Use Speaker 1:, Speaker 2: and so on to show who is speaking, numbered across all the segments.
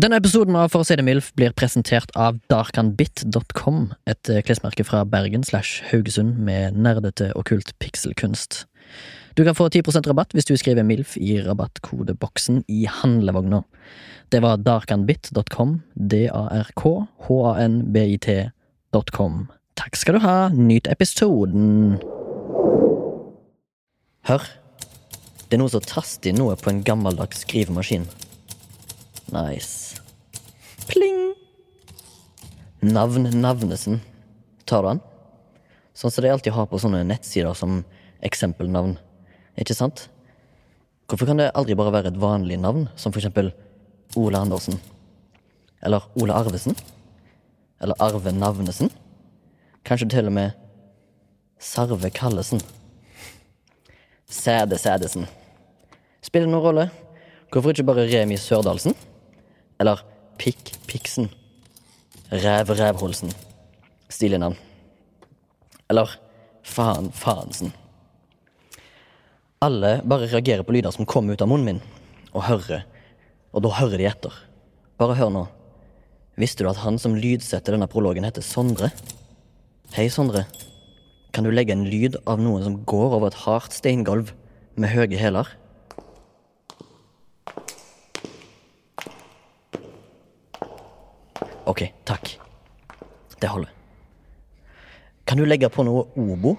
Speaker 1: Denne episoden av For å si det mildt blir presentert av darkanbit.com, et eh, klesmerke fra Bergen slash Haugesund med nerdete okkult pikselkunst. Du kan få 10 rabatt hvis du skriver MILF i rabattkodeboksen i handlevogna. Det var darkanbit.com, d-a-r-k-h-a-n-b-i-t.com. Takk skal du ha, nyt episoden! Hør, det er noe som taster inn noe på en gammeldags skrivemaskin. Nice. Pling! Navn Navnesen. Tar du den? Sånn som de alltid har på sånne nettsider som eksempelnavn. Ikke sant? Hvorfor kan det aldri bare være et vanlig navn, som for eksempel Ole Andersen? Eller Ole Arvesen? Eller Arve Navnesen? Kanskje til og med Sarve Kallesen? Sæde Sædesen. Spiller det noen rolle? Hvorfor ikke bare Remi Sørdalsen? Eller Pikk Piksen? Ræv Rævholsen. Stilig navn. Eller Faen Faensen. Alle bare reagerer på lyder som kommer ut av munnen min, og hører. Og da hører de etter. Bare hør nå. Visste du at han som lydsetter denne prologen, heter Sondre? Hei, Sondre. Kan du legge en lyd av noe som går over et hardt steingulv med høye hæler? Ok, takk. Det holder. Kan du legge på noe obo?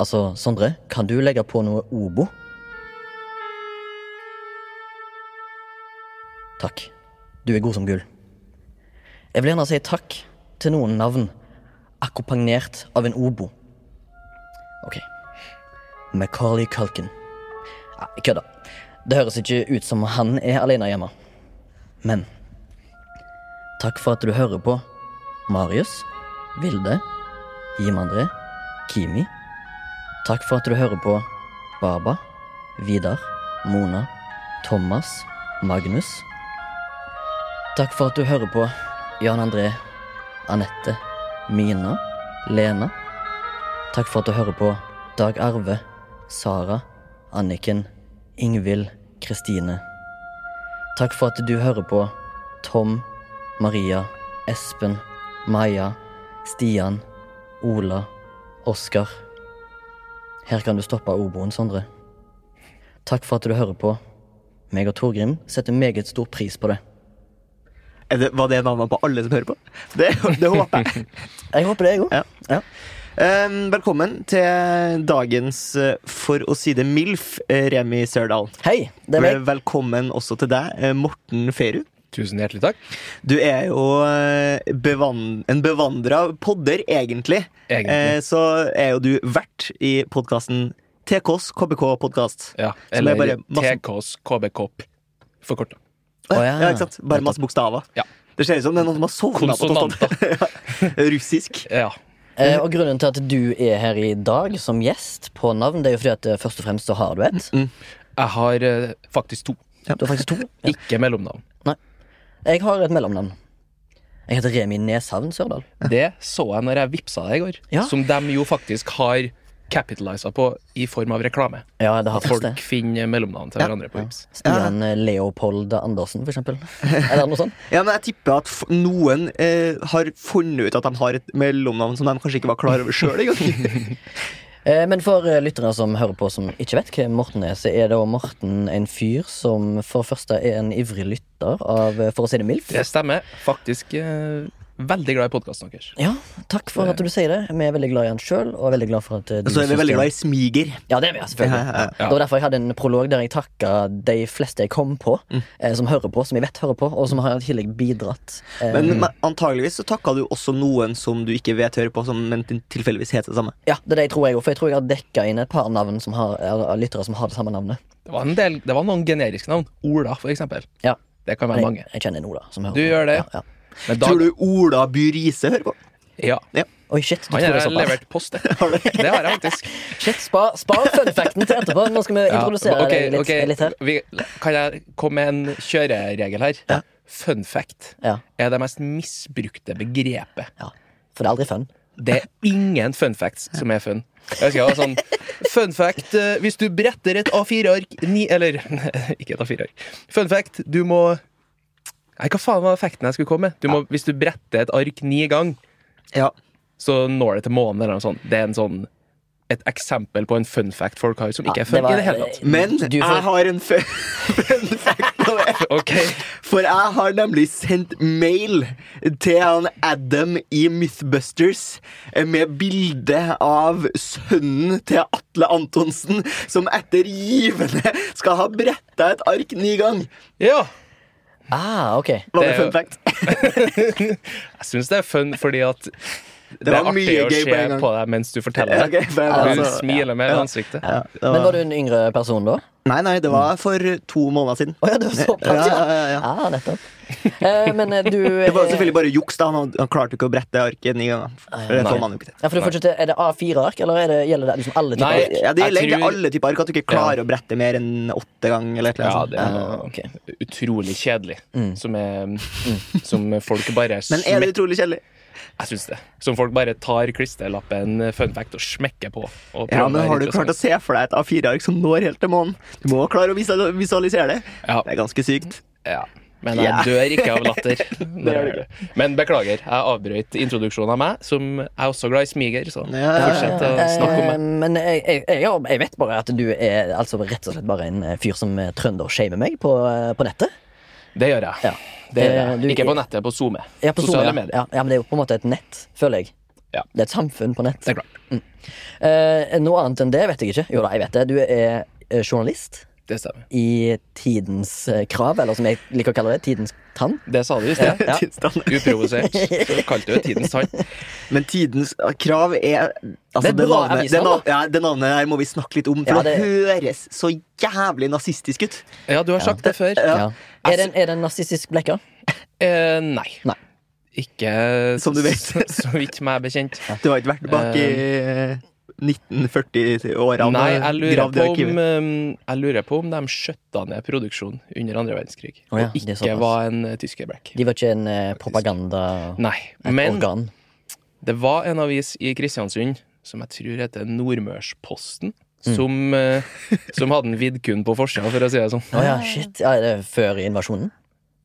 Speaker 1: Altså, Sondre, kan du legge på noe obo? Takk. Du er god som gull. Jeg vil gjerne si takk til noen navn, akkompagnert av en obo. Ok. Macaulay Culkin. Nei, jeg kødda. Det høres ikke ut som han er alene hjemme. Men Takk for at du hører på. Marius, Vilde, Jim André, Kimi. Takk for at du hører på Baba, Vidar, Mona, Thomas, Magnus. Takk for at du hører på Jan André, Anette, Mina, Lena. Takk for at du hører på Dag Arve, Sara, Anniken, Ingvild, Kristine. Takk for at du hører på Tom, Maria, Espen, Maja, Stian, Ola, Oskar. Her kan du stoppe oboen, Sondre. Takk for at du hører på. Meg og Torgrim setter meget stor pris på det.
Speaker 2: Er det, var det navnet på alle som hører på? Det, det håper jeg.
Speaker 1: Jeg håper det, jeg òg.
Speaker 2: Ja. Ehm, velkommen til dagens, eh, for å si det MILF, eh, Remi Sørdal. Eh,
Speaker 1: Hei, det er meg.
Speaker 2: Velkommen også til deg, eh, Morten Ferud.
Speaker 3: Tusen hjertelig takk.
Speaker 2: Du er jo eh, bevan en bevandra podder, egentlig.
Speaker 3: Egentlig.
Speaker 2: Eh, så er jo du vert i podkasten TKs KBK-podkast.
Speaker 3: Ja,
Speaker 2: er
Speaker 3: eller
Speaker 2: bare masse-
Speaker 3: TKs KBK-p. Forkorta.
Speaker 1: Å, ja.
Speaker 2: Eh, ikke sant? Bare masse bokstaver.
Speaker 3: Ja.
Speaker 2: Det ser ut som det er noen som har sovna på
Speaker 3: Konsonanter.
Speaker 2: tostatet. Russisk.
Speaker 3: Ja.
Speaker 1: Eh, og grunnen til at du er her i dag som gjest på navn, det er jo fordi at eh, først og fremst så har du et.
Speaker 3: Jeg har eh, faktisk to.
Speaker 1: Du har faktisk to. Mm, Ja.
Speaker 3: Ikke mellomnavn.
Speaker 1: Jeg har et mellomnavn. Jeg heter Remi Neshavn Sørdal.
Speaker 3: Det så jeg når jeg vippsa deg i går.
Speaker 1: Ja.
Speaker 3: Som de jo faktisk har capitalisa på i form av reklame.
Speaker 1: Ja, det har
Speaker 3: At
Speaker 1: faktisk det.
Speaker 3: folk finner mellomnavn til hverandre på Vipps.
Speaker 1: Stian eh, Leopold Andersen, for eksempel. Eller noe sånt.
Speaker 2: Ja, men jeg tipper at f noen eh, har funnet ut at de har et mellomnavn som de kanskje ikke var klar over sjøl engang.
Speaker 1: Eh, Men for eh, lyttere som hører på som ikke vet hvem Morten er, så er da Morten en fyr som for det første er en ivrig lytter av eh, For å si det mildt.
Speaker 3: Det stemmer. Faktisk eh, veldig glad i podkasten deres.
Speaker 1: Ja, takk for at du sier det. Vi er veldig glad i han sjøl, og veldig glad for at eh, du
Speaker 2: Og så er vi
Speaker 1: synes
Speaker 2: veldig
Speaker 1: det.
Speaker 2: glad i smiger.
Speaker 1: Ja, det er vi, ja, selvfølgelig.
Speaker 2: Ja, ja, ja.
Speaker 1: Det var derfor jeg hadde en prolog der jeg takka de fleste jeg kom på,
Speaker 2: Mm.
Speaker 1: eh, som hører på, som jeg vet hører på, og som har i tillegg bidratt. Eh,
Speaker 2: Men, men antageligvis så takka du også noen som du ikke vet hører på, som men til- tilfeldigvis heter det samme.
Speaker 1: ja, det er det jeg tror jeg òg, for jeg tror jeg har dekka inn et par navn som har, eller lyttere som har det samme navnet.
Speaker 3: Det var, en del, det var noen generiske navn. Ola, for eksempel.
Speaker 1: Ja.
Speaker 3: Det kan være
Speaker 1: Jeg,
Speaker 3: mange.
Speaker 1: jeg kjenner en Ola som hører
Speaker 3: Du
Speaker 1: på.
Speaker 3: gjør det?
Speaker 1: Ja, ja.
Speaker 3: Men
Speaker 2: Tror du Ola By Riise hører på?
Speaker 3: Ja.
Speaker 1: Oi, shit. Du
Speaker 3: Han
Speaker 1: tror det
Speaker 3: har
Speaker 1: såpass.
Speaker 3: levert post, det. Det har jeg faktisk.
Speaker 1: Shit, spar, spar funfacten til etterpå. Nå skal vi
Speaker 3: Ja,
Speaker 1: introdusere
Speaker 3: ok,
Speaker 1: deg litt,
Speaker 3: ok.
Speaker 1: litt her.
Speaker 3: Vi, kan jeg komme med en kjøreregel her? Fun fact
Speaker 1: Ja.
Speaker 3: er det mest misbrukte begrepet.
Speaker 1: Ja, for det er aldri fun.
Speaker 3: Det er ingen fun facts som er fun. Jeg husker jeg var sånn Fun fact eh, hvis du bretter et A4-ark ni Eller ikke et A4-ark. Fun fact du må Nei, hva faen var effekten jeg skulle komme med? Du må, Hvis du bretter et ark ni ganger,
Speaker 2: Ja.
Speaker 3: så når det til månen eller noe sånt. Det er en sånn, et eksempel på en fun fact folk har som ikke er fun
Speaker 1: det var- eh,
Speaker 3: i det hele tatt.
Speaker 2: Men
Speaker 1: Du får-
Speaker 2: jeg har en fun fun fact på det.
Speaker 3: Ok,
Speaker 2: For jeg har nemlig sendt mail til han Adam i Mythbusters med bilde av sønnen til Atle Antonsen, som etter givende skal ha bretta et ark ni ganger.
Speaker 3: ja
Speaker 1: Ah, ok.
Speaker 2: Var det,
Speaker 3: Det er jo-
Speaker 2: fun fact?
Speaker 3: Jeg syns det er fun fordi at det,
Speaker 2: var
Speaker 3: er artig
Speaker 2: mye
Speaker 3: å
Speaker 2: gøy på en
Speaker 3: se
Speaker 2: gang.
Speaker 3: på deg mens du forteller
Speaker 2: Ja,
Speaker 3: det.
Speaker 2: ok, for jeg var
Speaker 3: Du
Speaker 2: altså-
Speaker 3: smiler med
Speaker 2: ja, ja.
Speaker 3: ansiktet.
Speaker 2: Ja, det var-
Speaker 1: Men var du en yngre person da?
Speaker 2: Nei, nei, det var for to måneder siden.
Speaker 1: Å ja, det var såpass, ja.
Speaker 2: Ja, ja, ja, ja.
Speaker 1: Ah, nettopp. Eh, men eh, du
Speaker 2: Det var jo selvfølgelig bare juks, da. Han, han klarte ikke å brette arket ni ganger. For det
Speaker 3: Nei.
Speaker 2: får man jo ikke til.
Speaker 1: ja, for du fortsetter, Er det A4-ark, eller er det, gjelder det liksom alle typer
Speaker 3: Nei,
Speaker 1: ark?
Speaker 2: Ja, Det
Speaker 3: Jeg
Speaker 2: gjelder egentlig
Speaker 3: tror-
Speaker 2: alle typer ark, at du ikke klarer å brette mer enn åtte ganger. Eller et eller
Speaker 3: Ja,
Speaker 2: annet sånt.
Speaker 3: det er noe
Speaker 1: Ah, ok.
Speaker 3: utrolig kjedelig. Som, er, som folk bare
Speaker 2: Mm. Men er det
Speaker 3: smekker
Speaker 2: utrolig kjedelig?
Speaker 3: Jeg synes det. Som folk bare tar klisterlappen eh, fun fact og smekker på. Og prøver
Speaker 2: Ja,
Speaker 3: å sånn.
Speaker 2: men
Speaker 3: være
Speaker 2: Har du klart å se for deg et A4-ark som når helt til månen? Du må klare å visual- visualisere det.
Speaker 3: Ja.
Speaker 2: Det er ganske sykt.
Speaker 3: Ja. Men jeg
Speaker 2: Ja.
Speaker 3: dør ikke av latter.
Speaker 2: Det gjør du
Speaker 3: Nei. Men beklager, jeg avbrøt introduksjonen av meg, som jeg er også glad i smiger. Så
Speaker 2: Ja, ja,
Speaker 3: fortsett å snakke om
Speaker 1: Eh,
Speaker 3: meg.
Speaker 1: Men jeg, jeg, jeg, har- jeg vet bare at du er altså, rett og slett bare en eh, fyr som eh, trøndershamer meg på, eh, på nettet.
Speaker 3: Det gjør jeg.
Speaker 1: Ja.
Speaker 3: Det gjør
Speaker 1: Eh, du-
Speaker 3: jeg. Ikke på nettet, på SoMe.
Speaker 1: Ja, på Zoom,
Speaker 3: Sosiale
Speaker 1: ja.
Speaker 3: medier.
Speaker 1: Ja, ja, men det er jo på en måte et nett, føler jeg.
Speaker 3: Ja.
Speaker 1: Det er et samfunn på nett.
Speaker 3: Det er klart.
Speaker 1: Eh, noe annet enn det vet jeg ikke. Jo da, jeg vet det. Du er eh, journalist
Speaker 3: Det stemmer.
Speaker 1: i tidens eh, krav, eller som jeg liker å kalle det, tidens tann.
Speaker 3: Det sa du i sted.
Speaker 1: Ja.
Speaker 2: Tilstand.
Speaker 3: Uprovosert. Så Kalte du det tidens tann.
Speaker 2: Men tidens krav er altså,
Speaker 1: Det er
Speaker 2: Det
Speaker 1: bra
Speaker 2: navnet,
Speaker 1: aviser,
Speaker 2: det, nav- ja, det navnet her må vi snakke litt om, for
Speaker 1: Ja,
Speaker 2: det...
Speaker 1: det-
Speaker 2: høres så jævlig nazistisk ut.
Speaker 3: Ja, Altså- du har sagt det før.
Speaker 2: Ja.
Speaker 1: Er det en, er det en nazistisk blekker?
Speaker 3: Eh, nei.
Speaker 1: Nei.
Speaker 3: Ikke
Speaker 2: Som du vet.
Speaker 3: Så, så vidt meg bekjent.
Speaker 2: Du har ikke vært bak i eh, 1940-årene
Speaker 3: Nei, jeg
Speaker 2: og
Speaker 3: lurer,
Speaker 2: gravd i
Speaker 3: på om,
Speaker 2: arkivet?
Speaker 3: eh, jeg lurer på om de skjøtta ned produksjonen under andre verdenskrig.
Speaker 1: Å ja,
Speaker 3: og
Speaker 1: det er
Speaker 3: ikke
Speaker 1: såpass.
Speaker 3: var en eh, tyskerback.
Speaker 1: De var ikke en eh, propaganda...
Speaker 3: Nei.
Speaker 1: Et
Speaker 3: Men
Speaker 1: organ.
Speaker 3: det var en avis i Kristiansund som jeg tror heter Nordmørsposten,
Speaker 1: Mm.
Speaker 3: som, eh, som hadde en vidkun på forsida, for å si det sånn.
Speaker 1: Å ja, shit. Ja, er det før invasjonen?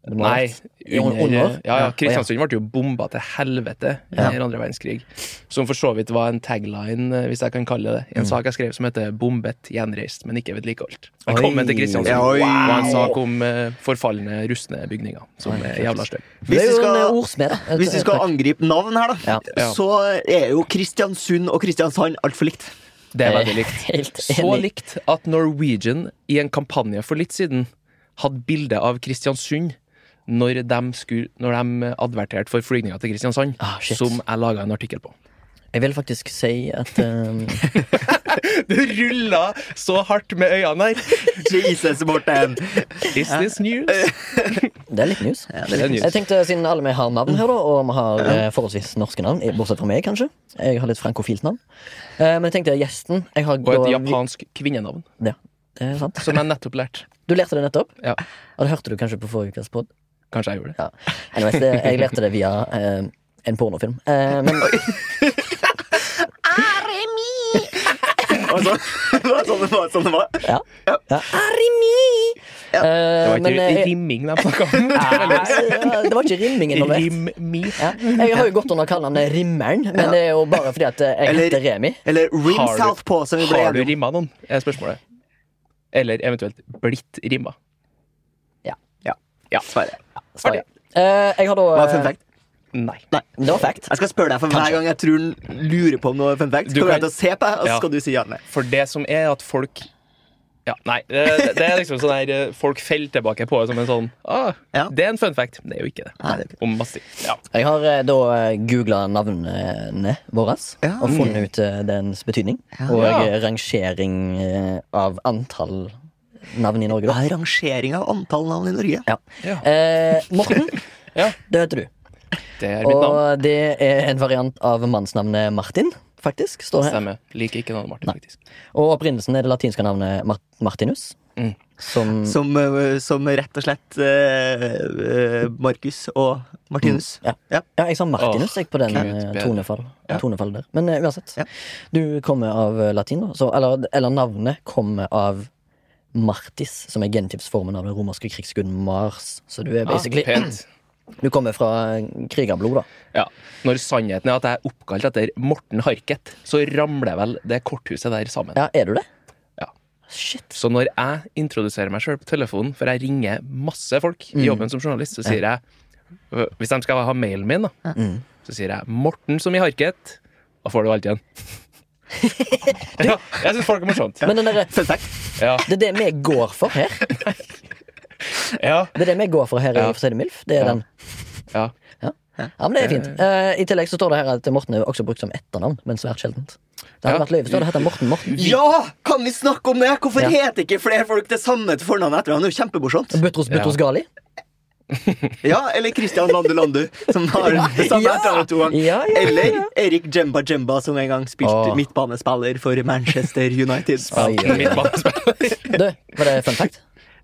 Speaker 1: Det må ha
Speaker 3: Nei,
Speaker 1: vært.
Speaker 3: under,
Speaker 1: under?
Speaker 3: Ja,
Speaker 1: Ja,
Speaker 3: ja,
Speaker 1: å,
Speaker 3: Kristiansund ble jo bomba til helvete under andre verdenskrig. Som for så vidt var en tagline, eh, hvis jeg kan kalle det. En
Speaker 1: Mm.
Speaker 3: sak jeg skrev som heter 'Bombet, gjenreist, men ikke vedlikeholdt'. Velkommen til Kristiansund.
Speaker 2: Ja, oi.
Speaker 3: Det var en sak om eh, forfalne, rustne bygninger. Som er jævla støy.
Speaker 1: Det er
Speaker 2: Hvis du
Speaker 1: jo en
Speaker 2: skal-
Speaker 1: eh, ordsmed, da.
Speaker 2: Hvis vi skal
Speaker 1: Takk.
Speaker 2: angripe navn her, da,
Speaker 1: Ja.
Speaker 3: Ja.
Speaker 2: så er jo Kristiansund og Kristiansand altfor likt.
Speaker 3: Det er
Speaker 1: Jeg er
Speaker 3: veldig likt.
Speaker 1: helt
Speaker 3: Så
Speaker 1: enig.
Speaker 3: likt at Norwegian i en kampanje for litt siden hadde bilde av Kristiansund når de, skulle, når de adverterte for flygninger til Kristiansand,
Speaker 1: Ah, shit.
Speaker 3: som jeg laga en artikkel på.
Speaker 1: Jeg vil faktisk si at eh,
Speaker 3: Du rulla så hardt med øynene her.
Speaker 2: Jesus, Morten!
Speaker 3: Is this news?
Speaker 1: Det er litt news.
Speaker 3: det er news.
Speaker 1: Jeg tenkte Siden alle vi har navn her, da, og vi har eh, forholdsvis norske navn, eh, bortsett fra meg, kanskje Jeg har litt frankofilt navn. Eh, men jeg tenkte gjesten jeg har
Speaker 3: Og et
Speaker 1: da-
Speaker 3: japansk kvinnenavn,
Speaker 1: Ja, det er sant.
Speaker 3: som jeg nettopp lærte.
Speaker 1: Du lærte det nettopp?
Speaker 3: Ja.
Speaker 1: Og det hørte du kanskje på forrige ukas pod?
Speaker 3: Kanskje jeg gjorde det.
Speaker 1: Ja. Anyways, det, jeg lærte det via eh, en pornofilm. Eh, men
Speaker 2: Og så- altså, Det var sånn det var. Sånn det var.
Speaker 1: ja. ja. Arimi!
Speaker 3: Det
Speaker 1: Eh,
Speaker 3: var
Speaker 1: men,
Speaker 3: ikke
Speaker 1: eh,
Speaker 3: rimming de snakka om. Det er veldig-
Speaker 1: eh, det var ikke rimming involvert.
Speaker 3: Rim-mi.
Speaker 1: Ja. Jeg har jo gått under kallenavnet Rimmeren, men det er jo bare fordi at eh, jeg
Speaker 2: Eller-
Speaker 1: heter Remi.
Speaker 2: Eller Rim
Speaker 3: Har du-
Speaker 2: Southpaw, som vi ble
Speaker 3: Har du
Speaker 2: enige om.
Speaker 3: rimma noen, er spørsmålet. Eller eventuelt blitt rimma.
Speaker 2: Ja, Sverre.
Speaker 1: Sorry. Eh, jeg har da
Speaker 2: Hva er fun
Speaker 1: eh,
Speaker 2: fact?
Speaker 3: Nei.
Speaker 1: Det var fact.
Speaker 2: Jeg skal spørre deg for hver gang jeg tror han lurer på om noe er fun fact.
Speaker 3: Du
Speaker 2: Kommer jeg
Speaker 3: kan-
Speaker 2: til å se på deg, og så
Speaker 3: Ja.
Speaker 2: skal du si ja eller nei.
Speaker 3: For det som er at folk ja, Nei. Det, det er liksom sånn her eh, Folk faller tilbake på det som en sånn ah,
Speaker 2: Ja.
Speaker 3: Det er en fun fact. Det er jo ikke det.
Speaker 2: Nei, det er ikke
Speaker 3: Om masse ting. Ja.
Speaker 1: Jeg har eh, da googla navnene våre
Speaker 2: Ja.
Speaker 1: og funnet ut eh, dens betydning. Og eh, rangering eh, av antall navn i Norge,
Speaker 2: Hva
Speaker 1: da.
Speaker 2: er rangering av antall navn i Norge?
Speaker 1: Ja.
Speaker 3: Ja.
Speaker 1: Eh, Morten,
Speaker 3: Ja.
Speaker 1: det heter du.
Speaker 3: Det er mitt navn.
Speaker 1: Og det er en variant av mannsnavnet Martin, faktisk. står her
Speaker 3: Stemmer. Liker ikke navnet Martin, faktisk.
Speaker 1: Og opprinnelsen er det latinske navnet Mart Martinus.
Speaker 3: Mm.
Speaker 1: Som
Speaker 2: Som, eh, som rett og slett eh, eh, Markus og Martinus.
Speaker 3: Mm.
Speaker 1: Ja.
Speaker 2: Ja.
Speaker 1: Ja, jeg sa Martinus jeg, på den
Speaker 3: Gud,
Speaker 1: eh,
Speaker 3: bedre.
Speaker 1: tonefall,
Speaker 2: Ja.
Speaker 1: tonefall der. Men eh, uansett.
Speaker 2: Ja.
Speaker 1: Du kommer av eh, latin, da. Så, eller, eller navnet kommer av Martis, som er gentipsformen av den romerske krigsguden Mars. Så du er
Speaker 3: Ah,
Speaker 1: basically
Speaker 3: pent.
Speaker 1: Du kommer fra eh, krigerblod, da.
Speaker 3: Ja. Når sannheten er at jeg er oppkalt etter Morten Harket, så ramler vel det korthuset der sammen.
Speaker 1: Ja, er du det?
Speaker 3: Ja.
Speaker 1: Shit.
Speaker 3: Så når jeg introduserer meg sjøl på telefonen, for jeg ringer masse folk
Speaker 1: Mm.
Speaker 3: i jobben som journalist, så sier jeg øh, Hvis de skal ha mailen min, da,
Speaker 1: Mm.
Speaker 3: så sier jeg 'Morten som i Harket'. Da får du alt igjen. ja, jeg syns folk er morsomt.
Speaker 1: Men den derre
Speaker 2: Fun fact.
Speaker 3: Ja.
Speaker 1: Det er det vi går for her.
Speaker 3: Ja.
Speaker 1: Det er det vi går for her i
Speaker 3: Ja.
Speaker 1: Forsøyde Milf. Det er
Speaker 3: Ja.
Speaker 1: den.
Speaker 3: ja.
Speaker 1: Ja. ja, men det er fint. Eh, I tillegg så står det her at Morten er også brukt som etternavn, men svært sjeldent. Det hadde
Speaker 3: Ja.
Speaker 1: vært løye hvis du hadde hett Morten Morten.
Speaker 2: Ja! Kan vi snakke om det? Hvorfor
Speaker 1: Ja.
Speaker 2: heter ikke flere folk det samme til fornavn etter han? Det er jo kjempemorsomt.
Speaker 1: Butros Butros Gali.
Speaker 2: Ja, eller Christian Landu Landu, som har det samme
Speaker 1: Ja!
Speaker 2: etternavnet to ganger.
Speaker 1: Ja, ja, ja.
Speaker 2: Eller Erik Djemba Djemba, som en gang spilte
Speaker 1: Åh.
Speaker 2: midtbanespiller for Manchester United.
Speaker 1: Oi, oi, oi. Du, var det fun fact?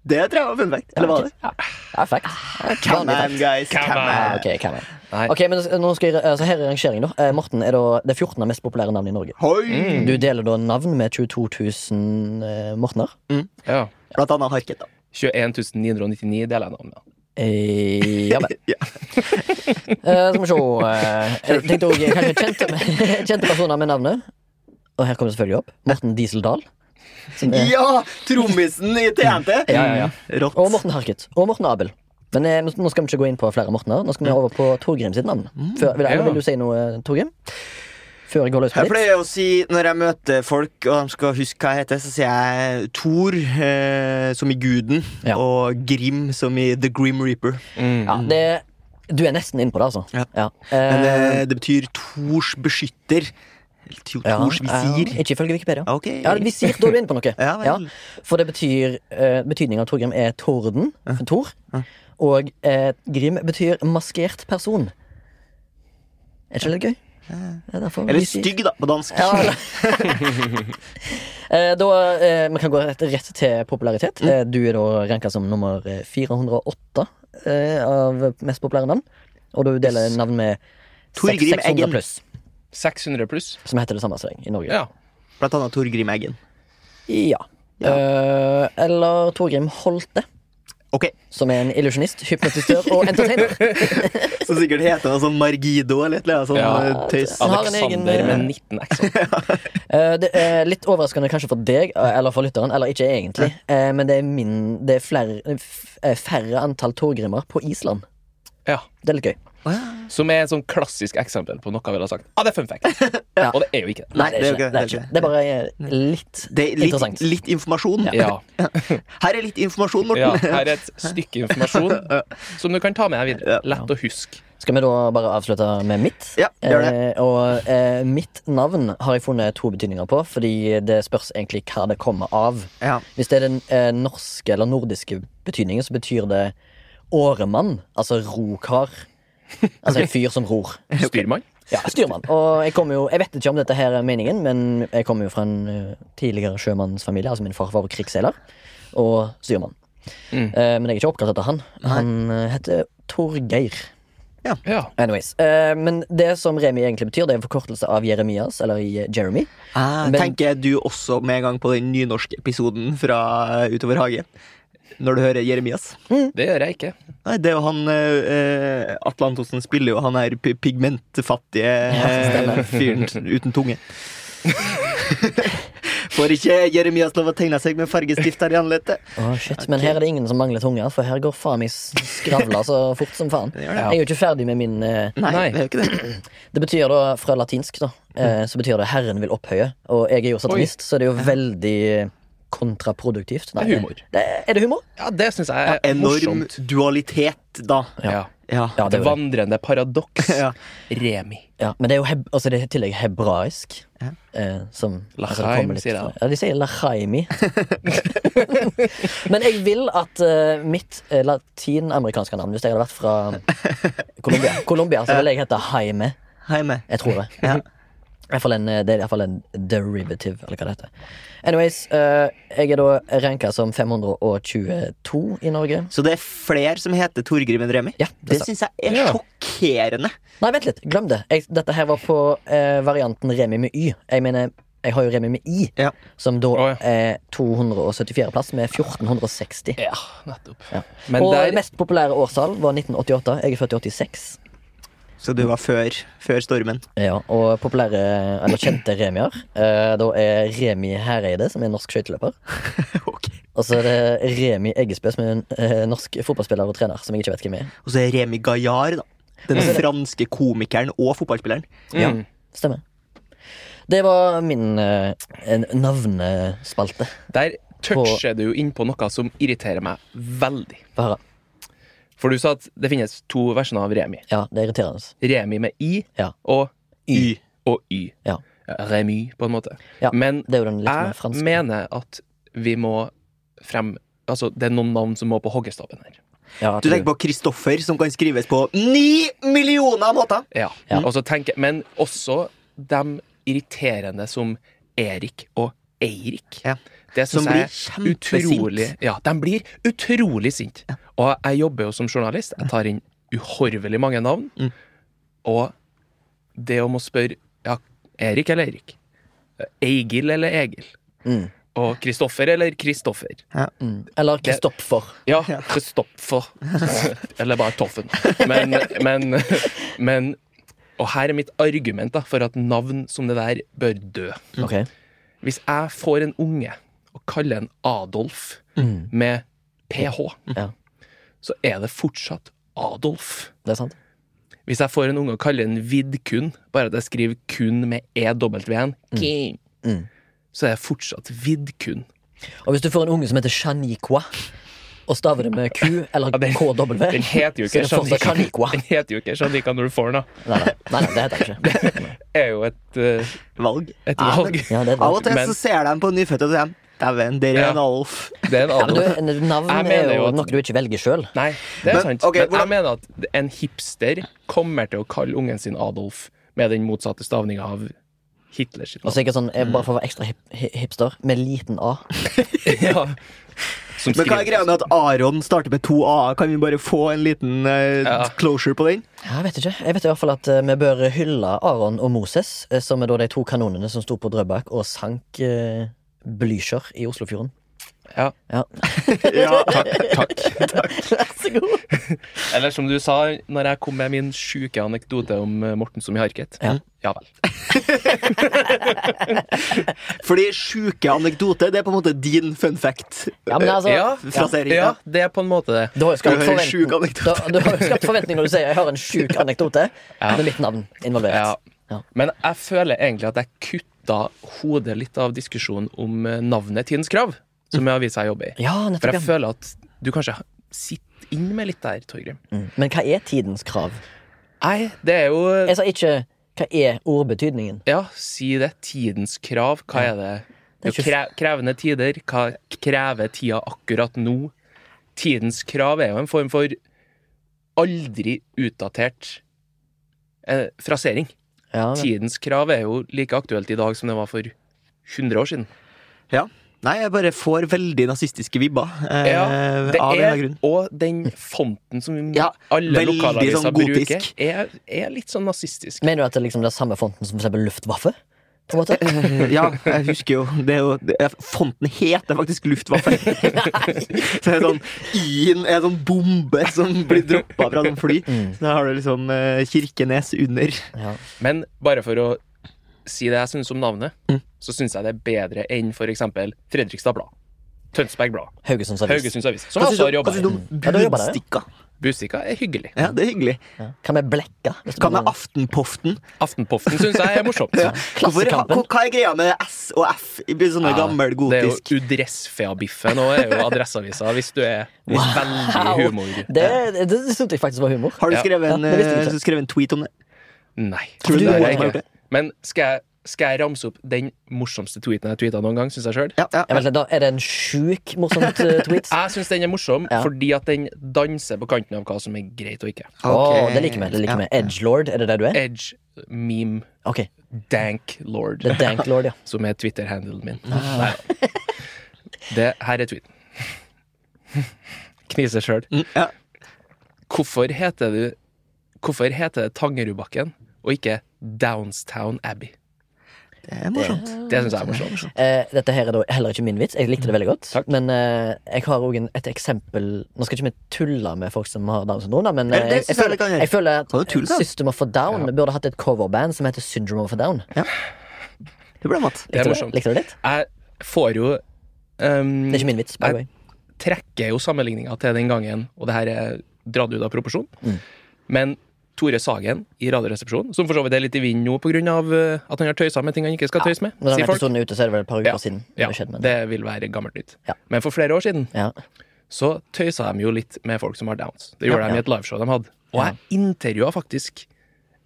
Speaker 2: Det tror jeg var fun fact. Eller var det? Ah,
Speaker 1: Ja, fact.
Speaker 2: Come
Speaker 1: Vanlig
Speaker 2: on,
Speaker 1: fact. Ah,
Speaker 2: guys.
Speaker 3: Come
Speaker 2: Come
Speaker 3: on.
Speaker 2: on.
Speaker 1: Ok, hvem er
Speaker 3: Nei.
Speaker 1: Ok, men nå skal jeg, altså Her er rangeringen, da. Eh, Morten er da det 14. mest populære navnet i Norge.
Speaker 2: Hoi!
Speaker 1: Du deler da navn med 22 000 eh, Mortener.
Speaker 3: Ja.
Speaker 2: Blant annet Harket, da.
Speaker 3: 21 999 deler jeg navnet.
Speaker 1: Eh, ja vel.
Speaker 2: Ja.
Speaker 1: Eh, skal vi se eh, Jeg tenkte også kanskje kjente, kjente personer med navnet. Og her kommer det selvfølgelig opp. Morten Dieseldal. Som er,
Speaker 2: Ja! Trommisen i TNT.
Speaker 1: Mm. ja,
Speaker 2: Rått.
Speaker 1: og Morten Harket. Og Morten Abel. Men eh, nå skal vi ikke gå inn på flere Mortener. Nå skal vi over på Torgrim sitt navn.
Speaker 2: Mm,
Speaker 1: Før, vil, eller
Speaker 3: Ja.
Speaker 1: vil du si noe, eh, Torgrim? Før jeg går løs på
Speaker 2: Jeg
Speaker 1: ditt?
Speaker 2: pleier å si når jeg møter folk og de skal huske hva jeg heter, så sier jeg Thor, eh, som i Guden,
Speaker 1: Ja.
Speaker 2: og Grim, som i The Grim Reaper.
Speaker 1: Ja, det, du er nesten inne på det, altså.
Speaker 2: Ja. Men
Speaker 1: Eh,
Speaker 2: eh, det betyr Thors beskytter. Eller Thor-
Speaker 1: ja,
Speaker 2: Thors
Speaker 1: ja,
Speaker 2: visir.
Speaker 1: Ikke ifølge Wikipedia.
Speaker 2: Ok.
Speaker 1: Ja, visir, da er du inne på noe.
Speaker 2: Ja vel.
Speaker 1: For det betyr eh, Betydningen av Torgrim er torden, for Tor. Og eh, Grim betyr maskert person. Er ikke det litt gøy? Det er derfor
Speaker 2: Eller
Speaker 1: visir.
Speaker 2: stygg, da, på dansk.
Speaker 1: Ja, eller- Eh, da eh, Vi kan gå rett, rett til popularitet. Eh, du er da ranka som nummer eh, 408 eh, av mest populære navn. Og du deler navn med
Speaker 2: Torgrim
Speaker 1: 600
Speaker 2: Eggen.
Speaker 1: pluss,
Speaker 3: 600 pluss.
Speaker 1: som heter det samme som deg i Norge.
Speaker 3: Ja.
Speaker 2: Blant annet Thor Grim Eggen.
Speaker 1: Ja. Eh, eller Torgrim Holte,
Speaker 2: Ok,
Speaker 1: som er en illusjonist, hypnotisør og entertainer.
Speaker 2: Så sikkert heter han sånn Margido eller et eller annet sånn
Speaker 3: Ja.
Speaker 2: eh, tøys.
Speaker 1: Han har en egen,
Speaker 3: Alexander
Speaker 1: eh,
Speaker 3: med 19 x
Speaker 1: Eh, det er litt overraskende kanskje for deg, eh, eller for lytteren, eller ikke egentlig, eh, men det er, min, det er flere, f- eh, færre antall Torgrimmer på Island.
Speaker 3: Ja.
Speaker 1: Det er litt gøy.
Speaker 3: Som er et sånn klassisk eksempel på noe vi har sagt. Ah, det er fun fact. Og det er jo ikke det.
Speaker 1: Nei, det er, ikke, det, det, er ikke. det er bare eh, litt,
Speaker 2: Det er litt,
Speaker 1: interessant.
Speaker 2: litt informasjon.
Speaker 3: Ja,
Speaker 2: Her er litt informasjon, Morten.
Speaker 3: ja, her er et stykke informasjon som du kan ta med deg videre. Lett å huske.
Speaker 1: Skal vi da bare avslutte med mitt?
Speaker 2: Ja, gjør det.
Speaker 1: Eh, og eh, mitt navn har jeg funnet to betydninger på, fordi det spørs egentlig hva det kommer av.
Speaker 2: Ja.
Speaker 1: Hvis det er den eh, norske eller nordiske betydningen, så betyr det åremann. Altså rokar. Altså en fyr som ror.
Speaker 3: Styrmann.
Speaker 1: Ja, styrmann. Og jeg kommer jo Jeg vet ikke om dette her er meningen, men jeg kommer jo fra en eh, tidligere sjømannsfamilie. Altså min far var krigsseiler og styrmann. Eh, men jeg er ikke oppkalt etter han. Han eh, heter Torgeir.
Speaker 3: Ja.
Speaker 1: Anyways. Eh, men det som Remi egentlig betyr, det er en forkortelse av Jeremias, eller eh, Jeremy.
Speaker 2: Ah,
Speaker 1: Men-
Speaker 2: Tenker du også med en gang på den nynorske episoden fra Utover hagen? Når du hører Jeremias?
Speaker 3: Det gjør jeg ikke.
Speaker 2: Nei, det er jo han eh, Atle Antonsen spiller jo han her pi- pigmentfattige eh, fyren uten tunge. Får ikke Jeremias lov å tegne seg med fargestift her i ansiktet?
Speaker 1: Åh, shit, Men her er det ingen som mangler tunga, for her går faen meg s- skravla så fort som faen.
Speaker 2: Det
Speaker 1: Jeg
Speaker 2: gjør det.
Speaker 1: er jo ikke ferdig med min eh,
Speaker 2: Nei,
Speaker 3: Nei.
Speaker 2: det er jo ikke det.
Speaker 1: Det betyr da, fra latinsk, da,
Speaker 3: Mm.
Speaker 1: eh, så betyr det 'Herren vil opphøye'. Og jeg er jo satanist, så det er jo veldig kontraproduktivt. Nei, eh,
Speaker 3: Det er humor.
Speaker 1: Det, er det humor?
Speaker 3: Ja, det syns jeg er
Speaker 2: Enorm
Speaker 3: morsomt.
Speaker 2: dualitet, da.
Speaker 3: Ja.
Speaker 2: Ja.
Speaker 1: Ja, det
Speaker 3: Det
Speaker 1: er det.
Speaker 3: vandrende paradoks.
Speaker 2: Ja.
Speaker 3: Remi.
Speaker 1: Ja, men det er jo heb altså, det er i tillegg hebraisk.
Speaker 2: Ja.
Speaker 1: Eh, som, det
Speaker 3: Lachaim,
Speaker 1: kommer litt
Speaker 3: sier de
Speaker 1: fra- Ja,
Speaker 3: da.
Speaker 1: de sier lachaimi. men jeg vil at eh, mitt eh, latinamerikanske navn, hvis jeg hadde vært fra Colombia, Colombia så ville jeg hete Jaime.
Speaker 2: Hei med.
Speaker 1: Jeg tror det.
Speaker 2: Ja.
Speaker 1: I hvert fall en, det er i hvert fall en derivative, eller hva det heter. Anyways, eh, jeg er da ranka som 522 i Norge.
Speaker 2: Så det er flere som heter Torgrim enn Remi?
Speaker 1: Ja,
Speaker 2: det
Speaker 1: det stemmer.
Speaker 2: syns jeg er
Speaker 3: Ja.
Speaker 2: sjokkerende.
Speaker 1: Nei, vent litt. Glem det. Jeg, dette her var på eh, varianten Remi med Y. Jeg mener Jeg har jo Remi med I,
Speaker 2: Ja.
Speaker 1: som da
Speaker 3: Å, ja.
Speaker 1: er 274. plass, med 1460.
Speaker 3: Ja, nettopp. Men
Speaker 1: og
Speaker 3: der,
Speaker 1: mest populære årstall var 1988. Jeg er født i 86.
Speaker 2: Så du var før, før stormen.
Speaker 1: Ja, og populære, eller kjente remier. Eh, da er Remi Hereide, som er norsk skøyteløper.
Speaker 2: Ok.
Speaker 1: Og så er det Remi Eggesbø, som er en eh, norsk fotballspiller og trener. Som jeg ikke vet hvem er.
Speaker 2: Og så er Remi Gaillard, da. Den franske komikeren og fotballspilleren.
Speaker 1: Ja, stemmer. Det var min eh, en navnespalte.
Speaker 3: der toucher du inn på noe som irriterer meg veldig.
Speaker 1: Få høre.
Speaker 3: For du sa at det finnes to versjoner av Remi.
Speaker 1: Ja, det er irriterende.
Speaker 3: Remi med I
Speaker 1: Ja.
Speaker 3: og
Speaker 2: Mm.
Speaker 1: Y.
Speaker 3: og Y.
Speaker 1: Ja.
Speaker 3: Remy, på en måte.
Speaker 1: Ja,
Speaker 3: Men
Speaker 1: Det er jo den litt mer
Speaker 3: jeg
Speaker 1: franske.
Speaker 3: mener at vi må frem Altså, det er noen navn som må på hoggestaven her.
Speaker 1: Ja,
Speaker 2: Du tenker på Kristoffer, som kan skrives på ni millioner måter!
Speaker 3: Ja.
Speaker 1: Ja.
Speaker 3: Og så tenker, men også de irriterende som Erik og Eirik.
Speaker 2: Ja.
Speaker 3: Det
Speaker 2: Som
Speaker 3: synes
Speaker 2: blir
Speaker 3: jeg er utrolig
Speaker 2: kjempesint.
Speaker 3: Ja, de blir utrolig sinte. Og jeg jobber jo som journalist. Jeg tar inn uhorvelig mange navn.
Speaker 2: Mm.
Speaker 3: Og det om å spørre ja, Erik eller Eirik? Eigil eller Egil?
Speaker 1: Mm.
Speaker 3: Og Kristoffer eller Kristoffer?
Speaker 1: Eller Kristoffer.
Speaker 3: Ja, Kristoffer. Eller bare Toffen. Men, men, men Og her er mitt argument da, for at navn som det der bør dø.
Speaker 1: Ok.
Speaker 3: Hvis jeg får en unge og kaller en Adolf med ph,
Speaker 1: Mm. Ja,
Speaker 3: så er det fortsatt Adolf.
Speaker 1: det er sant.
Speaker 3: Hvis jeg får en unge og kaller en Vidkun, bare at jeg skriver kun med EW-en,
Speaker 1: Mm.
Speaker 3: så er det fortsatt Vidkun.
Speaker 1: Og hvis du får en unge som heter Shaniqua, og staver det med Q eller
Speaker 3: den-
Speaker 1: KW,
Speaker 3: Den heter jo
Speaker 1: så
Speaker 3: ikke
Speaker 1: er det fortsatt
Speaker 3: Shanika.
Speaker 1: Shaniqua.
Speaker 3: Den heter jo ikke Shanika når du får den, da.
Speaker 1: Nei, nei, nei, nei, det heter jeg ikke.
Speaker 3: Det er jo et, eh,
Speaker 2: Valg.
Speaker 3: et
Speaker 2: Ja, men-
Speaker 3: valg.
Speaker 1: Ja, det er
Speaker 2: Av
Speaker 1: det.
Speaker 2: og til
Speaker 3: Men-
Speaker 2: så ser de på nyfødte og sier Dæven, der er
Speaker 3: Ja.
Speaker 2: en Alf.
Speaker 3: Det er en
Speaker 1: Men
Speaker 3: annen
Speaker 1: du, navn
Speaker 3: Jeg
Speaker 1: er
Speaker 3: mener jo
Speaker 1: jo
Speaker 3: at-
Speaker 1: noe du ikke velger sjøl.
Speaker 3: Nei, det er
Speaker 2: Men,
Speaker 3: sant.
Speaker 2: ok,
Speaker 3: men jeg
Speaker 2: hvordan-
Speaker 3: mener at en hipster kommer til å kalle ungen sin Adolf med den motsatte stavninga av Hitler sitt
Speaker 1: Og
Speaker 3: navn.
Speaker 1: så ikke sånn, jeg bare for å være ekstra hip, hi- hipster, med liten A.
Speaker 3: ja. Som
Speaker 2: Men hva er greia
Speaker 3: skriver
Speaker 2: med at Aron starter med to a-er? Kan vi bare få en liten eh,
Speaker 3: Ja.
Speaker 2: closure på den?
Speaker 1: Jeg vet ikke. Jeg vet i hvert fall at eh, vi bør hylle Aron og Moses, eh, som er da de to kanonene som sto på Drøbak og sank eh, Blücher i Oslofjorden.
Speaker 3: ja.
Speaker 1: Ja.
Speaker 2: Ja.
Speaker 3: Takk. takk.
Speaker 1: Vær så god.
Speaker 3: Eller som du sa når jeg kom med min sjuke anekdote om eh, Morten som i harket.
Speaker 1: Ja.
Speaker 3: vel.
Speaker 2: Fordi sjuke anekdote, det er på en måte din fun fact.
Speaker 1: Ja, men altså,
Speaker 3: Ja,
Speaker 2: Frasering,
Speaker 3: ja,
Speaker 2: ja.
Speaker 3: det er på en måte det.
Speaker 1: Du har jo
Speaker 2: Skal
Speaker 1: skapt
Speaker 2: du høre en sjuk
Speaker 1: forventning
Speaker 2: anekdote?
Speaker 1: da, du har jo skapt forventning når du sier 'jeg har en sjuk anekdote' med mitt navn
Speaker 3: Ja.
Speaker 1: involvert. Ja.
Speaker 3: Men jeg føler egentlig at jeg kutta hodet litt av diskusjonen om eh, navnet Tidens Krav, som jeg har vist seg å jobbe i.
Speaker 1: Ja,
Speaker 3: For
Speaker 1: nettopp.
Speaker 3: jeg
Speaker 1: Ja.
Speaker 3: føler at du kanskje sitter inn med litt der, Torgrim.
Speaker 1: Men hva er tidens krav?
Speaker 3: Nei, det er jo
Speaker 1: Jeg sa ikke 'hva er ordbetydningen'?
Speaker 3: Ja, si det. Tidens krav. Hva er det?
Speaker 1: Det er
Speaker 3: Jo, kre krevende tider. Hva krever tida akkurat nå? Tidens krav er jo en form for aldri utdatert eh, frasering.
Speaker 1: Ja, men-
Speaker 3: Tidens krav er jo like aktuelt i dag som det var for 100 år siden.
Speaker 2: Ja. Nei, jeg bare får veldig nazistiske vibber. Eh,
Speaker 3: Ja, det
Speaker 2: av en eller annen
Speaker 3: er,
Speaker 2: grunn.
Speaker 3: og den fonten som
Speaker 2: Ja,
Speaker 3: alle
Speaker 2: veldig
Speaker 3: lokalaviser
Speaker 2: sånn
Speaker 3: bruker,
Speaker 2: gotisk.
Speaker 3: er, er litt sånn nazistisk.
Speaker 1: Mener du at det liksom det er samme fonten som for eksempel Luftwaffe? På en måte?
Speaker 2: Eh, Ja, jeg husker jo, det er jo det er, Fonten heter faktisk luftvaffel. Så det er sånn I-en er sånn bombe som blir droppa fra noen fly. Så da har du liksom eh, Kirkenes under.
Speaker 1: Mm. Ja.
Speaker 3: Men bare for å si det jeg syns om navnet,
Speaker 2: Mm.
Speaker 3: så syns jeg det er bedre enn f.eks. Fredrikstad Blad, Tønsberg Blad,
Speaker 1: Haugesunds avis.
Speaker 3: Haugesunds Avis, som
Speaker 2: Hva
Speaker 3: jeg
Speaker 2: syns du
Speaker 3: også har
Speaker 2: hva
Speaker 3: jobba
Speaker 2: syns
Speaker 3: i.
Speaker 2: du om
Speaker 1: Ja, du har jobbet der, ja.
Speaker 2: Budstikka?
Speaker 3: Busika er hyggelig.
Speaker 2: Ja, det er hyggelig.
Speaker 1: Hva med Blekka? Hvis du
Speaker 2: Hva med
Speaker 1: mener-
Speaker 2: Aftenpoften?
Speaker 3: Aftenpoften syns jeg er morsomt.
Speaker 2: Hvorfor, ha-
Speaker 1: Klassekampen.
Speaker 2: hva er greia med S og F i sånne gammel
Speaker 3: det er
Speaker 2: gotisk?
Speaker 3: jo Udressfeabiffen og er jo Adresseavisa, hvis du er hvis veldig humor.
Speaker 1: Det, det, det syntes jeg faktisk var humor.
Speaker 2: Har du
Speaker 3: Ja.
Speaker 2: skrevet en,
Speaker 1: Ja, det visste jeg
Speaker 2: eh,
Speaker 1: ikke.
Speaker 2: skrevet en tweet om det?
Speaker 3: Nei.
Speaker 2: Tror du
Speaker 3: det har
Speaker 2: noen
Speaker 3: jeg
Speaker 2: har
Speaker 3: ikke.
Speaker 2: gjort det?
Speaker 3: Men skal jeg, skal jeg ramse opp den morsomste tweeten jeg har tweeta noen gang, syns jeg sjøl?
Speaker 2: Ja, ja.
Speaker 1: Jeg vet, ikke, da er det en sjuk morsomt eh, tweet.
Speaker 3: Jeg syns den er morsom
Speaker 1: Ja.
Speaker 3: fordi at den danser på kanten av hva som er greit og ikke.
Speaker 1: Åh,
Speaker 2: Ah, Ok.
Speaker 1: det liker vi. det liker vi
Speaker 2: Ja.
Speaker 1: Edgelord, er det der du er?
Speaker 3: Edge, meme,
Speaker 1: Ok,
Speaker 3: dank lord,
Speaker 1: det er Danklord, ja.
Speaker 3: som er Twitter-handelen min. Nei. Det, her er tweeten. Kniser sjøl.
Speaker 2: Mm, ja.
Speaker 3: Hvorfor heter du Hvorfor heter det Tangerudbakken og ikke Downstown Abbey?
Speaker 2: Det er morsomt.
Speaker 3: Det syns jeg er morsomt.
Speaker 1: Eh, dette her er da heller ikke min vits. Jeg likte det veldig godt.
Speaker 3: Takk.
Speaker 1: Men eh, jeg har òg et eksempel Nå skal ikke vi tulle med folk som har Downs syndrom, da, men eh,
Speaker 2: Eller det
Speaker 1: jeg, jeg,
Speaker 2: synes jeg vi kan
Speaker 1: føler,
Speaker 2: gjøre.
Speaker 1: jeg føler
Speaker 2: Kan du tulle, da?
Speaker 1: at System of a Down burde hatt et coverband som heter Syndrome of a Down.
Speaker 2: Det ble mat.
Speaker 3: Det er
Speaker 1: Likte du
Speaker 3: morsomt.
Speaker 1: Likte du det litt?
Speaker 3: Jeg får jo ehm,
Speaker 1: Det er ikke min vits. by the way.
Speaker 3: trekker jo sammenligninga til den gangen, og det her er dratt ut av proporsjon. Men Tore Sagen i Radioresepsjonen, som for så vidt er litt i vinden nå pga. eh, at han har tøysa med ting han ikke skal tøyse med,
Speaker 1: Når den
Speaker 3: sier folk.
Speaker 1: episoden er ute, så er det vel et par uker
Speaker 3: Ja,
Speaker 1: siden.
Speaker 3: ja,
Speaker 1: det skjedde med det.
Speaker 3: det vil være gammelt nytt.
Speaker 1: Ja.
Speaker 3: Men for flere år siden
Speaker 1: Ja.
Speaker 3: så tøysa de jo litt med folk som har downs. Det gjorde
Speaker 1: Ja,
Speaker 3: de
Speaker 1: ja.
Speaker 3: i et liveshow de hadde. Og jeg intervjua faktisk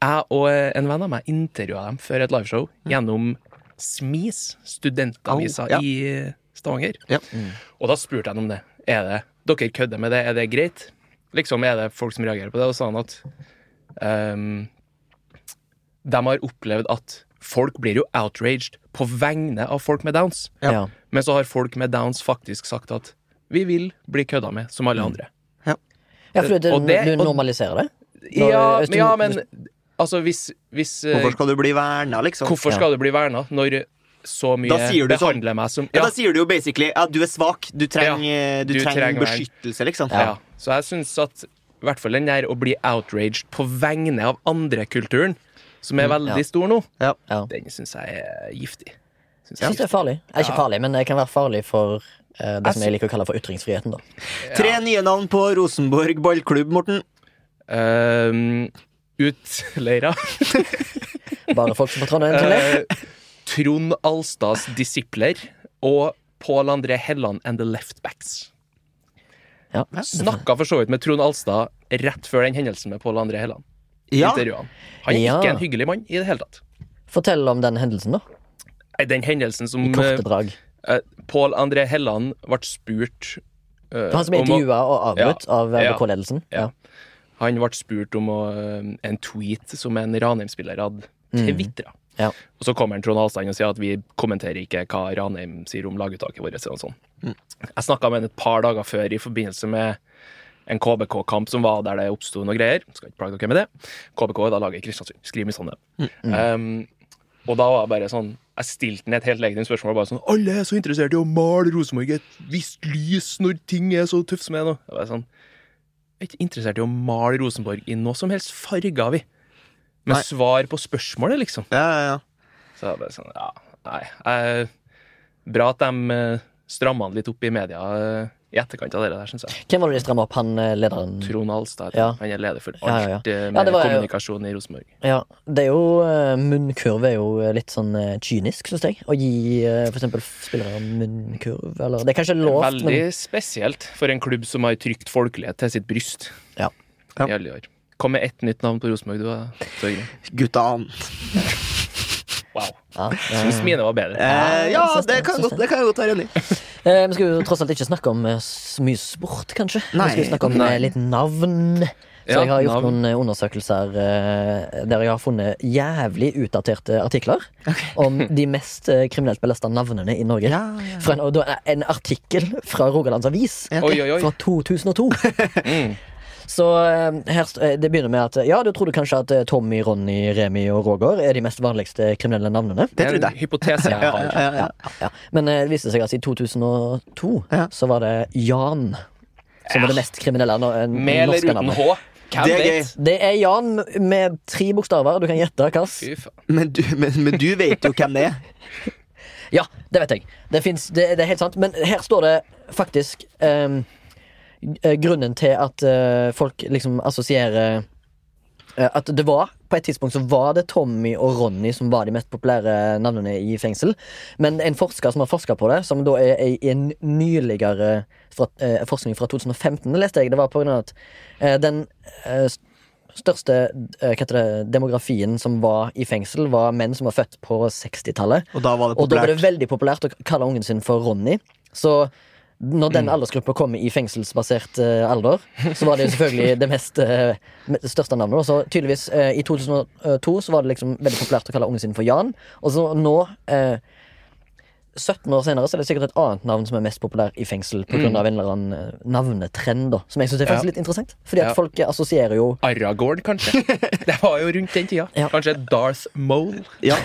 Speaker 3: Jeg og eh, en venn av meg intervjua dem før et liveshow gjennom SMIS, studentavisa
Speaker 2: Mm. Au, ja.
Speaker 3: i Stavanger.
Speaker 2: Ja.
Speaker 1: Mm.
Speaker 3: Og da spurte jeg ham om det. Er det dere kødder med det, er det greit? Liksom, er det folk som reagerer på det? Og sa han at ehm, de har opplevd at folk blir jo outraged på vegne av folk med downs.
Speaker 1: Ja.
Speaker 2: Ja.
Speaker 3: Men så har folk med downs faktisk sagt at vi vil bli kødda med som alle andre.
Speaker 1: Ja, for du,
Speaker 3: Og det-
Speaker 1: du
Speaker 3: og-
Speaker 1: normaliserer det? Når-
Speaker 3: Ja,
Speaker 1: hvis
Speaker 3: men,
Speaker 1: du-
Speaker 3: ja, men altså hvis, hvis eh,
Speaker 2: Hvorfor skal du bli verna, liksom?
Speaker 3: Hvorfor
Speaker 1: Ja.
Speaker 3: skal du bli verna når så mye
Speaker 2: Da sier du sånn.
Speaker 3: behandler meg som
Speaker 2: Ja,
Speaker 3: ja,
Speaker 2: da sier du jo basically at du er svak, du trenger, du
Speaker 3: du
Speaker 2: trenger,
Speaker 3: trenger vern.
Speaker 2: beskyttelse, liksom.
Speaker 3: ja. Så jeg syns at i hvert fall den der å bli outraged på vegne av andre-kulturen, som er veldig
Speaker 1: ja.
Speaker 3: stor nå,
Speaker 2: Ja.
Speaker 1: Ja.
Speaker 3: den syns jeg er giftig.
Speaker 1: Jeg
Speaker 3: Synes jeg
Speaker 1: syns det
Speaker 3: er
Speaker 1: er farlig. Eh, Ikke farlig, men det kan være farlig for eh,
Speaker 3: Altså-
Speaker 1: det som jeg liker å kalle for ytringsfriheten. da
Speaker 2: Tre nye navn på Rosenborg ballklubb, Morten.
Speaker 3: giftig. Eh, Utleira.
Speaker 1: Bare folk som får Trondheim til det.
Speaker 3: Eh, Trond Alstads disipler og Pål André Helland and the Leftbacks.
Speaker 1: Ja.
Speaker 3: Snakka for så vidt med Trond Alstad rett før den hendelsen med Pål André Helland.
Speaker 2: Ja.
Speaker 3: Intervjuet Han Han er
Speaker 1: Ja.
Speaker 3: ikke en hyggelig mann i det hele tatt.
Speaker 1: Fortell om den hendelsen, da.
Speaker 3: Nei, Den hendelsen som
Speaker 1: Korte drag.
Speaker 3: eh, Pål André Helland ble spurt eh,
Speaker 1: Det var han som
Speaker 3: om å-
Speaker 1: intervjua og avbrutt av RBK-ledelsen. Ja.
Speaker 3: Ja. Han ble spurt om å, eh, en tweet som en Ranheim-spiller hadde tvitra.
Speaker 1: Ja.
Speaker 3: Og så kommer Trond Alstein og sier at vi kommenterer ikke hva Ranheim sier om laguttaket vårt. Og sånn. Jeg snakka med han et par dager før i forbindelse med en KBK-kamp som var der det oppsto noe greier. Skal ikke plage dere med det. KBK er da laget i Kristiansund. Skriv i sånne. Um, og da var jeg bare sånn Jeg stilte ned et helt legitimt spørsmål. Bare sånn, Alle er så interessert i å male Rosenborg i et visst lys når ting er så tøft som det er nå. Jeg var sånn, jeg er ikke interessert i å male Rosenborg i noe som helst farger, vi. Med
Speaker 2: Nei.
Speaker 3: svar på spørsmålet, liksom.
Speaker 2: Ja, ja, ja.
Speaker 3: Så jeg bare sånn, ja, nei jeg, Bra at de eh, stramma han litt opp i media eh, i etterkant av det der, syns jeg.
Speaker 1: Hvem var det de stramma opp? Han eh, lederen?
Speaker 3: Trond Alstad,
Speaker 1: Ja.
Speaker 3: han er leder for alt
Speaker 1: Ja, ja, ja.
Speaker 3: eh,
Speaker 1: Ja,
Speaker 3: med
Speaker 1: det var jo-
Speaker 3: kommunikasjon i Rosenborg.
Speaker 1: Ja, det er jo eh, Munnkurv er jo eh, litt sånn eh, kynisk, syns jeg. Å gi eh, for eksempel spillere munnkurv, eller Det er kanskje lov,
Speaker 3: Veldig
Speaker 1: men
Speaker 3: spesielt for en klubb som har trykt folkelighet til sitt bryst
Speaker 1: ja.
Speaker 2: Ja.
Speaker 3: i alle år. Kom med ett nytt navn på Rosenborg, du, da, Torgrim.
Speaker 2: Gutta.
Speaker 3: Wow.
Speaker 1: Ja, ja.
Speaker 3: Syns mine var bedre.
Speaker 2: Eh, ja,
Speaker 1: synes
Speaker 2: det
Speaker 1: det,
Speaker 2: kan,
Speaker 1: synes
Speaker 2: jeg godt, det kan jeg godt være enig i.
Speaker 1: Eh, Vi skal jo tross alt ikke snakke om eh, så mye sport, kanskje.
Speaker 2: Nei.
Speaker 1: Vi skal jo snakke om
Speaker 3: Nei.
Speaker 1: eh, litt navn. Så
Speaker 3: Ja,
Speaker 1: jeg har gjort
Speaker 3: navn.
Speaker 1: noen eh, undersøkelser eh, der jeg har funnet jævlig utdaterte artikler om de mest eh, kriminelt belasta navnene i Norge.
Speaker 2: Ja, ja, ja.
Speaker 1: Fra en, og da, en artikkel fra Rogalands Avis
Speaker 3: Oi, oi, Mm. oi.
Speaker 1: fra 2002. Så eh, her, st- eh, Det begynner med at eh, ja, du trodde kanskje at eh, Tommy, Ronny, Remi og Roger er de mest vanligste kriminelle navnene.
Speaker 2: Det trodde
Speaker 3: En
Speaker 2: jeg.
Speaker 3: hypotese jeg
Speaker 2: Ja,
Speaker 3: har.
Speaker 2: ja, ja.
Speaker 1: Ja, Men eh, det viste seg altså i 2002
Speaker 2: Ja.
Speaker 1: så var det Jan som var det mest kriminelle no
Speaker 3: Med eller
Speaker 1: norske
Speaker 3: uten
Speaker 1: navnet.
Speaker 3: H. Hvem
Speaker 2: Det er gøy.
Speaker 3: vet?
Speaker 1: Det er Jan med tre bokstaver. Du kan gjette, Kars.
Speaker 3: Fy faen.
Speaker 2: Men, du, men, men du vet jo hvem det er.
Speaker 1: Ja, det vet jeg. Det, finnes, det, det er helt sant. Men her står det faktisk ehm, eh, grunnen til at eh, folk liksom assosierer eh, at det var På et tidspunkt så var det Tommy og Ronny som var de mest populære navnene i fengsel. Men en forsker som har forska på det, som da er er i en nyligere fra, eh, forskning fra 2015, det leste jeg, det var på grunn av at eh, den eh, s- største eh, hva heter det, demografien som var i fengsel, var menn som var født på 60-tallet.
Speaker 2: Og da var det
Speaker 1: Og da var det
Speaker 2: populært.
Speaker 1: veldig populært å kalle ungen sin for Ronny. Så når
Speaker 2: Mm.
Speaker 1: den aldersgruppa kom i fengselsbasert eh, alder, så var det jo selvfølgelig det mest eh, me- det største navnet. Og så tydeligvis eh, i 2002 så var det liksom veldig populært å kalle ungen sin for Jan. Og så nå, eh, 17 år senere, så er det sikkert et annet navn som er mest populær i fengsel pga.
Speaker 2: Mm.
Speaker 1: av en eller annen eh, navnetrend, da. Som jeg syns er faktisk
Speaker 3: Ja.
Speaker 1: litt interessant. Fordi at
Speaker 3: Ja.
Speaker 1: folk eh, assosierer jo
Speaker 3: Aragorn, kanskje? Det var jo rundt den tida.
Speaker 1: Ja.
Speaker 3: Kanskje Darth Mole?
Speaker 2: Ja.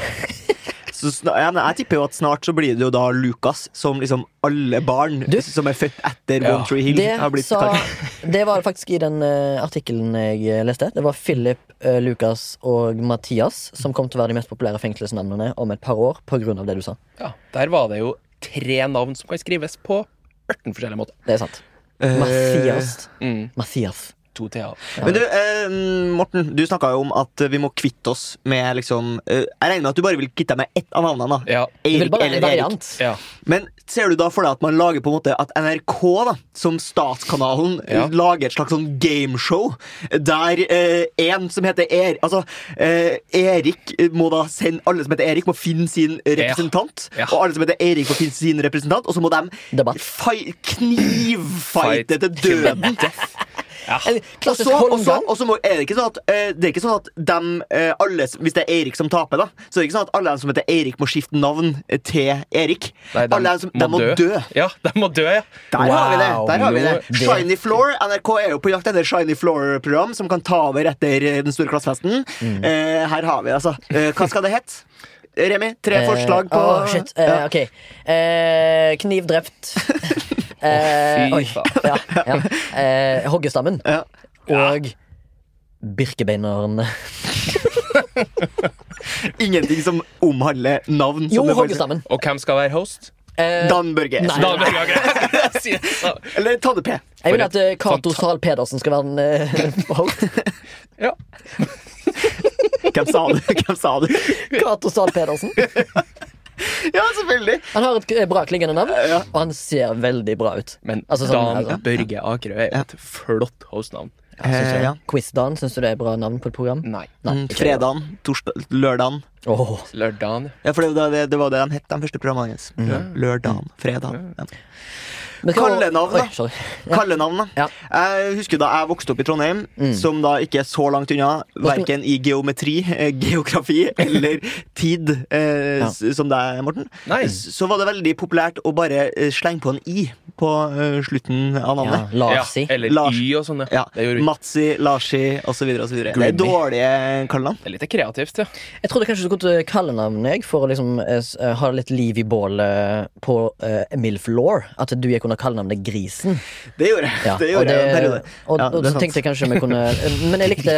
Speaker 2: Så sna- ja, men jeg tipper jo at snart så blir det jo da Lucas, som liksom alle barn
Speaker 1: Du-
Speaker 2: som er født etter
Speaker 3: Ja.
Speaker 2: One Tree Hill, har
Speaker 1: Det,
Speaker 2: blitt
Speaker 1: sa,
Speaker 2: kalt.
Speaker 1: det var faktisk i den eh, artikkelen jeg eh, leste. Det var Philip, eh, Lucas og Mathias som kom til å være de mest populære fengselsnavnene om et par år pga. det du sa.
Speaker 3: Ja, der var det jo tre navn som kan skrives på 18 forskjellige måter.
Speaker 1: Det er sant.
Speaker 2: Eh,
Speaker 1: Mathias.
Speaker 2: mm.
Speaker 1: Mathias.
Speaker 3: To th
Speaker 2: Men du, eh, Morten, du snakka jo om at vi må kvitte oss med liksom eh, Jeg regner med at du bare vil kvitte deg med ett av navnene, da.
Speaker 3: Ja.
Speaker 1: Det vil
Speaker 2: Eirik
Speaker 1: bare være en
Speaker 2: eller Erik.
Speaker 1: variant.
Speaker 3: Ja.
Speaker 2: Men ser du da for deg at man lager på en måte at NRK, da, som statskanalen,
Speaker 3: Ja.
Speaker 2: lager et slags sånn gameshow der eh, en som heter Er... Altså, eh, Erik må da sende Alle som heter Erik, må finne sin representant.
Speaker 3: Ja.
Speaker 2: Og alle som heter Erik, må finne sin representant, og så må de
Speaker 1: Debatt.
Speaker 2: fai- knivfighte til døden.
Speaker 1: Eller
Speaker 2: Og
Speaker 1: klassisk
Speaker 2: så, og så,
Speaker 1: Holmgang.
Speaker 2: og så må, er det ikke sånn at, eh, det er ikke sånn at dem, eh, alle, som- Hvis det er Erik som taper, da Så er det ikke sånn at alle dem som heter Erik, må skifte navn eh, til Erik.
Speaker 3: Nei, de
Speaker 2: alle dem som, de må dø.
Speaker 3: Ja, de må dø, ja.
Speaker 2: Der har vi det!
Speaker 1: Wow,
Speaker 2: der har vi
Speaker 1: nå-
Speaker 2: det
Speaker 1: det-
Speaker 2: Shiny Floor. NRK er jo på jakt etter Shiny Floor-program som kan ta over etter eh, Den store klassefesten. Eh, her har vi det, altså. Eh, hva skal det hete? Remi, tre
Speaker 1: Eh,
Speaker 2: forslag på
Speaker 1: åh, shit. Eh,
Speaker 2: Ja.
Speaker 1: Ok. Eh, kniv drept. Eh,
Speaker 3: Å, fy
Speaker 1: oi.
Speaker 3: faen.
Speaker 1: Ja, ja. Eh, Hoggestammen.
Speaker 2: Ja.
Speaker 1: Og Birkebeineren.
Speaker 2: Ingenting som omhandler navn.
Speaker 1: Jo,
Speaker 2: som det faktisk-
Speaker 1: Hoggestammen.
Speaker 3: Og hvem skal være host?
Speaker 1: Eh,
Speaker 2: Dan Børge.
Speaker 1: Nei.
Speaker 3: Da vil jeg ikke si det sånn.
Speaker 2: Eller Tanne P.
Speaker 1: jeg vil
Speaker 3: for
Speaker 1: at
Speaker 3: et
Speaker 1: eh, Cato
Speaker 3: fanta-
Speaker 1: Zahl Pedersen skal være en eh, host.
Speaker 3: Ja.
Speaker 2: Hvem sa du? Hvem sa du?
Speaker 1: Cato Zahl Pedersen.
Speaker 2: Ja, selvfølgelig!
Speaker 1: Han har et eh, brakklingende navn,
Speaker 2: Ja.
Speaker 1: og han ser veldig bra ut.
Speaker 3: Men
Speaker 1: Altså, sånn-
Speaker 3: Dan Børge Akerø er jo et flott hostnavn.
Speaker 1: Synes
Speaker 2: Eh,
Speaker 1: jeg.
Speaker 2: ja. Mm,
Speaker 1: Quiz-Dan, syns du det er bra navn på et program?
Speaker 3: Nei.
Speaker 1: Nei, ikke det.
Speaker 2: Fredagen, torsdag, lørdagen.
Speaker 1: Åh.
Speaker 3: Lørdagen.
Speaker 2: Ja, for det, var det, det var det de het, de første programmene hennes. Lørdagen, fredagen. Ja.
Speaker 1: Men skal-
Speaker 2: Kallenavn, da.
Speaker 1: Oi, sorry.
Speaker 2: Kallenavn, da.
Speaker 1: Ja.
Speaker 2: Jeg husker da jeg vokste opp i Trondheim, som da ikke er så langt unna, verken i geometri, eh, geografi eller tid, eh,
Speaker 1: Ja.
Speaker 2: s- som deg, Morten,
Speaker 3: Nei.
Speaker 2: s- så var det veldig populært å bare eh, slenge på en I på eh, slutten
Speaker 1: Ja,
Speaker 2: av navnet.
Speaker 3: Ja,
Speaker 1: Larsi.
Speaker 3: eller
Speaker 2: Lars.
Speaker 3: Y og sånn,
Speaker 2: Ja.
Speaker 3: ja. Det gjorde vi.
Speaker 2: Matsi, Larsi osv. Det er
Speaker 3: Grimmy.
Speaker 2: dårlige kallenavn.
Speaker 3: Det er litt kreativt, ja.
Speaker 1: Jeg trodde kanskje du kunne kalle navnet jeg, for å liksom, eh, s- eh, ha litt liv i bålet på eh, Milf Law. At du gikk under kallenavnet Grisen.
Speaker 2: Det gjorde jeg.
Speaker 1: Ja,
Speaker 2: det
Speaker 1: og
Speaker 2: gjorde jeg en periode.
Speaker 1: og,
Speaker 2: Ja,
Speaker 1: og
Speaker 2: det er
Speaker 1: så
Speaker 2: sant.
Speaker 1: tenkte jeg kanskje vi kunne eh, Men jeg
Speaker 2: Eh.
Speaker 1: likte,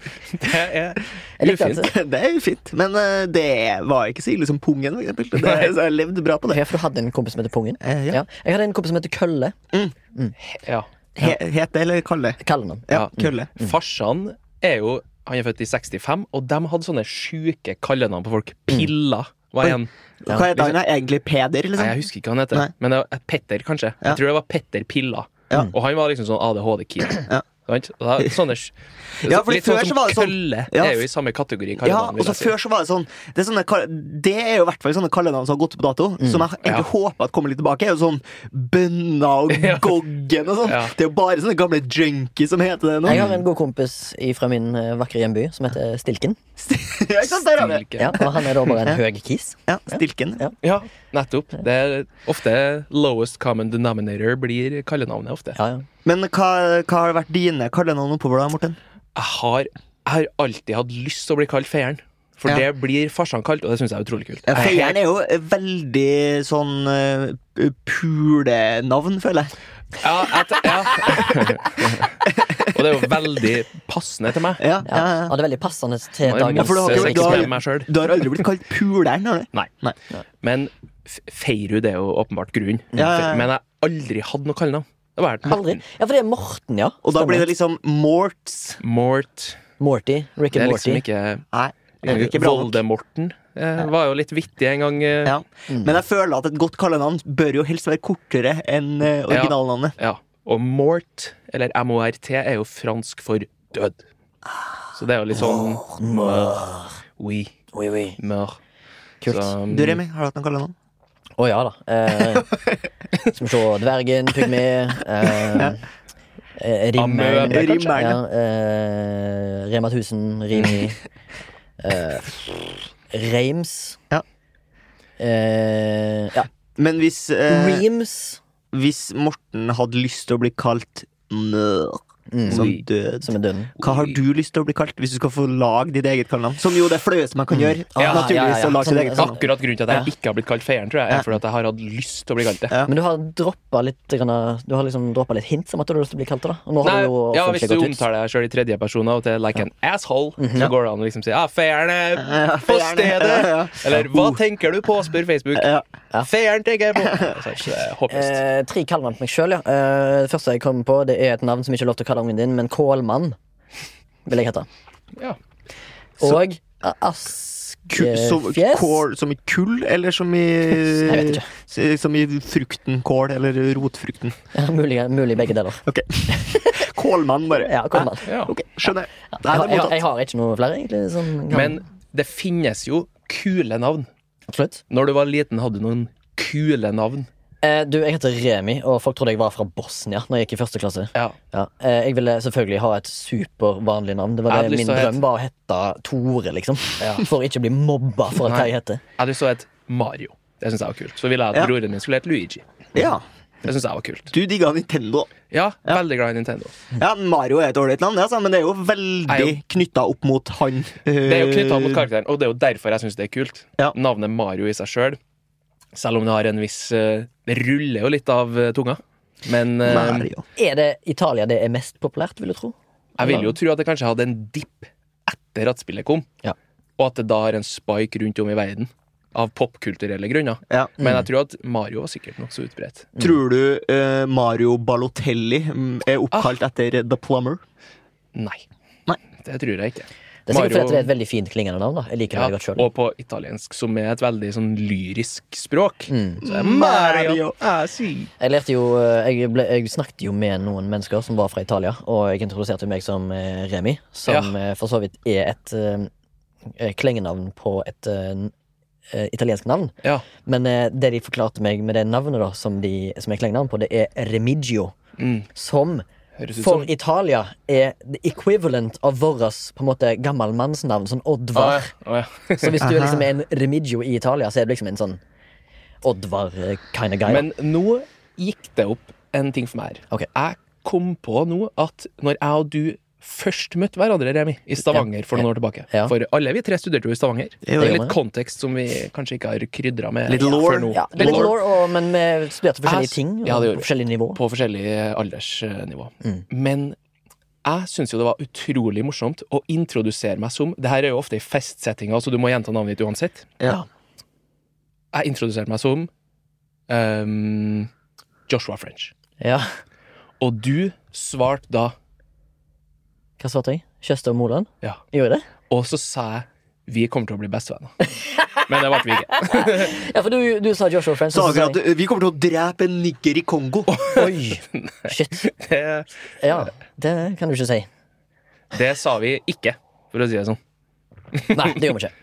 Speaker 3: Det er
Speaker 1: jeg likte
Speaker 3: ufint.
Speaker 1: at
Speaker 2: Det er jo fint, men eh, det var ikke så ille som pungen, for eksempel. Det, så jeg levde bra på det.
Speaker 1: Ja, for du hadde en kompis som heter Pungen?
Speaker 2: Eh, ja.
Speaker 1: Jeg hadde en kompis som heter Kølle.
Speaker 3: Ja.
Speaker 2: He, het det eller kalle?
Speaker 1: Kallenavn.
Speaker 2: Ja, kølle.
Speaker 3: Farsan er jo Han er født i 65, og de hadde sånne sjuke kallenavn på folk.
Speaker 2: Mm.
Speaker 3: Pilla var en.
Speaker 1: Ja.
Speaker 2: Hva heter han da? Egentlig Peder,
Speaker 3: Nei,
Speaker 2: liksom?
Speaker 3: jeg husker ikke hva han heter,
Speaker 2: Nei.
Speaker 3: men det var eh, Petter, kanskje.
Speaker 2: Ja.
Speaker 3: Jeg tror det var Petter Pilla.
Speaker 2: Ja.
Speaker 3: Og han var liksom sånn ADHD-kid.
Speaker 2: Ja.
Speaker 3: Sant? Og da- Sånne,
Speaker 2: Ja, fordi
Speaker 3: litt sånn
Speaker 2: før så
Speaker 3: som
Speaker 2: var det sånn-
Speaker 3: kølle
Speaker 2: Ja.
Speaker 3: er jo i samme kategori.
Speaker 2: Ja,
Speaker 3: kallenavn, vil
Speaker 2: og så
Speaker 3: jeg si.
Speaker 2: før så var det sånn Det er, sånne, kall- det er jo i hvert fall sånne kallenavn som har gått på dato, som jeg egentlig håper at kommer litt tilbake. Er jo sånn Bønna og
Speaker 3: Ja.
Speaker 2: Goggen og sånn.
Speaker 3: Ja.
Speaker 2: Det er jo bare sånne gamle junkies som heter det nå.
Speaker 1: Jeg har en god kompis fra min eh, vakre hjemby som heter Stilken.
Speaker 2: Ja, ikke sant? Der har vi det.
Speaker 3: Stilke.
Speaker 1: Ja, og han er da bare en høy kis.
Speaker 2: Ja, Stilken.
Speaker 1: Ja.
Speaker 3: Ja, nettopp. Det er ofte lowest common denominator blir kallenavnet ofte.
Speaker 1: Ja, ja.
Speaker 2: Men hva, hva har vært dine kallenavn oppover da, Morten?
Speaker 3: Jeg, har, jeg har alltid hatt lyst til å bli kalt Feieren. For
Speaker 2: Ja.
Speaker 3: det blir farsan kalt, og det syns jeg er utrolig kult.
Speaker 2: Ja, Feieren er jo veldig sånn eh, pulenavn, føler jeg.
Speaker 3: Ja, jeg t- ja. Og det er jo veldig passende til meg.
Speaker 2: Ja, ja,
Speaker 1: Ja.
Speaker 2: ja.
Speaker 1: Og det er veldig passende til
Speaker 3: Nå er
Speaker 1: dagens
Speaker 3: masse
Speaker 2: for du har ikke-
Speaker 1: eh,
Speaker 2: du
Speaker 3: sex
Speaker 2: har-
Speaker 3: med meg selv.
Speaker 2: Du har aldri blitt kalt puleren, har du?
Speaker 3: Nei.
Speaker 2: Nei.
Speaker 3: Men F- Feirud er jo åpenbart grunnen.
Speaker 2: Ja, ja, ja.
Speaker 3: Men jeg har aldri hatt noe kallenavn. Det var
Speaker 1: Aldri. Ja, for det er Morten, ja.
Speaker 2: Og da
Speaker 1: Stemmer.
Speaker 2: blir det liksom Morts.
Speaker 3: Mort.
Speaker 1: Morty. Rick
Speaker 3: Det
Speaker 1: and
Speaker 3: er
Speaker 1: Morty.
Speaker 3: liksom ikke
Speaker 2: Nei, det er ikke bra nok.
Speaker 3: Voldemorten eh, var jo litt vittig en gang. eh,
Speaker 2: Ja. Men jeg føler at et godt kallenavn bør jo helst være kortere enn eh, originalnavnet.
Speaker 3: Ja. Og mort, eller MORT, er jo fransk for død. Så det er jo litt sånn Mør. Oui.
Speaker 1: Oi, oi.
Speaker 3: Mør.
Speaker 1: Kult. Å
Speaker 3: Så, um,
Speaker 2: Du, Remi, har du hatt noe kallenavn?
Speaker 1: ja da. Eh, skal vi se. Dvergen, pygme eh, eh, Rimmerne,
Speaker 3: Amøbe,
Speaker 1: kanskje?
Speaker 2: Rimmerne.
Speaker 1: Ja, eh, Rema 1000, Rimi. Eh, Reims.
Speaker 2: Ja.
Speaker 1: Eh, ja.
Speaker 2: Men hvis, eh,
Speaker 1: Reams.
Speaker 2: hvis Morten hadde lyst til å bli kalt Mør som
Speaker 3: Oi.
Speaker 2: død.
Speaker 1: som er døden.
Speaker 2: Hva har du lyst til å bli kalt hvis du skal få lage ditt eget kallenavn? Som jo det flaueste man kan gjøre.
Speaker 1: Ja,
Speaker 2: naturligvis
Speaker 1: ja, ja, ja.
Speaker 2: å lage sitt
Speaker 1: Sånn-
Speaker 2: eget kallenavn.
Speaker 3: Akkurat grunnen til at jeg ikke har blitt kalt Feieren, tror jeg, er fordi at jeg har hatt lyst til å bli kalt det.
Speaker 2: Ja.
Speaker 1: Men du har droppa litt, eh, grann av- du har liksom droppet litt hint om at du har lyst til å bli kalt det. da Og nå har
Speaker 3: Nei,
Speaker 1: du jo
Speaker 3: ja, Hvis
Speaker 1: offentlig
Speaker 3: du
Speaker 1: gått ut. Mhm,
Speaker 3: omtaler deg sjøl i tredjeperson og til like an asshole, så går det an å liksom si ah, 'Feieren er på
Speaker 2: feieren er- ja, ja.
Speaker 3: stedet', eller
Speaker 1: Oh.
Speaker 3: 'Hva tenker du på?' spør Facebook.
Speaker 2: Ja.
Speaker 3: Feieren tenker jeg på! Så det er Håpløst.
Speaker 1: Eh, tre kallenavn på meg sjøl, ja. Eh, det første jeg kom på, det er et navn som ikke er lov til å kalle ungen din, men Kålmann vil jeg hete.
Speaker 3: Ja.
Speaker 1: Og
Speaker 2: Ku, som,
Speaker 1: askefjes.
Speaker 2: kål, som i kull, eller som i
Speaker 1: Jeg vet ikke.
Speaker 2: s- Som i frukten kål, eller rotfrukten.
Speaker 1: Ja, mulig, mulig begge deler.
Speaker 2: Ok. Kålmann, bare.
Speaker 1: Ja, Kålmann.
Speaker 3: Ja.
Speaker 2: Ok, skjønner. Nei,
Speaker 1: Jeg, har-
Speaker 2: det er
Speaker 1: jeg, har-
Speaker 2: mottatt.
Speaker 1: jeg har ikke noe flere, egentlig. Sånn,
Speaker 3: Men det finnes jo kule navn.
Speaker 1: absolutt.
Speaker 3: Når du var liten, hadde du noen kule navn.
Speaker 1: Eh, du, jeg heter Remi, og folk trodde jeg var fra Bosnia Når jeg gikk i første klasse.
Speaker 3: Ja.
Speaker 1: Ja. Eh, jeg ville selvfølgelig ha et supervanlig navn. Det
Speaker 3: Jeg
Speaker 1: var
Speaker 3: hadde
Speaker 1: det Min
Speaker 3: lyst til å
Speaker 1: drøm var å hete Tore, liksom. For ikke å bli mobba for hva
Speaker 3: Nei.
Speaker 1: jeg heter.
Speaker 3: Jeg hadde så et Mario. Det syns jeg var kult. Så ville jeg at
Speaker 2: Ja.
Speaker 3: broren min skulle hete Luigi.
Speaker 2: Ja.
Speaker 3: Det syns jeg var kult.
Speaker 2: Du digga Nintendo.
Speaker 3: Ja, veldig glad i Nintendo.
Speaker 2: Ja, Mario er et ålreit navn, det, altså, men det er jo veldig
Speaker 3: Jeg-
Speaker 2: knytta opp mot han. eh,
Speaker 3: Det er jo knytta mot karakteren, og det er jo derfor jeg syns det er kult.
Speaker 2: Ja.
Speaker 3: Navnet Mario i seg sjøl, selv om det har en viss eh, Det ruller jo litt av eh, tunga. Men eh,
Speaker 2: Mario.
Speaker 1: Er det Italia det er mest populært, vil du tro?
Speaker 3: jeg vil jo tro at det kanskje hadde en dipp etter at spillet kom,
Speaker 1: Ja.
Speaker 3: og at det da har en spike rundt om i verden. Av popkulturelle grunner.
Speaker 2: Ja.
Speaker 3: Men jeg tror at Mario var sikkert nokså utbredt.
Speaker 2: Tror du eh, Mario Balotelli mm, er
Speaker 3: Ah.
Speaker 2: oppkalt etter The Plumber?
Speaker 3: Nei.
Speaker 2: Nei.
Speaker 3: Det tror jeg ikke.
Speaker 1: Det er sikkert fordi
Speaker 3: Mario-
Speaker 1: at det er et veldig fint klingende navn. da Jeg liker det
Speaker 3: Ja,
Speaker 1: veldig godt selv
Speaker 3: og på italiensk, som er et veldig sånn lyrisk språk. Så er
Speaker 2: Mario.
Speaker 3: ah, si.
Speaker 1: Mm. Jeg lærte jo eh, jeg, ble, jeg snakket jo med noen mennesker som var fra Italia, og jeg introduserte meg som eh, Remi, som
Speaker 3: Ja.
Speaker 1: eh, for så vidt er et eh, klengenavn på et eh, n- eh, italiensk navn.
Speaker 3: Ja.
Speaker 1: Men eh, det de forklarte meg med det navnet da som, de, som er klengenavn på, det er Remigio.
Speaker 3: Mm.
Speaker 1: Som
Speaker 3: Høres ut
Speaker 1: for
Speaker 3: som
Speaker 1: Italia er the equivalent av vårt på en måte gammalmannsnavn, sånn
Speaker 3: Ah,
Speaker 1: Oddvar.
Speaker 3: ja. Ah, ja.
Speaker 1: Så hvis du er liksom en Remigio i Italia, så er du liksom en sånn Oddvar eh, kind of guy. da.
Speaker 3: Men nå gikk det opp en ting for meg her.
Speaker 1: Ok.
Speaker 3: Jeg kom på nå at når jeg og du først møtte hverandre, Remi, i Stavanger for noen år tilbake
Speaker 1: Ja.
Speaker 3: For alle vi tre studerte jo i Stavanger. Det
Speaker 2: jo,
Speaker 3: er
Speaker 1: ja.
Speaker 3: litt kontekst som vi kanskje ikke har krydra med
Speaker 2: Litt lore.
Speaker 3: før nå.
Speaker 1: Ja, litt
Speaker 2: Lore.
Speaker 1: lore, og, men vi studerte forskjellige
Speaker 3: Jeg-
Speaker 1: ting.
Speaker 3: Ja, det gjorde
Speaker 1: og
Speaker 3: vi.
Speaker 1: forskjellige nivå.
Speaker 3: på forskjellig aldersnivå.
Speaker 2: Mm.
Speaker 3: Men jeg syns jo det var utrolig morsomt å introdusere meg som Det her er jo ofte i festsettinger, så du må gjenta navnet ditt uansett.
Speaker 2: Ja.
Speaker 3: Jeg introduserte meg som ehm, Joshua French.
Speaker 1: Ja.
Speaker 3: Og du svarte da
Speaker 1: Hva svarte jeg? Kjøste og Moland?
Speaker 3: ja.
Speaker 1: Gjorde jeg det?
Speaker 3: Og så sa jeg vi kommer til å bli bestevenner. Men det ble vi ikke.
Speaker 1: Ja, for du, du sa Joshua Friends.
Speaker 2: Så
Speaker 1: og så
Speaker 2: akkurat,
Speaker 1: sa jeg-
Speaker 2: eh, vi kommer til å drepe en nigger i Kongo.
Speaker 1: Oi! Shit.
Speaker 3: Det,
Speaker 1: Ja, det kan du ikke si.
Speaker 3: det sa vi ikke, for å si det sånn.
Speaker 1: Nei, det gjør vi ikke.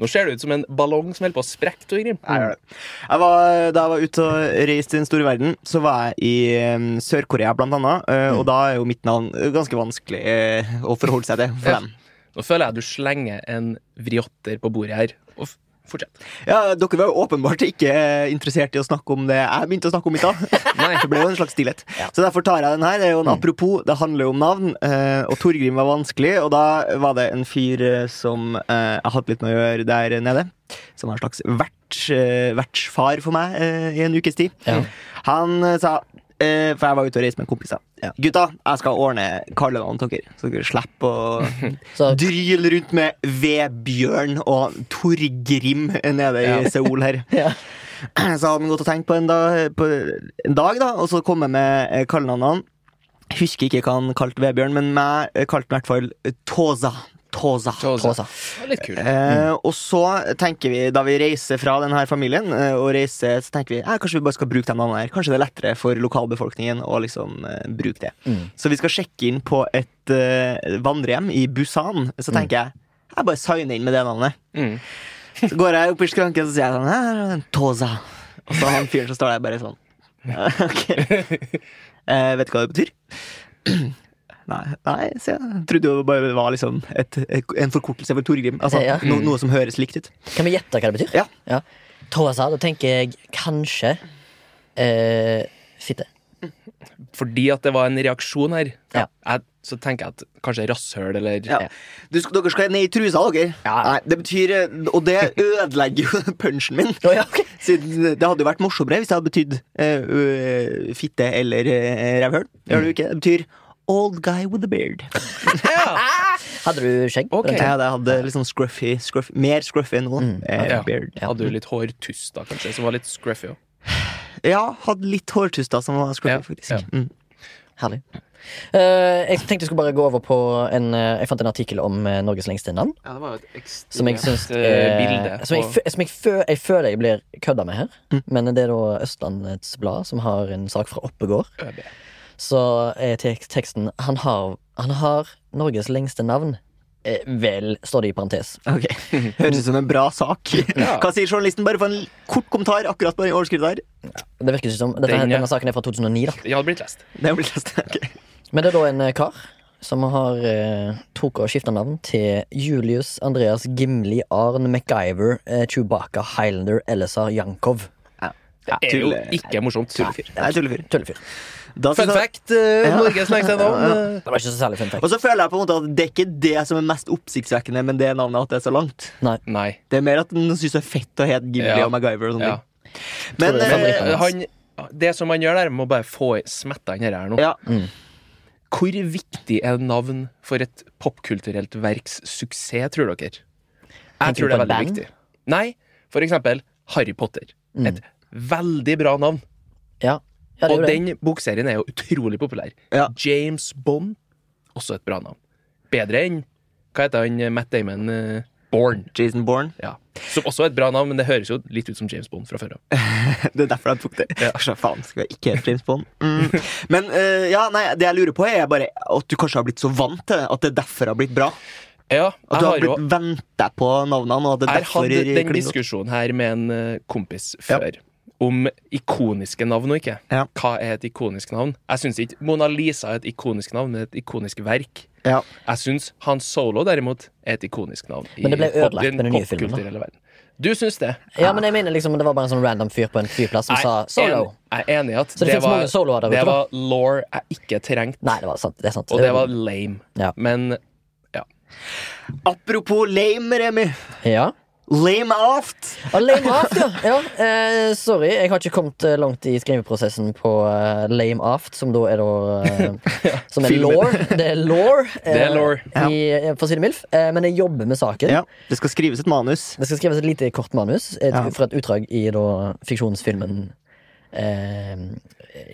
Speaker 3: Nå ser du ut som en ballong som holder på å sprekke. Tor
Speaker 2: Nei,
Speaker 3: Grim.
Speaker 2: jeg gjør det. Jeg var, da jeg var ute og reiste i den store verden, så var jeg i eh, Sør-Korea, blant annet. eh, Og da er jo mitt navn eh, ganske vanskelig eh, å forholde seg til for
Speaker 3: Ja.
Speaker 2: dem.
Speaker 3: Nå føler jeg du slenger en vriotter på bordet her. Og f- fortsett.
Speaker 2: Ja, Dere var jo åpenbart ikke eh, interessert i å snakke om det jeg begynte å snakke om i stad. Det ble jo en slags stillhet. Så derfor tar jeg den her. Det er jo
Speaker 1: Mm.
Speaker 2: en apropos, det handler jo om navn. eh, Og Torgrim var vanskelig, og da var det en fyr eh, som eh, jeg har hatt litt med å gjøre der nede. Som var en slags vert, eh, vertsfar for meg eh, i en ukes tid.
Speaker 1: Ja.
Speaker 2: Han eh, sa eh, For jeg var ute og reiste med kompiser.
Speaker 1: Ja.
Speaker 2: Gutta, jeg skal ordne kallenavn til dere, så dere slipper å
Speaker 1: Så
Speaker 2: dryle rundt med Vebjørn og Torgrim nede i Seoul her.
Speaker 1: ja.
Speaker 2: Så hadde han gått og tenkt på en dag, på en dag da, og så kom jeg med eh, kallenavnene. Husker ikke hva han kalte Vebjørn, men meg eh, kalte han i hvert fall eh, Tåsa. Tåsa.
Speaker 1: Tåsa.
Speaker 3: Det var Litt kult.
Speaker 2: Eh, og så tenker vi, da vi reiser fra denne familien, eh, og reiser, så tenker vi eh, kanskje vi bare skal bruke de navnene her. Kanskje det er lettere for lokalbefolkningen å liksom eh, bruke det. Så vi skal sjekke inn på et eh, vandrehjem i Busan. Så tenker jeg jeg bare signer inn med det navnet.
Speaker 3: Mm.
Speaker 2: Så går jeg opp i skranken og sier jeg sånn her er en Toza. Og så han fyren som står der, bare sånn. Ok. Eh, vet du hva det betyr? Nei, nei, sier jeg. Jeg Trodde jo det bare var liksom et, en forkortelse for Torgrim. Altså,
Speaker 1: Ja.
Speaker 2: no, noe som høres likt ut.
Speaker 1: Kan vi gjette hva det betyr?
Speaker 2: Ja.
Speaker 1: ja. Tåsa, da tenker jeg kanskje eh, Fitte.
Speaker 3: fordi at det var en reaksjon her,
Speaker 1: Ja.
Speaker 3: jeg, så tenker jeg at kanskje rasshøl eller
Speaker 2: Ja. Du, sk- dere skal ned i trusa, dere.
Speaker 1: Ja.
Speaker 2: Nei, det betyr eh, Og det ødelegger jo punchen min.
Speaker 1: Å, ja, ok.
Speaker 2: Siden det hadde jo vært morsommere hvis det hadde betydd eh, ø, fitte eller uh, revhøl. Det gjør det jo ikke. Det betyr old guy with a beard.
Speaker 1: Hadde du skjegg?
Speaker 3: Ok.
Speaker 2: Ja, det hadde litt sånn scruffy, scruff, mer scruffy nå.
Speaker 1: Mm.
Speaker 2: eh,
Speaker 3: Ja.
Speaker 2: beard.
Speaker 3: Hadde du litt hårtuss da, kanskje, som var litt scruffy òg?
Speaker 2: Ja, hadde litt hårtuster som var scruffy,
Speaker 3: Ja,
Speaker 2: faktisk.
Speaker 3: ja.
Speaker 2: Mm.
Speaker 1: Herlig. Eh, jeg tenkte jeg skulle bare gå over på en eh, Jeg fant en artikkel om eh, Norges lengste navn.
Speaker 3: Ja, det var jo et
Speaker 1: Som jeg syns
Speaker 3: ekstremt eh, bilde.
Speaker 1: eh, Som, jeg,
Speaker 3: på- Mm.
Speaker 1: fø- som jeg, fø, jeg føler jeg blir kødda med her. Men det er da Østlandets Blad som har en sak fra Oppegård.
Speaker 3: ØB.
Speaker 1: Så er tek teksten han har, han har Norges lengste navn. Eh, vel, står det i parentes.
Speaker 2: Ok, Høres ut som en bra sak.
Speaker 3: Ja.
Speaker 2: Hva sier journalisten? Bare få en kort kommentar akkurat på den overskriften der.
Speaker 1: Det virker ikke som dette, her-
Speaker 3: Den, ja.
Speaker 1: Denne saken er fra 2009, da.
Speaker 3: Jeg hadde blitt lest.
Speaker 2: Det blir lest. Ok.
Speaker 1: Men det er da en eh, kar som har eh, tok og skifta navn til Julius Andreas Gimli Arn MacGyver eh, Chewbacca Highlander Elisar Jankov.
Speaker 3: Det er jo
Speaker 2: tulle-
Speaker 3: ikke morsomt. Tullefyr.
Speaker 2: Nei, tullefyr.
Speaker 1: Tullefyr.
Speaker 2: Da
Speaker 3: Fun
Speaker 2: synes jeg-
Speaker 3: fact! eh,
Speaker 2: Ja.
Speaker 3: Norges lengste navn.
Speaker 1: Det var ikke så særlig fun fact.
Speaker 2: Og så føler jeg på en måte at det er ikke det som er mest oppsiktsvekkende, men det er navnet at det er så langt.
Speaker 3: Nei.
Speaker 2: Det er mer at den syns det er fett å hete Gimli
Speaker 3: Ja.
Speaker 2: og MacGyver og sånne
Speaker 3: Ja.
Speaker 2: ting. Men,
Speaker 1: Tror du det er
Speaker 2: eh,
Speaker 1: favoritten?
Speaker 3: Men han, det som han gjør der, må bare få i- smette han her her nå.
Speaker 2: ja.
Speaker 3: Hvor viktig er navn for et popkulturelt verks suksess, tror dere? Jeg
Speaker 1: Tenker du
Speaker 3: tror det er
Speaker 1: på et
Speaker 3: veldig
Speaker 1: band?
Speaker 3: viktig. Nei, for eksempel Harry Potter. Et veldig bra navn.
Speaker 1: Ja. Ja, det er
Speaker 3: Og
Speaker 1: jo det.
Speaker 3: den bokserien er jo utrolig populær.
Speaker 2: Ja.
Speaker 3: James Bond, også et bra navn. Bedre enn Hva heter han eh, Matt Damon? eh, Bourne.
Speaker 2: Jason Bourne.
Speaker 3: Ja. Som også er et bra navn, men det høres jo litt ut som James Bond fra før av.
Speaker 2: Det er derfor jeg tok det. Så faen, skal jeg ikke hete James Bond? Mm. Men eh, ja, nei, det jeg lurer på, er bare at du kanskje har blitt så vant til det. At det er derfor det har blitt bra.
Speaker 3: Ja,
Speaker 2: At
Speaker 3: jeg
Speaker 2: du har
Speaker 3: har jo
Speaker 2: blitt venta på navnene. Og at det er
Speaker 3: Jeg
Speaker 2: derfor
Speaker 3: hadde den
Speaker 2: klinger godt.
Speaker 3: diskusjonen her med en eh, kompis før. Om ikoniske navn og ikke.
Speaker 2: Ja.
Speaker 3: Hva er et ikonisk navn? Jeg synes ikke Mona Lisa er et ikonisk navn, men et ikonisk verk.
Speaker 2: Ja.
Speaker 3: Jeg syns Han Solo derimot er et ikonisk navn. i
Speaker 1: Men det ble
Speaker 3: pop-
Speaker 1: ødelagt med den nye filmen, da.
Speaker 3: popkulturelle verden. Du syns det?
Speaker 1: Ja, men jeg mener liksom Det var bare en sånn random fyr på en flyplass som
Speaker 3: Jeg
Speaker 1: sa
Speaker 3: er
Speaker 1: solo.
Speaker 3: en- Jeg er enig i at
Speaker 1: Så det finnes mange soloer der
Speaker 3: det
Speaker 1: ute, da.
Speaker 3: var law jeg ikke trengte,
Speaker 1: Nei, det var sant. Det er sant.
Speaker 3: og det var lame.
Speaker 1: Ja.
Speaker 3: Men
Speaker 2: Apropos lame, Remi.
Speaker 1: ja.
Speaker 2: Lame aft.
Speaker 1: Og lame aft, ja. ja. Eh, sorry, jeg har ikke kommet eh, langt i skriveprosessen på eh, lame aft, som da er da eh, Som er
Speaker 2: Filmen.
Speaker 1: law. Det er law.
Speaker 3: Det er lore.
Speaker 1: For å si det mildt. Eh, men jeg jobber med saken.
Speaker 2: Ja, det skal skrives et manus.
Speaker 1: Det skal skrives et lite kort manus et,
Speaker 2: Ja.
Speaker 1: fra et utdrag i da, fiksjonsfilmen eh,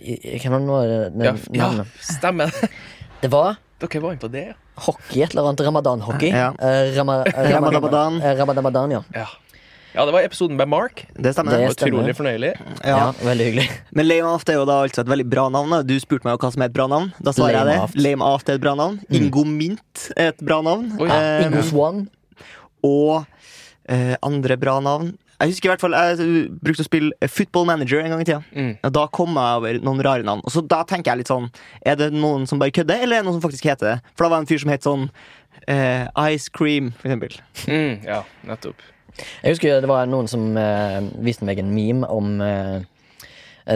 Speaker 1: i, i, Hvem var det nå?
Speaker 3: ja,
Speaker 1: Den-
Speaker 3: ja
Speaker 1: navnet?
Speaker 3: stemmer det.
Speaker 1: Det var
Speaker 3: Dere var inne på det, ja.
Speaker 1: hockey, et eller annet ramadan-hockey.
Speaker 2: Ja.
Speaker 1: Eh, rama, eh,
Speaker 2: Ramadamadan.
Speaker 1: eh, Ramadamadan, ja.
Speaker 3: ja. Ja, det var episoden med Mark.
Speaker 2: Det stemmer.
Speaker 1: Det
Speaker 3: Det var
Speaker 1: stemmer.
Speaker 3: utrolig fornøyelig.
Speaker 1: ja.
Speaker 2: Ja.
Speaker 1: Veldig hyggelig.
Speaker 2: Men Lame Aft er jo da altså et veldig bra navn. da. Du spurte meg jo hva som er et bra navn. Da svarer jeg
Speaker 1: Lame
Speaker 2: det.
Speaker 1: Aft.
Speaker 2: Lame Aft er et bra navn.
Speaker 3: Mm.
Speaker 2: Ingo Mint er et bra navn.
Speaker 3: Oi.
Speaker 2: Eh,
Speaker 1: Ingo Swan.
Speaker 2: og eh, andre bra navn. Jeg husker i hvert fall Jeg eh, brukte å spille Football Manager en gang i tida.
Speaker 3: Mm.
Speaker 2: Og Da kom jeg over noen rare navn. Og så da tenker jeg litt sånn Er det noen som bare kødder, eller er det noen som faktisk heter det? For da var det en fyr som het sånn eh, Ice Cream, for eksempel.
Speaker 3: Mm, ja, nettopp.
Speaker 1: Jeg husker det var noen som eh, viste meg en meme om eh,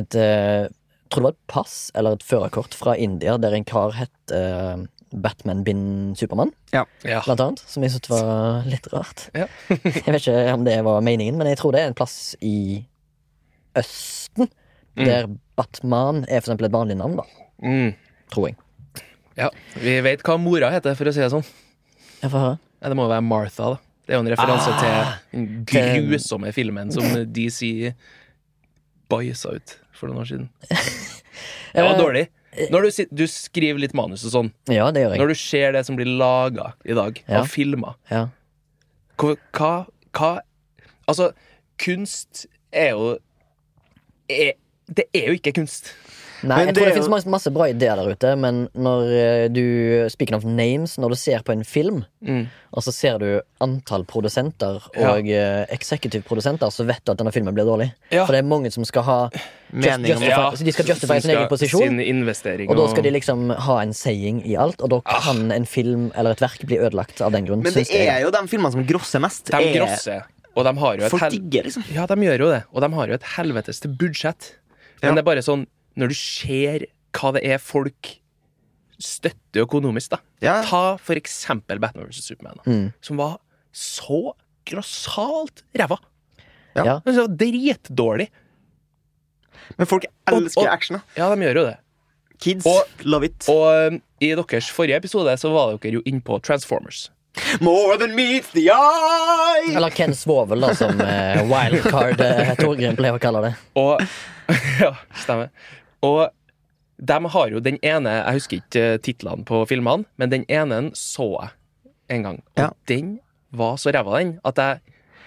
Speaker 1: et eh, Tror det var et pass eller et førerkort fra India der en kar het eh, Batman bin Supermann,
Speaker 3: Ja.
Speaker 1: blant annet. Som jeg syntes var litt rart.
Speaker 3: Ja.
Speaker 1: jeg vet ikke om det var meningen, men jeg tror det er en plass i Østen der Batman er for eksempel et vanlig navn, da.
Speaker 3: Mm.
Speaker 1: Tror jeg.
Speaker 3: ja. Vi vet hva mora heter, for å si det sånn.
Speaker 1: Jeg får høre.
Speaker 3: Ja, det må jo være Martha, da. Det er jo en referanse til den
Speaker 1: Ah, Den-
Speaker 3: grusomme filmen som DC bajsa ut for noen år siden. Det var
Speaker 1: Eh,
Speaker 3: dårlig. Når du, sit- du skriver litt manus og sånn,
Speaker 1: Ja, det gjør jeg.
Speaker 3: når du ser det som blir laga i dag,
Speaker 1: Ja.
Speaker 3: av filmer
Speaker 1: Ja.
Speaker 3: hva, hva, hva Altså, kunst er jo er, Det er jo ikke kunst.
Speaker 1: Nei, jeg
Speaker 2: Men
Speaker 1: tror
Speaker 2: det
Speaker 1: det
Speaker 2: er jo-
Speaker 1: finnes masse, masse bra ideer der ute, men når eh, du Speaking of names, når du ser på en film,
Speaker 3: Mm.
Speaker 1: og så ser du antall produsenter
Speaker 3: Ja.
Speaker 1: og eh, executive produsenter, så vet du at denne filmen blir dårlig.
Speaker 3: Ja.
Speaker 1: For det er mange som skal ha just,
Speaker 2: Mening om
Speaker 1: justify, så De skal justify
Speaker 3: som
Speaker 1: sin egen
Speaker 3: skal-
Speaker 1: posisjon,
Speaker 3: Sin investering
Speaker 1: og da skal de liksom ha en saying i alt, og da
Speaker 3: Ah.
Speaker 1: kan en film eller et verk bli ødelagt av den grunn.
Speaker 2: Men det
Speaker 1: synes
Speaker 2: er
Speaker 1: jeg.
Speaker 2: jo de filmene som grosser mest.
Speaker 3: De
Speaker 2: er-
Speaker 3: grosser, og de har jo et
Speaker 2: Folk
Speaker 3: hel...
Speaker 2: digger, liksom.
Speaker 3: Ja, de gjør jo det, og de har jo et helvetes til budsjett.
Speaker 2: Ja.
Speaker 3: Men det er bare sånn, når du ser hva det er folk støtter økonomisk. da.
Speaker 2: Ja.
Speaker 3: Ta for eksempel Batman vs. Superman, da,
Speaker 1: Mm.
Speaker 3: som var så grassat ræva. Altså,
Speaker 2: Ja.
Speaker 1: Ja.
Speaker 3: Det var dritdårlig.
Speaker 2: Men folk elsker
Speaker 3: Og- og-
Speaker 2: action. da.
Speaker 3: Ja, de gjør jo det.
Speaker 2: Kids
Speaker 3: Og-
Speaker 2: love it.
Speaker 3: Og um, i deres forrige episode så var dere jo inne på Transformers.
Speaker 2: More than meets the eye!
Speaker 1: Eller Ken Svovel, da, som eh, wildcard eh, Torgrim pleier å kalle det.
Speaker 3: Og Ja, stemmer. Og de har jo den ene Jeg husker ikke eh, titlene på filmene, men den ene så jeg en gang. Og
Speaker 2: Ja.
Speaker 3: den var så ræva, den, at jeg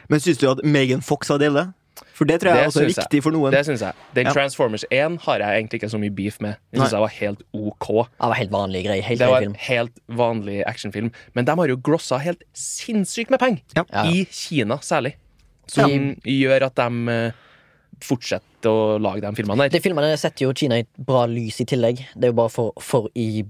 Speaker 2: Men syns du at Megan Fox har delt det? For det tror jeg
Speaker 3: Det
Speaker 2: også er
Speaker 3: synes jeg.
Speaker 2: viktig for noen.
Speaker 3: Det syns jeg. Den
Speaker 2: Ja.
Speaker 3: Transformers 1 har jeg egentlig ikke så mye beef med. Den
Speaker 2: Nei.
Speaker 3: syns jeg var helt OK.
Speaker 1: Det var helt vanlig greie. Helt
Speaker 3: Det
Speaker 1: grei
Speaker 3: var en
Speaker 1: film.
Speaker 3: helt vanlig actionfilm. Men de har jo grossa helt sinnssykt med penger.
Speaker 2: Ja.
Speaker 1: Ja.
Speaker 3: I Kina særlig. Som gjør at de eh, fortsetter å lage de filmene der.
Speaker 1: De filmene setter jo Kina i et bra lys i tillegg. Det er jo bare for, for i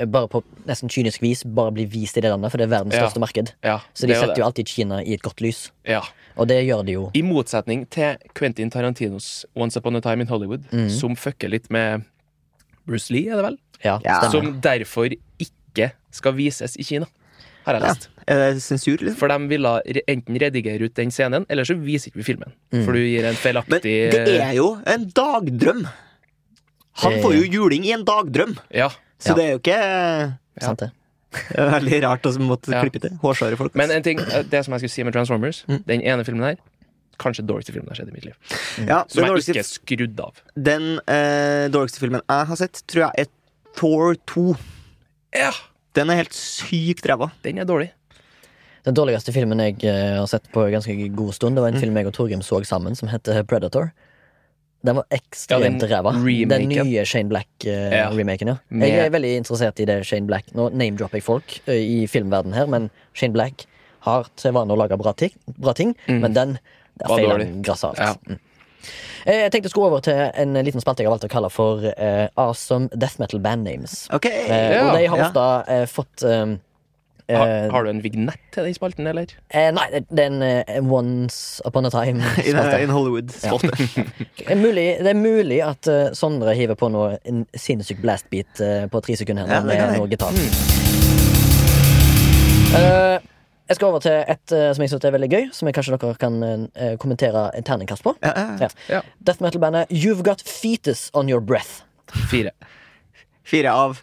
Speaker 1: Bare på nesten kynisk vis bare bli vist i det landet, for det er verdens
Speaker 3: Ja.
Speaker 1: største marked.
Speaker 3: Ja,
Speaker 1: Så de
Speaker 3: det er
Speaker 1: setter
Speaker 3: det.
Speaker 1: jo alltid Kina i et godt lys.
Speaker 3: ja.
Speaker 1: Og det gjør de jo.
Speaker 3: I motsetning til Quentin Tarantinos Once Upon a Time in Hollywood,
Speaker 2: Mm.
Speaker 3: som fucker litt med Bruce Lee, er det vel?
Speaker 1: Ja,
Speaker 2: Ja.
Speaker 1: stemmer.
Speaker 3: Som derfor ikke skal vises i Kina, har jeg lest.
Speaker 2: Er det sensur, liksom?
Speaker 3: For de ville re- enten redigere ut den scenen, eller så viser ikke vi filmen. For du gir
Speaker 2: Mm. Men
Speaker 3: en feilaktig
Speaker 2: det er jo en dagdrøm. Han
Speaker 1: Det-
Speaker 2: får jo juling i en dagdrøm,
Speaker 3: Ja.
Speaker 2: så
Speaker 1: Ja.
Speaker 2: det er jo ikke
Speaker 1: Sant det?
Speaker 2: det er veldig rart å måtte
Speaker 3: Ja.
Speaker 2: klippe til. Hårsåre folk.
Speaker 3: Men
Speaker 2: ass.
Speaker 3: en ting, eh, det som jeg skulle si med Transformers,
Speaker 2: Mm.
Speaker 3: den ene filmen her, kanskje den dårligste filmen jeg har sett i mitt liv.
Speaker 2: ja, den
Speaker 3: Som jeg ikke
Speaker 2: dårligste,
Speaker 3: er skrudd av.
Speaker 2: den eh, dårligste filmen jeg har sett, tror jeg er Thor 2.
Speaker 3: Ja,
Speaker 2: Den er helt sykt ræva.
Speaker 3: den er dårlig.
Speaker 1: Den dårligste filmen jeg eh, har sett på ganske god stund,
Speaker 3: Mm.
Speaker 1: Det var en film jeg og Torgrim så sammen, som heter Predator. Den var
Speaker 3: Ja,
Speaker 1: ekstremt
Speaker 3: den
Speaker 1: ræva. Den
Speaker 3: remaken.
Speaker 1: nye Shane Black-remaken, ja.
Speaker 3: Med-
Speaker 1: Jeg er veldig interessert i det Shane Black. Nå name-dropper jeg folk eh, i filmverden her, men Shane Black har til vane å lage bra ting, bra ting men den der
Speaker 3: Var
Speaker 1: feiler
Speaker 3: Mm. dårlig.
Speaker 1: den grassat.
Speaker 3: Ja.
Speaker 1: Mm. Eh, Jeg tenkte jeg skulle over til en liten spalte jeg har valgt å kalle for eh, Awesome Death Metal Band Names.
Speaker 2: Ok,
Speaker 1: Eh, og
Speaker 3: Ja,
Speaker 1: de har
Speaker 2: ja.
Speaker 1: ofte eh, fått eh,
Speaker 3: Har,
Speaker 1: eh,
Speaker 3: har du en vignett til den spalten, eller?
Speaker 1: Eh, nei, det- det er en eh, Once Upon a Time.
Speaker 2: in,
Speaker 1: spalte.
Speaker 2: in Hollywood. Spalte.
Speaker 1: Det er mulig, det er mulig at eh, Sondre hiver på noe, en sinnssyk blastbeat eh, på tre sekunder her
Speaker 2: Ja,
Speaker 1: nå,
Speaker 2: det kan
Speaker 1: med
Speaker 2: jeg. Mm.
Speaker 1: noe gitar. Eh, jeg skal over til et eh, som jeg syns er veldig gøy, som jeg kanskje dere kan eh, kommentere en terningkast på.
Speaker 2: Ja, ja, ja.
Speaker 1: Ja.
Speaker 3: Ja.
Speaker 1: Death metal-bandet You've Got Fetus On Your Breath.
Speaker 3: Fire.
Speaker 2: Fire av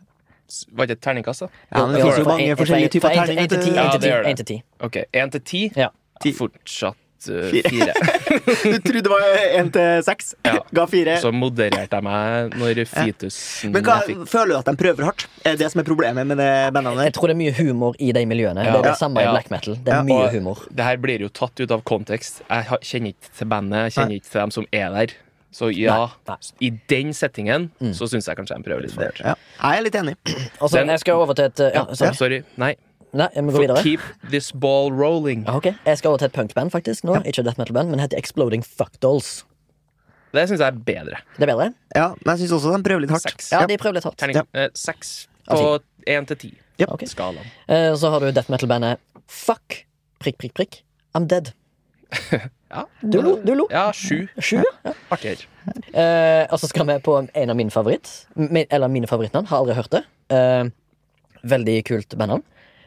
Speaker 3: S- Var ikke et terningkast, da?
Speaker 2: Ja, men det
Speaker 1: Ja,
Speaker 2: finnes jo
Speaker 1: fra
Speaker 2: mange
Speaker 1: en-
Speaker 2: forskjellige typer
Speaker 1: fra en-
Speaker 2: terninger.
Speaker 1: en til ti,
Speaker 2: vet
Speaker 3: Ja,
Speaker 1: en til
Speaker 3: det
Speaker 1: ti,
Speaker 3: gjør det.
Speaker 1: en til ti.
Speaker 3: OK, én til ti.
Speaker 1: Ja.
Speaker 2: Ti.
Speaker 3: Fortsatt uh,
Speaker 2: Fire.
Speaker 3: fire.
Speaker 2: du. Du trodde det var én til seks.
Speaker 3: Ja.
Speaker 2: Ga fire.
Speaker 3: Så modererte jeg meg når fetusen
Speaker 2: Men hva,
Speaker 3: jeg fikk.
Speaker 2: føler du at de prøver hardt? Er det det som er problemet med det bandet der?
Speaker 1: Jeg tror det er mye humor i de miljøene.
Speaker 3: Ja.
Speaker 1: Det er
Speaker 3: Ja,
Speaker 1: det samme
Speaker 3: ja.
Speaker 1: i black metal. Det er
Speaker 2: Ja,
Speaker 1: mye
Speaker 3: Og
Speaker 1: humor.
Speaker 3: Det her blir jo tatt ut av kontekst. Jeg ha- kjenner ikke til bandet, jeg kjenner ikke til dem som er der. Så ja,
Speaker 1: Nei, Mm. nei.
Speaker 3: i den settingen så syns jeg kanskje de prøver litt for hardt.
Speaker 2: Ja, jeg er litt enig.
Speaker 1: Og så
Speaker 3: Den-
Speaker 1: Altså, jeg skal over til et eh, ja, sorry.
Speaker 3: Sorry. Nei.
Speaker 1: Nei, jeg må gå
Speaker 3: For
Speaker 1: videre.
Speaker 3: keep this ball rolling.
Speaker 1: Ja, Ok, Jeg skal over til et punkband, faktisk. nå Ikke death metal-band, men heter Exploding Fuck Dolls.
Speaker 3: Det syns jeg er bedre.
Speaker 1: Det er bedre?
Speaker 2: Ja, men jeg syns også de prøver litt hardt.
Speaker 3: Seks.
Speaker 1: Ja, de prøver litt hardt.
Speaker 3: Terning
Speaker 2: Ja.
Speaker 3: eh, seks
Speaker 1: Ja,
Speaker 3: på én til ti.
Speaker 2: Jep.
Speaker 1: Ok.
Speaker 3: Skalaen.
Speaker 1: Eh, Så har du death metal-bandet Fuck prikk, prikk, prikk. I'm dead.
Speaker 3: Ja.
Speaker 1: Du lo. du lo
Speaker 3: Ja, sju.
Speaker 1: Sju, ja.
Speaker 3: Artigere.
Speaker 1: Eh, og så skal vi på en av mine favoritt min, Eller mine favorittnavn. Har aldri hørt det. Eh, veldig kult bandnavn.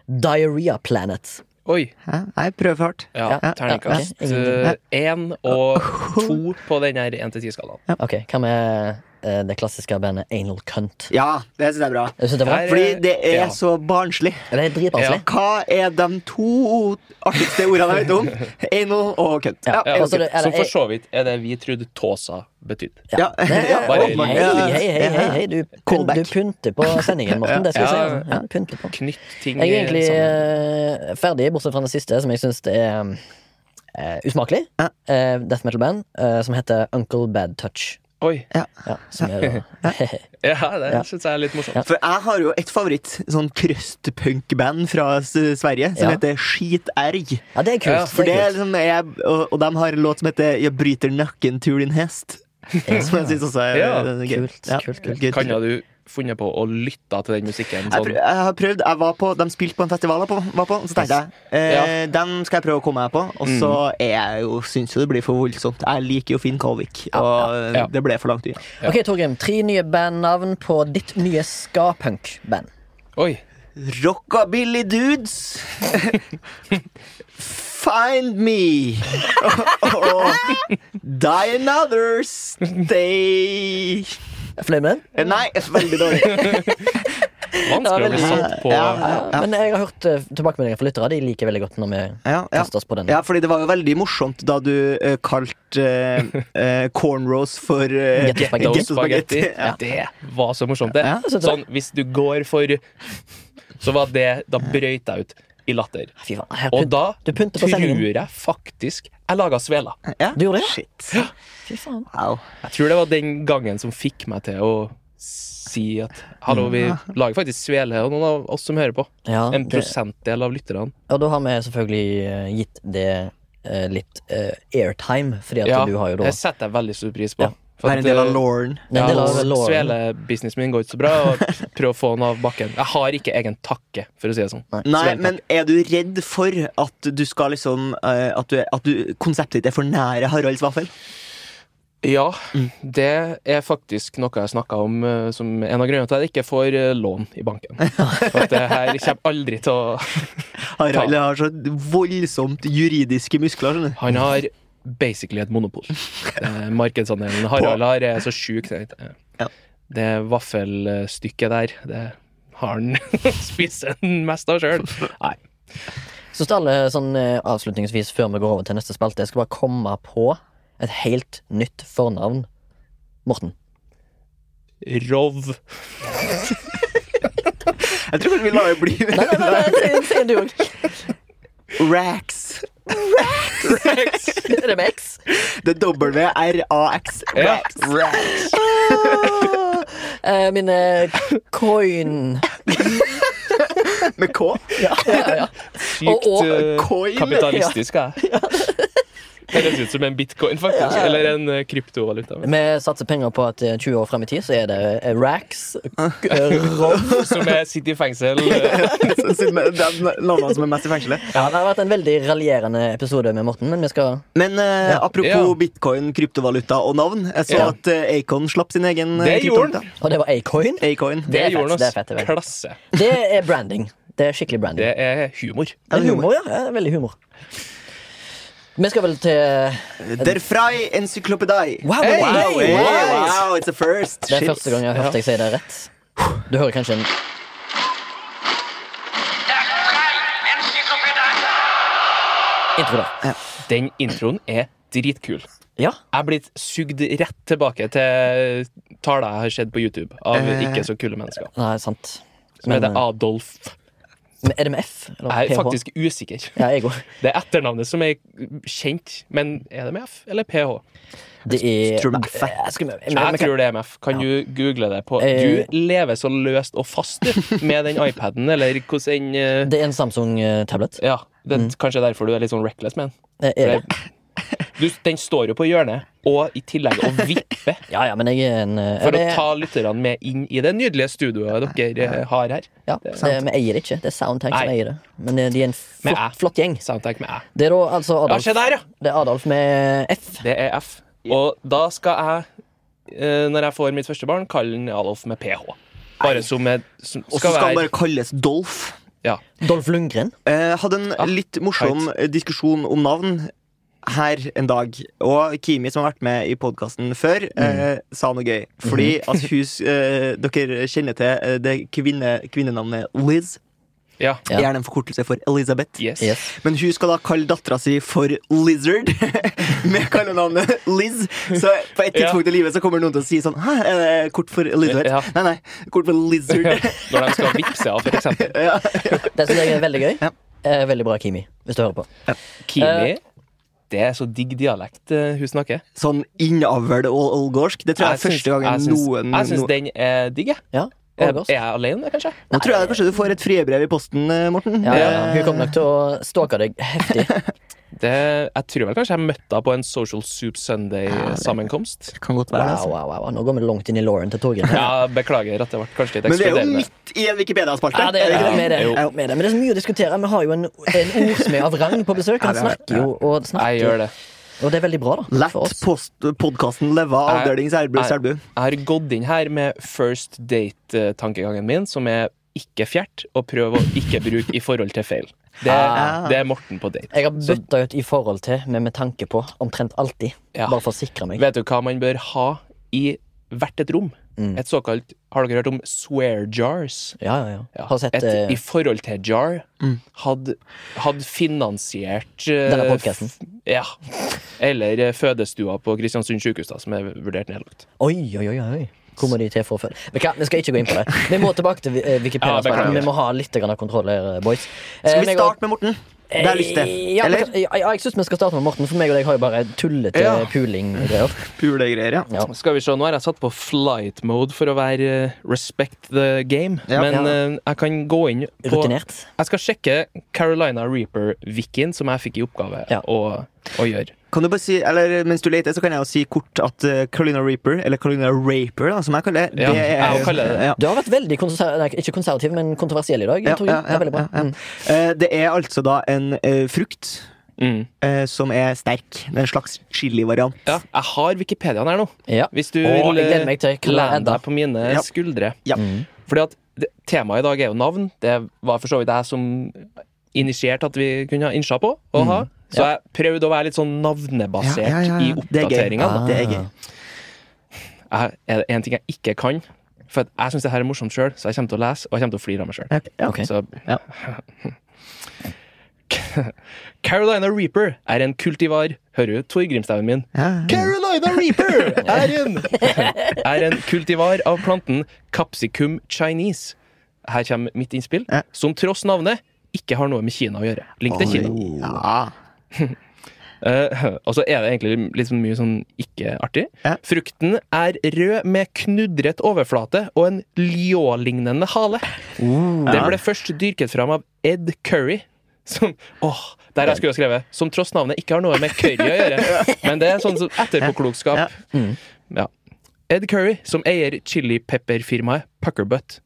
Speaker 1: Diarrhea Planet.
Speaker 3: Oi.
Speaker 2: Ja, jeg prøver for hardt.
Speaker 3: Ja,
Speaker 1: Ja, ja,
Speaker 3: terningkast
Speaker 1: ok. Ingenting.
Speaker 3: én og to på den her én til ti-skalaen.
Speaker 1: Ok, Hva med eh, det klassiske bandet Anal Cunt?
Speaker 2: Ja, det syns jeg er bra.
Speaker 1: Jeg synes det var
Speaker 3: Her-
Speaker 2: Fordi det er
Speaker 3: Ja.
Speaker 2: så barnslig.
Speaker 1: Det er dritbarnslig.
Speaker 2: Hva er de to artigste ordene jeg vet om? Anal og kønt. Ja,
Speaker 1: Ja,
Speaker 2: anal
Speaker 1: altså det-
Speaker 2: kønt.
Speaker 1: Eller,
Speaker 3: Som for
Speaker 1: jeg-
Speaker 3: så vidt er det vi trodde tåsa betydde.
Speaker 2: ja.
Speaker 1: Ja,
Speaker 3: Bare-
Speaker 1: Hei, hei, hei, hei, hei. Du, pyn,
Speaker 2: Callback.
Speaker 1: du pynter på sendingen, Morten. Det skal jeg
Speaker 3: Ja,
Speaker 1: si. altså. Ja, pynter på.
Speaker 3: Knytt ting
Speaker 1: Jeg er egentlig
Speaker 3: sammen.
Speaker 2: sånn?
Speaker 1: eh, ferdig, bortsett fra den siste, som jeg syns er eh, usmakelig.
Speaker 2: Ja.
Speaker 1: Eh, death metal-band eh, som heter Uncle Bad Touch.
Speaker 3: Oi.
Speaker 1: Ja, som er da
Speaker 3: Ja, det syns jeg er litt morsomt.
Speaker 2: For jeg har jo et favoritt sånn crustpunk-band fra S- Sverige som
Speaker 1: Ja.
Speaker 2: heter Skiterg.
Speaker 1: Ja, det er
Speaker 3: Ja,
Speaker 1: kult.
Speaker 2: For det
Speaker 1: er
Speaker 2: er
Speaker 1: kult.
Speaker 2: liksom jeg, og, og de har en låt som heter 'Jeg bryter nakken til din hest'. Som jeg syns også er
Speaker 3: Ja.
Speaker 2: er gøy.
Speaker 1: Kult, kult, kult.
Speaker 2: Gøy.
Speaker 3: Kan du funnet på å lytte til den
Speaker 2: Jeg,
Speaker 3: musikken.
Speaker 2: prøv,
Speaker 3: Sånn.
Speaker 2: jeg har prøvd, jeg var på, De spilte på en festival jeg på, var på, så tenkte jeg eh, dem skal jeg prøve å komme meg på. Og så
Speaker 3: Mm.
Speaker 2: er jeg jo, syns jo det blir for voldsomt. Jeg liker jo Finn Kalvik, og
Speaker 3: ja.
Speaker 2: det ble for langt unna.
Speaker 1: Ok, Torgrim. Tre nye bandnavn på ditt nye ska-punk-band.
Speaker 3: sånn? Oi.
Speaker 2: Rockabilly dudes Find me og Die another stay
Speaker 1: Er du Fornøyd med den?
Speaker 2: Eh, Nei, veldig dårlig
Speaker 3: Vanskelig å bli solgt på
Speaker 2: Ja, ja, ja.
Speaker 1: Men jeg har hørt eh, tilbakemeldinger fra lyttere. De liker veldig godt når vi
Speaker 2: Ja, ja.
Speaker 1: kaster oss på den.
Speaker 2: ja, fordi det var jo veldig morsomt da du eh, kalte eh, eh, cornrows for eh,
Speaker 1: Ghetto spagetti.
Speaker 3: Ghetto
Speaker 2: ghetto spagetti.
Speaker 3: spagetti.
Speaker 2: Ja.
Speaker 3: Det var så morsomt, det.
Speaker 2: Ja,
Speaker 1: jeg synes det.
Speaker 3: Sånn, hvis du går for Så var det Da brøyt jeg ut i latter.
Speaker 1: Fy faen, her
Speaker 3: Og
Speaker 1: pynt-
Speaker 3: da
Speaker 1: du pynter på
Speaker 3: tror
Speaker 1: sendingen.
Speaker 3: jeg faktisk jeg laga svela.
Speaker 2: Ja?
Speaker 1: Du gjorde det?
Speaker 2: Shit.
Speaker 1: Fy faen.
Speaker 2: Au.
Speaker 3: Jeg tror det var den gangen som fikk meg til å si at hallo, vi lager faktisk svele, og noen av oss som hører på.
Speaker 1: Mm. Ja,
Speaker 3: En
Speaker 1: det-
Speaker 3: prosentdel av lytterne.
Speaker 1: Og da har vi selvfølgelig eh, gitt det eh, litt eh, airtime, fordi at
Speaker 3: Ja,
Speaker 1: du har jo da
Speaker 3: det setter jeg veldig stor pris på. For
Speaker 2: Være en
Speaker 3: at,
Speaker 2: del av
Speaker 3: eh,
Speaker 2: Lauren
Speaker 1: Det er en del av
Speaker 3: Ja,
Speaker 1: låren.
Speaker 3: Svelebusinessen min går ikke så bra. Og prøv å få den av bakken. Jeg har ikke egen takke, for å si det sånn.
Speaker 2: Nei,
Speaker 3: Sveltak.
Speaker 2: men er du redd for at du skal liksom eh, at, du, er- at du, konseptet ditt er for nære Haralds vaffel?
Speaker 3: Ja, det er faktisk noe jeg snakka om eh, som en av grunnene til at jeg ikke får eh, lån i banken. For at det her kommer aldri til å
Speaker 2: Harald har så voldsomt juridiske muskler. skjønner du.
Speaker 3: Han har basically et monopol. Eh, Markedsandelen Harald har er så sjuk. det er-
Speaker 2: Ja.
Speaker 3: Det vaffelstykket der, det har han spist den mest av sjøl. Nei.
Speaker 1: Så skal alle sånn eh, avslutningsvis før vi går over til neste spalte, jeg skal bare komme på et helt nytt fornavn. Morten.
Speaker 3: Rov.
Speaker 2: Jeg tror kanskje vi lar det bli
Speaker 1: Nei, nei, nei, sier du òg.
Speaker 2: Rax.
Speaker 1: Er det med X?
Speaker 2: Det er W-R-A-X.
Speaker 3: Ja.
Speaker 2: Rax. Rax.
Speaker 1: Eh, mine coin
Speaker 2: Med K.
Speaker 1: ja, ja.
Speaker 3: Sykt
Speaker 1: Og- og
Speaker 3: eh,
Speaker 2: coin.
Speaker 3: kapitalistisk, jeg. Høres ut som en bitcoin, faktisk. Eller en eh, kryptovaluta.
Speaker 1: Vi satser penger på at eh, 20 år frem i tid så er det eh, Rax, eh, Rob
Speaker 3: Som er sitter i fengsel. eh,
Speaker 2: Så sitter vi- Det er navnet som er mest i fengselet.
Speaker 1: Ja, Det har vært en veldig raljerende episode med Morten, men vi skal
Speaker 2: Men eh, apropos
Speaker 3: Ja.
Speaker 2: bitcoin, kryptovaluta og navn. Jeg så
Speaker 3: Ja.
Speaker 2: at eh, Acon slapp sin egen eh,
Speaker 3: Det gjorde
Speaker 2: kryptovaluta.
Speaker 1: Og det var Acoin.
Speaker 2: Acoin.
Speaker 1: Det
Speaker 3: Det
Speaker 1: er fett,
Speaker 3: gjorde
Speaker 1: det er
Speaker 3: han
Speaker 1: fett, det er
Speaker 3: oss
Speaker 1: fett.
Speaker 3: klasse.
Speaker 1: Det er branding. Det er skikkelig branding.
Speaker 3: Det er humor.
Speaker 1: Det er humor, ja. ja. det er Veldig humor. Vi skal vel til
Speaker 2: Der Frei Encyklopedi.
Speaker 1: Wow,
Speaker 3: Hey!
Speaker 2: Wow,
Speaker 1: hey!
Speaker 2: hey,
Speaker 3: Wow!
Speaker 2: wow, it's a first.
Speaker 1: Det er
Speaker 2: Shit.
Speaker 1: første gang jeg har hørt deg si det rett. Du hører kanskje en
Speaker 4: Der frei Enzyklopädie.
Speaker 1: intro der.
Speaker 3: Den introen er dritkul.
Speaker 1: Ja.
Speaker 3: Jeg er blitt sugd rett tilbake til taler jeg har sett på YouTube av ikke så kule mennesker.
Speaker 1: Nei, sant.
Speaker 3: Som heter
Speaker 1: eh,
Speaker 3: Adolf.
Speaker 1: men er det med F? Eller
Speaker 3: Jeg er
Speaker 1: PH?
Speaker 3: faktisk usikker.
Speaker 1: Ja, jeg òg.
Speaker 3: Det er etternavnet som er kjent, men er det med F eller PH?
Speaker 1: Det er
Speaker 2: Tror du
Speaker 1: Nei,
Speaker 2: det er
Speaker 1: jeg skal- men- men-
Speaker 3: Jeg tror det er MF. Kan du google det på
Speaker 1: Eh.
Speaker 3: Du lever så løst og fast du, med den iPaden, eller hvordan eh,
Speaker 1: Det er en Samsung-tablet.
Speaker 3: Ja, det
Speaker 1: Mm.
Speaker 3: er kanskje derfor du er litt sånn reckless med den.
Speaker 1: Eh, Er
Speaker 3: For
Speaker 1: det?
Speaker 3: jeg- Du, den står jo på hjørnet, og i tillegg å vippe
Speaker 1: Ja, ja, men jeg er en eh,
Speaker 3: for
Speaker 1: det,
Speaker 3: å ta lytterne med inn i det nydelige studioet dere eh, har her.
Speaker 1: ja, det, Vi eier det ikke. Det er Soundtank som
Speaker 3: Nei.
Speaker 1: eier det. Men eh, de er en flott,
Speaker 3: Med æ.
Speaker 1: flott gjeng.
Speaker 3: Soundtrack med æ.
Speaker 1: Det er da altså
Speaker 3: Ja,
Speaker 1: Adolf,
Speaker 3: se der, ja!
Speaker 1: det er Adolf med F.
Speaker 3: Det er F. Og da skal jeg, eh, når jeg får mitt første barn, kalle den Adolf med PH. Bare som et som
Speaker 2: Og så
Speaker 3: skal
Speaker 2: skal han
Speaker 3: være
Speaker 2: bare kalles Dolf.
Speaker 3: Ja.
Speaker 1: Dolf Lundgren.
Speaker 2: Eh, hadde en
Speaker 3: Ah,
Speaker 2: litt morsom eh, diskusjon om navn her en dag. Og Kimi, som har vært med i podkasten før,
Speaker 3: Mm.
Speaker 2: eh, sa noe gøy. Fordi
Speaker 3: Mhm.
Speaker 2: at hus, eh, dere kjenner til eh, det kvinne, kvinnenavnet Liz.
Speaker 3: ja.
Speaker 1: Ja.
Speaker 2: Gjerne en forkortelse for Elizabeth.
Speaker 3: Yes.
Speaker 1: Yes.
Speaker 2: Men hun skal da kalle dattera si for Lizard, med kallenavnet Liz. Så på et
Speaker 3: Ja.
Speaker 2: tidspunkt i livet så kommer noen til å si sånn Hæ, er det kort for Elizabeth?
Speaker 3: Ja.
Speaker 2: Nei, nei, kort for Lizard.
Speaker 3: Når de skal vippse av, for eksempel.
Speaker 2: ja.
Speaker 1: Det syns jeg er veldig gøy.
Speaker 2: Ja.
Speaker 1: Eh, Veldig bra, Kimi, hvis du hører på.
Speaker 3: Kimi. Det er så digg dialekt eh, hun snakker.
Speaker 2: Sånn innavl og olgorsk. Det tror jeg, er
Speaker 3: syns-
Speaker 2: første gangen
Speaker 3: jeg syns-
Speaker 2: noen
Speaker 3: Jeg syns den er digg, jeg.
Speaker 1: Ja,
Speaker 3: Er
Speaker 1: Ålgård.
Speaker 3: er jeg alene, kanskje?
Speaker 2: Nå tror jeg kanskje du får et friebrev i posten, eh, Morten.
Speaker 1: Ja, ja, ja.
Speaker 2: Eh,
Speaker 1: Hun kommer nok til å stalke deg heftig.
Speaker 3: Det, jeg tror vel kanskje jeg møtte henne på en Social Soup Sunday-sammenkomst.
Speaker 2: Kan godt være det.
Speaker 1: Wow,
Speaker 2: Altså.
Speaker 1: wow, wow. Nå går vi langt inn i lauren til toget.
Speaker 3: Ja, beklager at det ble kanskje litt
Speaker 2: Men det er jo
Speaker 3: eksploderende.
Speaker 2: midt i en Wikipedia-spalte.
Speaker 1: Ja, det er det.
Speaker 2: ikke
Speaker 1: Med det.
Speaker 3: Jo.
Speaker 1: Ja, med det. Men det er så mye å diskutere. Vi har jo en, en ordsmed av rang på besøk. Han
Speaker 2: Ja, det er det.
Speaker 1: snakker jo og snakker.
Speaker 3: Jeg gjør det.
Speaker 1: Og det er veldig bra, da. For oss.
Speaker 2: Lett podkasten Leva
Speaker 3: Jeg-
Speaker 2: avdeling Selbu.
Speaker 3: jeg-
Speaker 2: Selbu.
Speaker 3: Jeg har gått inn her med first date-tankegangen min, som er ikke fjert, og prøv å ikke bruke i forhold til feil. Det,
Speaker 2: Ah.
Speaker 3: det er Morten på date.
Speaker 1: Jeg har bytta ut i forhold til, men med tanke på. Omtrent alltid.
Speaker 3: Ja.
Speaker 1: Bare for å sikre meg.
Speaker 3: Vet du hva man bør ha i hvert et rom?
Speaker 1: Mm.
Speaker 3: Et såkalt Har dere hørt om swear jars?
Speaker 1: Ja, ja, ja.
Speaker 3: Ja,
Speaker 1: Har sett
Speaker 3: et
Speaker 1: eh, Mm.
Speaker 3: i forhold til jar hadde, hadde finansiert eh,
Speaker 1: Denne podcasten.
Speaker 3: f- Ja. Eller eh, fødestua på Kristiansund sykehus, da, som er vurdert nedlagt.
Speaker 1: Oi, oi, oi. oi. Hvor må de til for å følge? Vet du hva, Vi skal ikke gå inn på det. Vi må tilbake til eh, Wikipedia.
Speaker 3: Ja, beklager.
Speaker 1: men vi må ha litt grann av kontroll her, eh, boys. Eh,
Speaker 2: Skal vi
Speaker 1: meg og- Eh,
Speaker 2: starte med Morten? Det er lyst til.
Speaker 1: Ja,
Speaker 2: Eller?
Speaker 1: men kan- ja, ja, jeg syns vi skal starte med Morten, for meg og deg har jo bare eh, tullete
Speaker 2: Ja.
Speaker 1: puling-greier.
Speaker 2: Pulegreier, ja.
Speaker 1: Ja.
Speaker 3: Skal vi se, Nå har jeg satt på flight mode for å være eh, respect the game,
Speaker 2: Ja.
Speaker 3: men
Speaker 2: Ja.
Speaker 3: eh, jeg kan gå inn på
Speaker 1: Rutinert.
Speaker 3: Jeg skal sjekke Carolina Reaper-wikien, som jeg fikk i oppgave
Speaker 1: Ja.
Speaker 3: å, å gjøre.
Speaker 2: Kan du bare si, eller Mens du leter, så kan jeg jo si kort at eh, Carolina Reaper, eller Carolina Raper, da, som jeg kaller det,
Speaker 3: Ja,
Speaker 2: det
Speaker 3: jeg også kaller det det.
Speaker 2: Ja.
Speaker 1: Du har vært veldig konser nei, ikke konservativ, men kontroversiell i dag.
Speaker 2: Ja,
Speaker 1: tror jeg.
Speaker 2: ja,
Speaker 1: det er veldig bra.
Speaker 2: ja, ja.
Speaker 1: Mm.
Speaker 2: Eh, Det er altså da en eh, frukt
Speaker 3: Mm.
Speaker 2: eh, som er sterk. Det er en slags chilivariant.
Speaker 3: Ja, jeg har Wikipediaen her nå.
Speaker 1: Ja.
Speaker 3: Hvis du
Speaker 1: Å,
Speaker 3: vil eh,
Speaker 1: jeg gleder meg til Clara
Speaker 3: lene
Speaker 1: Edda.
Speaker 3: deg på mine
Speaker 2: Ja.
Speaker 3: skuldre.
Speaker 2: Ja.
Speaker 3: Fordi at det, temaet i dag er jo navn. Det var for så vidt jeg som initierte at vi kunne ha innsa på. å ha. Så
Speaker 1: Ja.
Speaker 3: jeg prøvde å være litt sånn navnebasert
Speaker 2: Mm. Ja, ja, ja, ja.
Speaker 3: i
Speaker 2: Det er gøy.
Speaker 3: oppdateringa.
Speaker 1: da.
Speaker 2: Det er gøy.
Speaker 3: Jeg- Er det én ting jeg ikke kan? For at jeg syns det her er morsomt sjøl, så jeg kommer til å lese og jeg kommer til å flire av meg sjøl.
Speaker 2: Ja.
Speaker 1: Ok.
Speaker 3: Så
Speaker 2: Ja.
Speaker 3: Carolina Reaper er en kultivar Hører du Torgrimstauen min?
Speaker 2: Ja.
Speaker 3: Carolina Reaper er en, er en kultivar av planten Capsicum chinese. Her kommer mitt innspill,
Speaker 2: Ja.
Speaker 3: som tross navnet ikke har noe med Kina å gjøre. Link til Kina.
Speaker 2: Oh. Ja.
Speaker 3: Eh, og så er det egentlig litt sånn mye sånn ikke-artig.
Speaker 2: Ja.
Speaker 3: Frukten er rød med knudret overflate og en ljålignende hale. Den ble først dyrket fram av Ed Curry. Som, åh, der jeg skulle ha skrevet Som tross navnet ikke har noe med curry å gjøre. Men det er sånn som etterpåklokskap. Ja. Ed Curry, som eier chilipepperfirmaet Puckerbutt.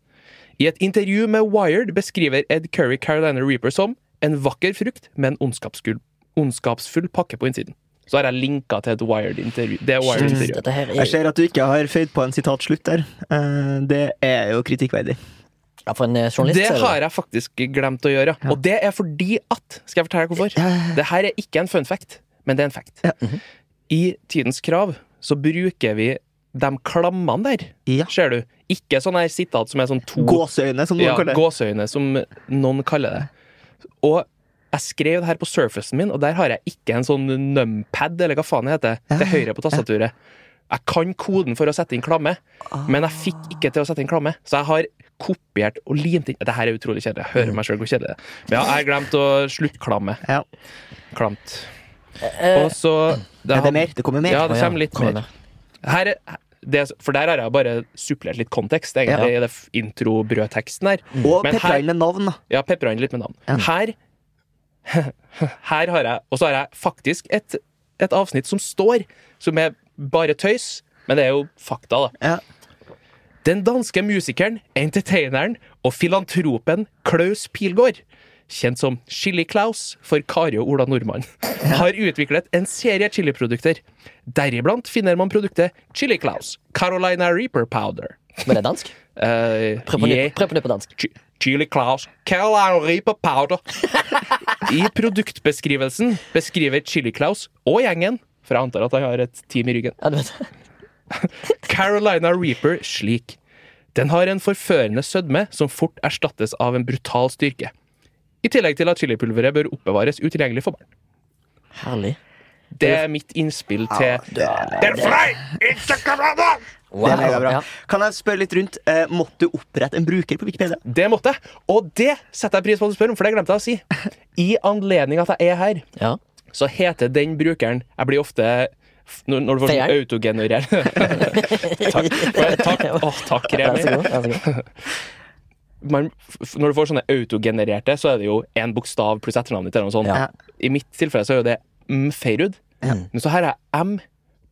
Speaker 3: I et intervju med Wired beskriver Ed Curry Carolina Reaper som en vakker frukt med en ondskapsfull, ondskapsfull pakke på innsiden. Så har jeg linka til et Wired-intervju. Det er
Speaker 1: Jesus,
Speaker 3: Wired-intervjuet.
Speaker 1: dette her
Speaker 2: Jeg
Speaker 1: er
Speaker 2: ser at du ikke har føyd på en sitat slutt der. Eh, Det er jo kritikkverdig.
Speaker 1: ja, For en eh, journalist
Speaker 3: Det har jeg faktisk glemt å gjøre. Og det er fordi at Skal jeg fortelle deg hvorfor? Det her er ikke en fun fact, men det er en fact. I Tidens Krav så bruker vi de klammene der,
Speaker 2: Ja.
Speaker 3: ser du. Ikke sånn her sitat som er sånn to
Speaker 2: Gåseøyne, som noen
Speaker 3: ja,
Speaker 2: kaller det.
Speaker 3: gåseøyne, som noen kaller det. Og jeg skrev det her på surfacen min, og der har jeg ikke en sånn numpad, eller hva faen det heter, til høyre på tastaturet. Jeg kan koden for å sette inn klamme,
Speaker 2: Ah.
Speaker 3: men jeg fikk ikke til å sette inn klamme. Så jeg har kopiert og limt inn Dette her er utrolig kjedelig. Jeg hører meg sjøl hvor kjedelig det er. Men ja, jeg har glemt å sluttklamme.
Speaker 2: Ja.
Speaker 3: Klamt. Og så
Speaker 2: Eh, Er det mer? Det kommer mer.
Speaker 3: Ja,
Speaker 1: Å,
Speaker 3: det
Speaker 1: ja.
Speaker 3: kommer litt
Speaker 1: Kommer
Speaker 3: mer. Her, er- det, for der har jeg bare supplert litt kontekst, egentlig, i det f- intro-brødteksten her.
Speaker 2: Og
Speaker 3: Men her-
Speaker 2: pepra inn med navn, da.
Speaker 3: ja, pepra inn litt med navn. Her Her har jeg Og så har jeg faktisk et, et avsnitt som står, som er bare tøys, men det er jo fakta, da.
Speaker 2: Ja.
Speaker 3: Den danske musikeren, entertaineren og filantropen Klaus Pilgaard, kjent som Chili-Klaus for Kari og Ola Nordmann, har utviklet en serie chiliprodukter. Deriblant finner man produktet Chili-Klaus Carolina Reaper Powder.
Speaker 1: Men det er dansk?
Speaker 3: Eh,
Speaker 1: Prøv på,
Speaker 3: yeah.
Speaker 1: nytt, prøv på nytt på dansk.
Speaker 3: Chi- Chili Claus Carolina Reaper Powder. I produktbeskrivelsen beskriver Chili Claus og gjengen for jeg antar at han har et team i ryggen.
Speaker 1: Ja, du vet.
Speaker 3: Carolina Reaper slik. Den har en forførende sødme som fort erstattes av en brutal styrke. I tillegg til at chilipulveret bør oppbevares utilgjengelig for barn.
Speaker 1: Herlig.
Speaker 3: Det er mitt innspill til Den fløy! Ikke Carolina!
Speaker 1: Wow.
Speaker 2: Det er megabra.
Speaker 1: Ja.
Speaker 2: Kan jeg spørre litt rundt? eh, Måtte du opprette en bruker på Wikipedia?
Speaker 3: Det måtte jeg, og det setter jeg pris på at du spør om, for det glemte jeg å si. I anledning at jeg er her,
Speaker 1: Ja.
Speaker 3: så heter den brukeren Jeg blir ofte f- Når når du får sånn
Speaker 1: Feieren.
Speaker 3: autogenerer Takk. Takk. Åh, takk
Speaker 1: Vær
Speaker 3: Remi.
Speaker 1: så god. Vær så god.
Speaker 3: man, f- når du får sånne autogenererte, så er det jo én bokstav pluss etternavnet ditt. eller noe sånt.
Speaker 1: Ja.
Speaker 3: I mitt tilfelle så er jo det M. Feirud. Men så her er M,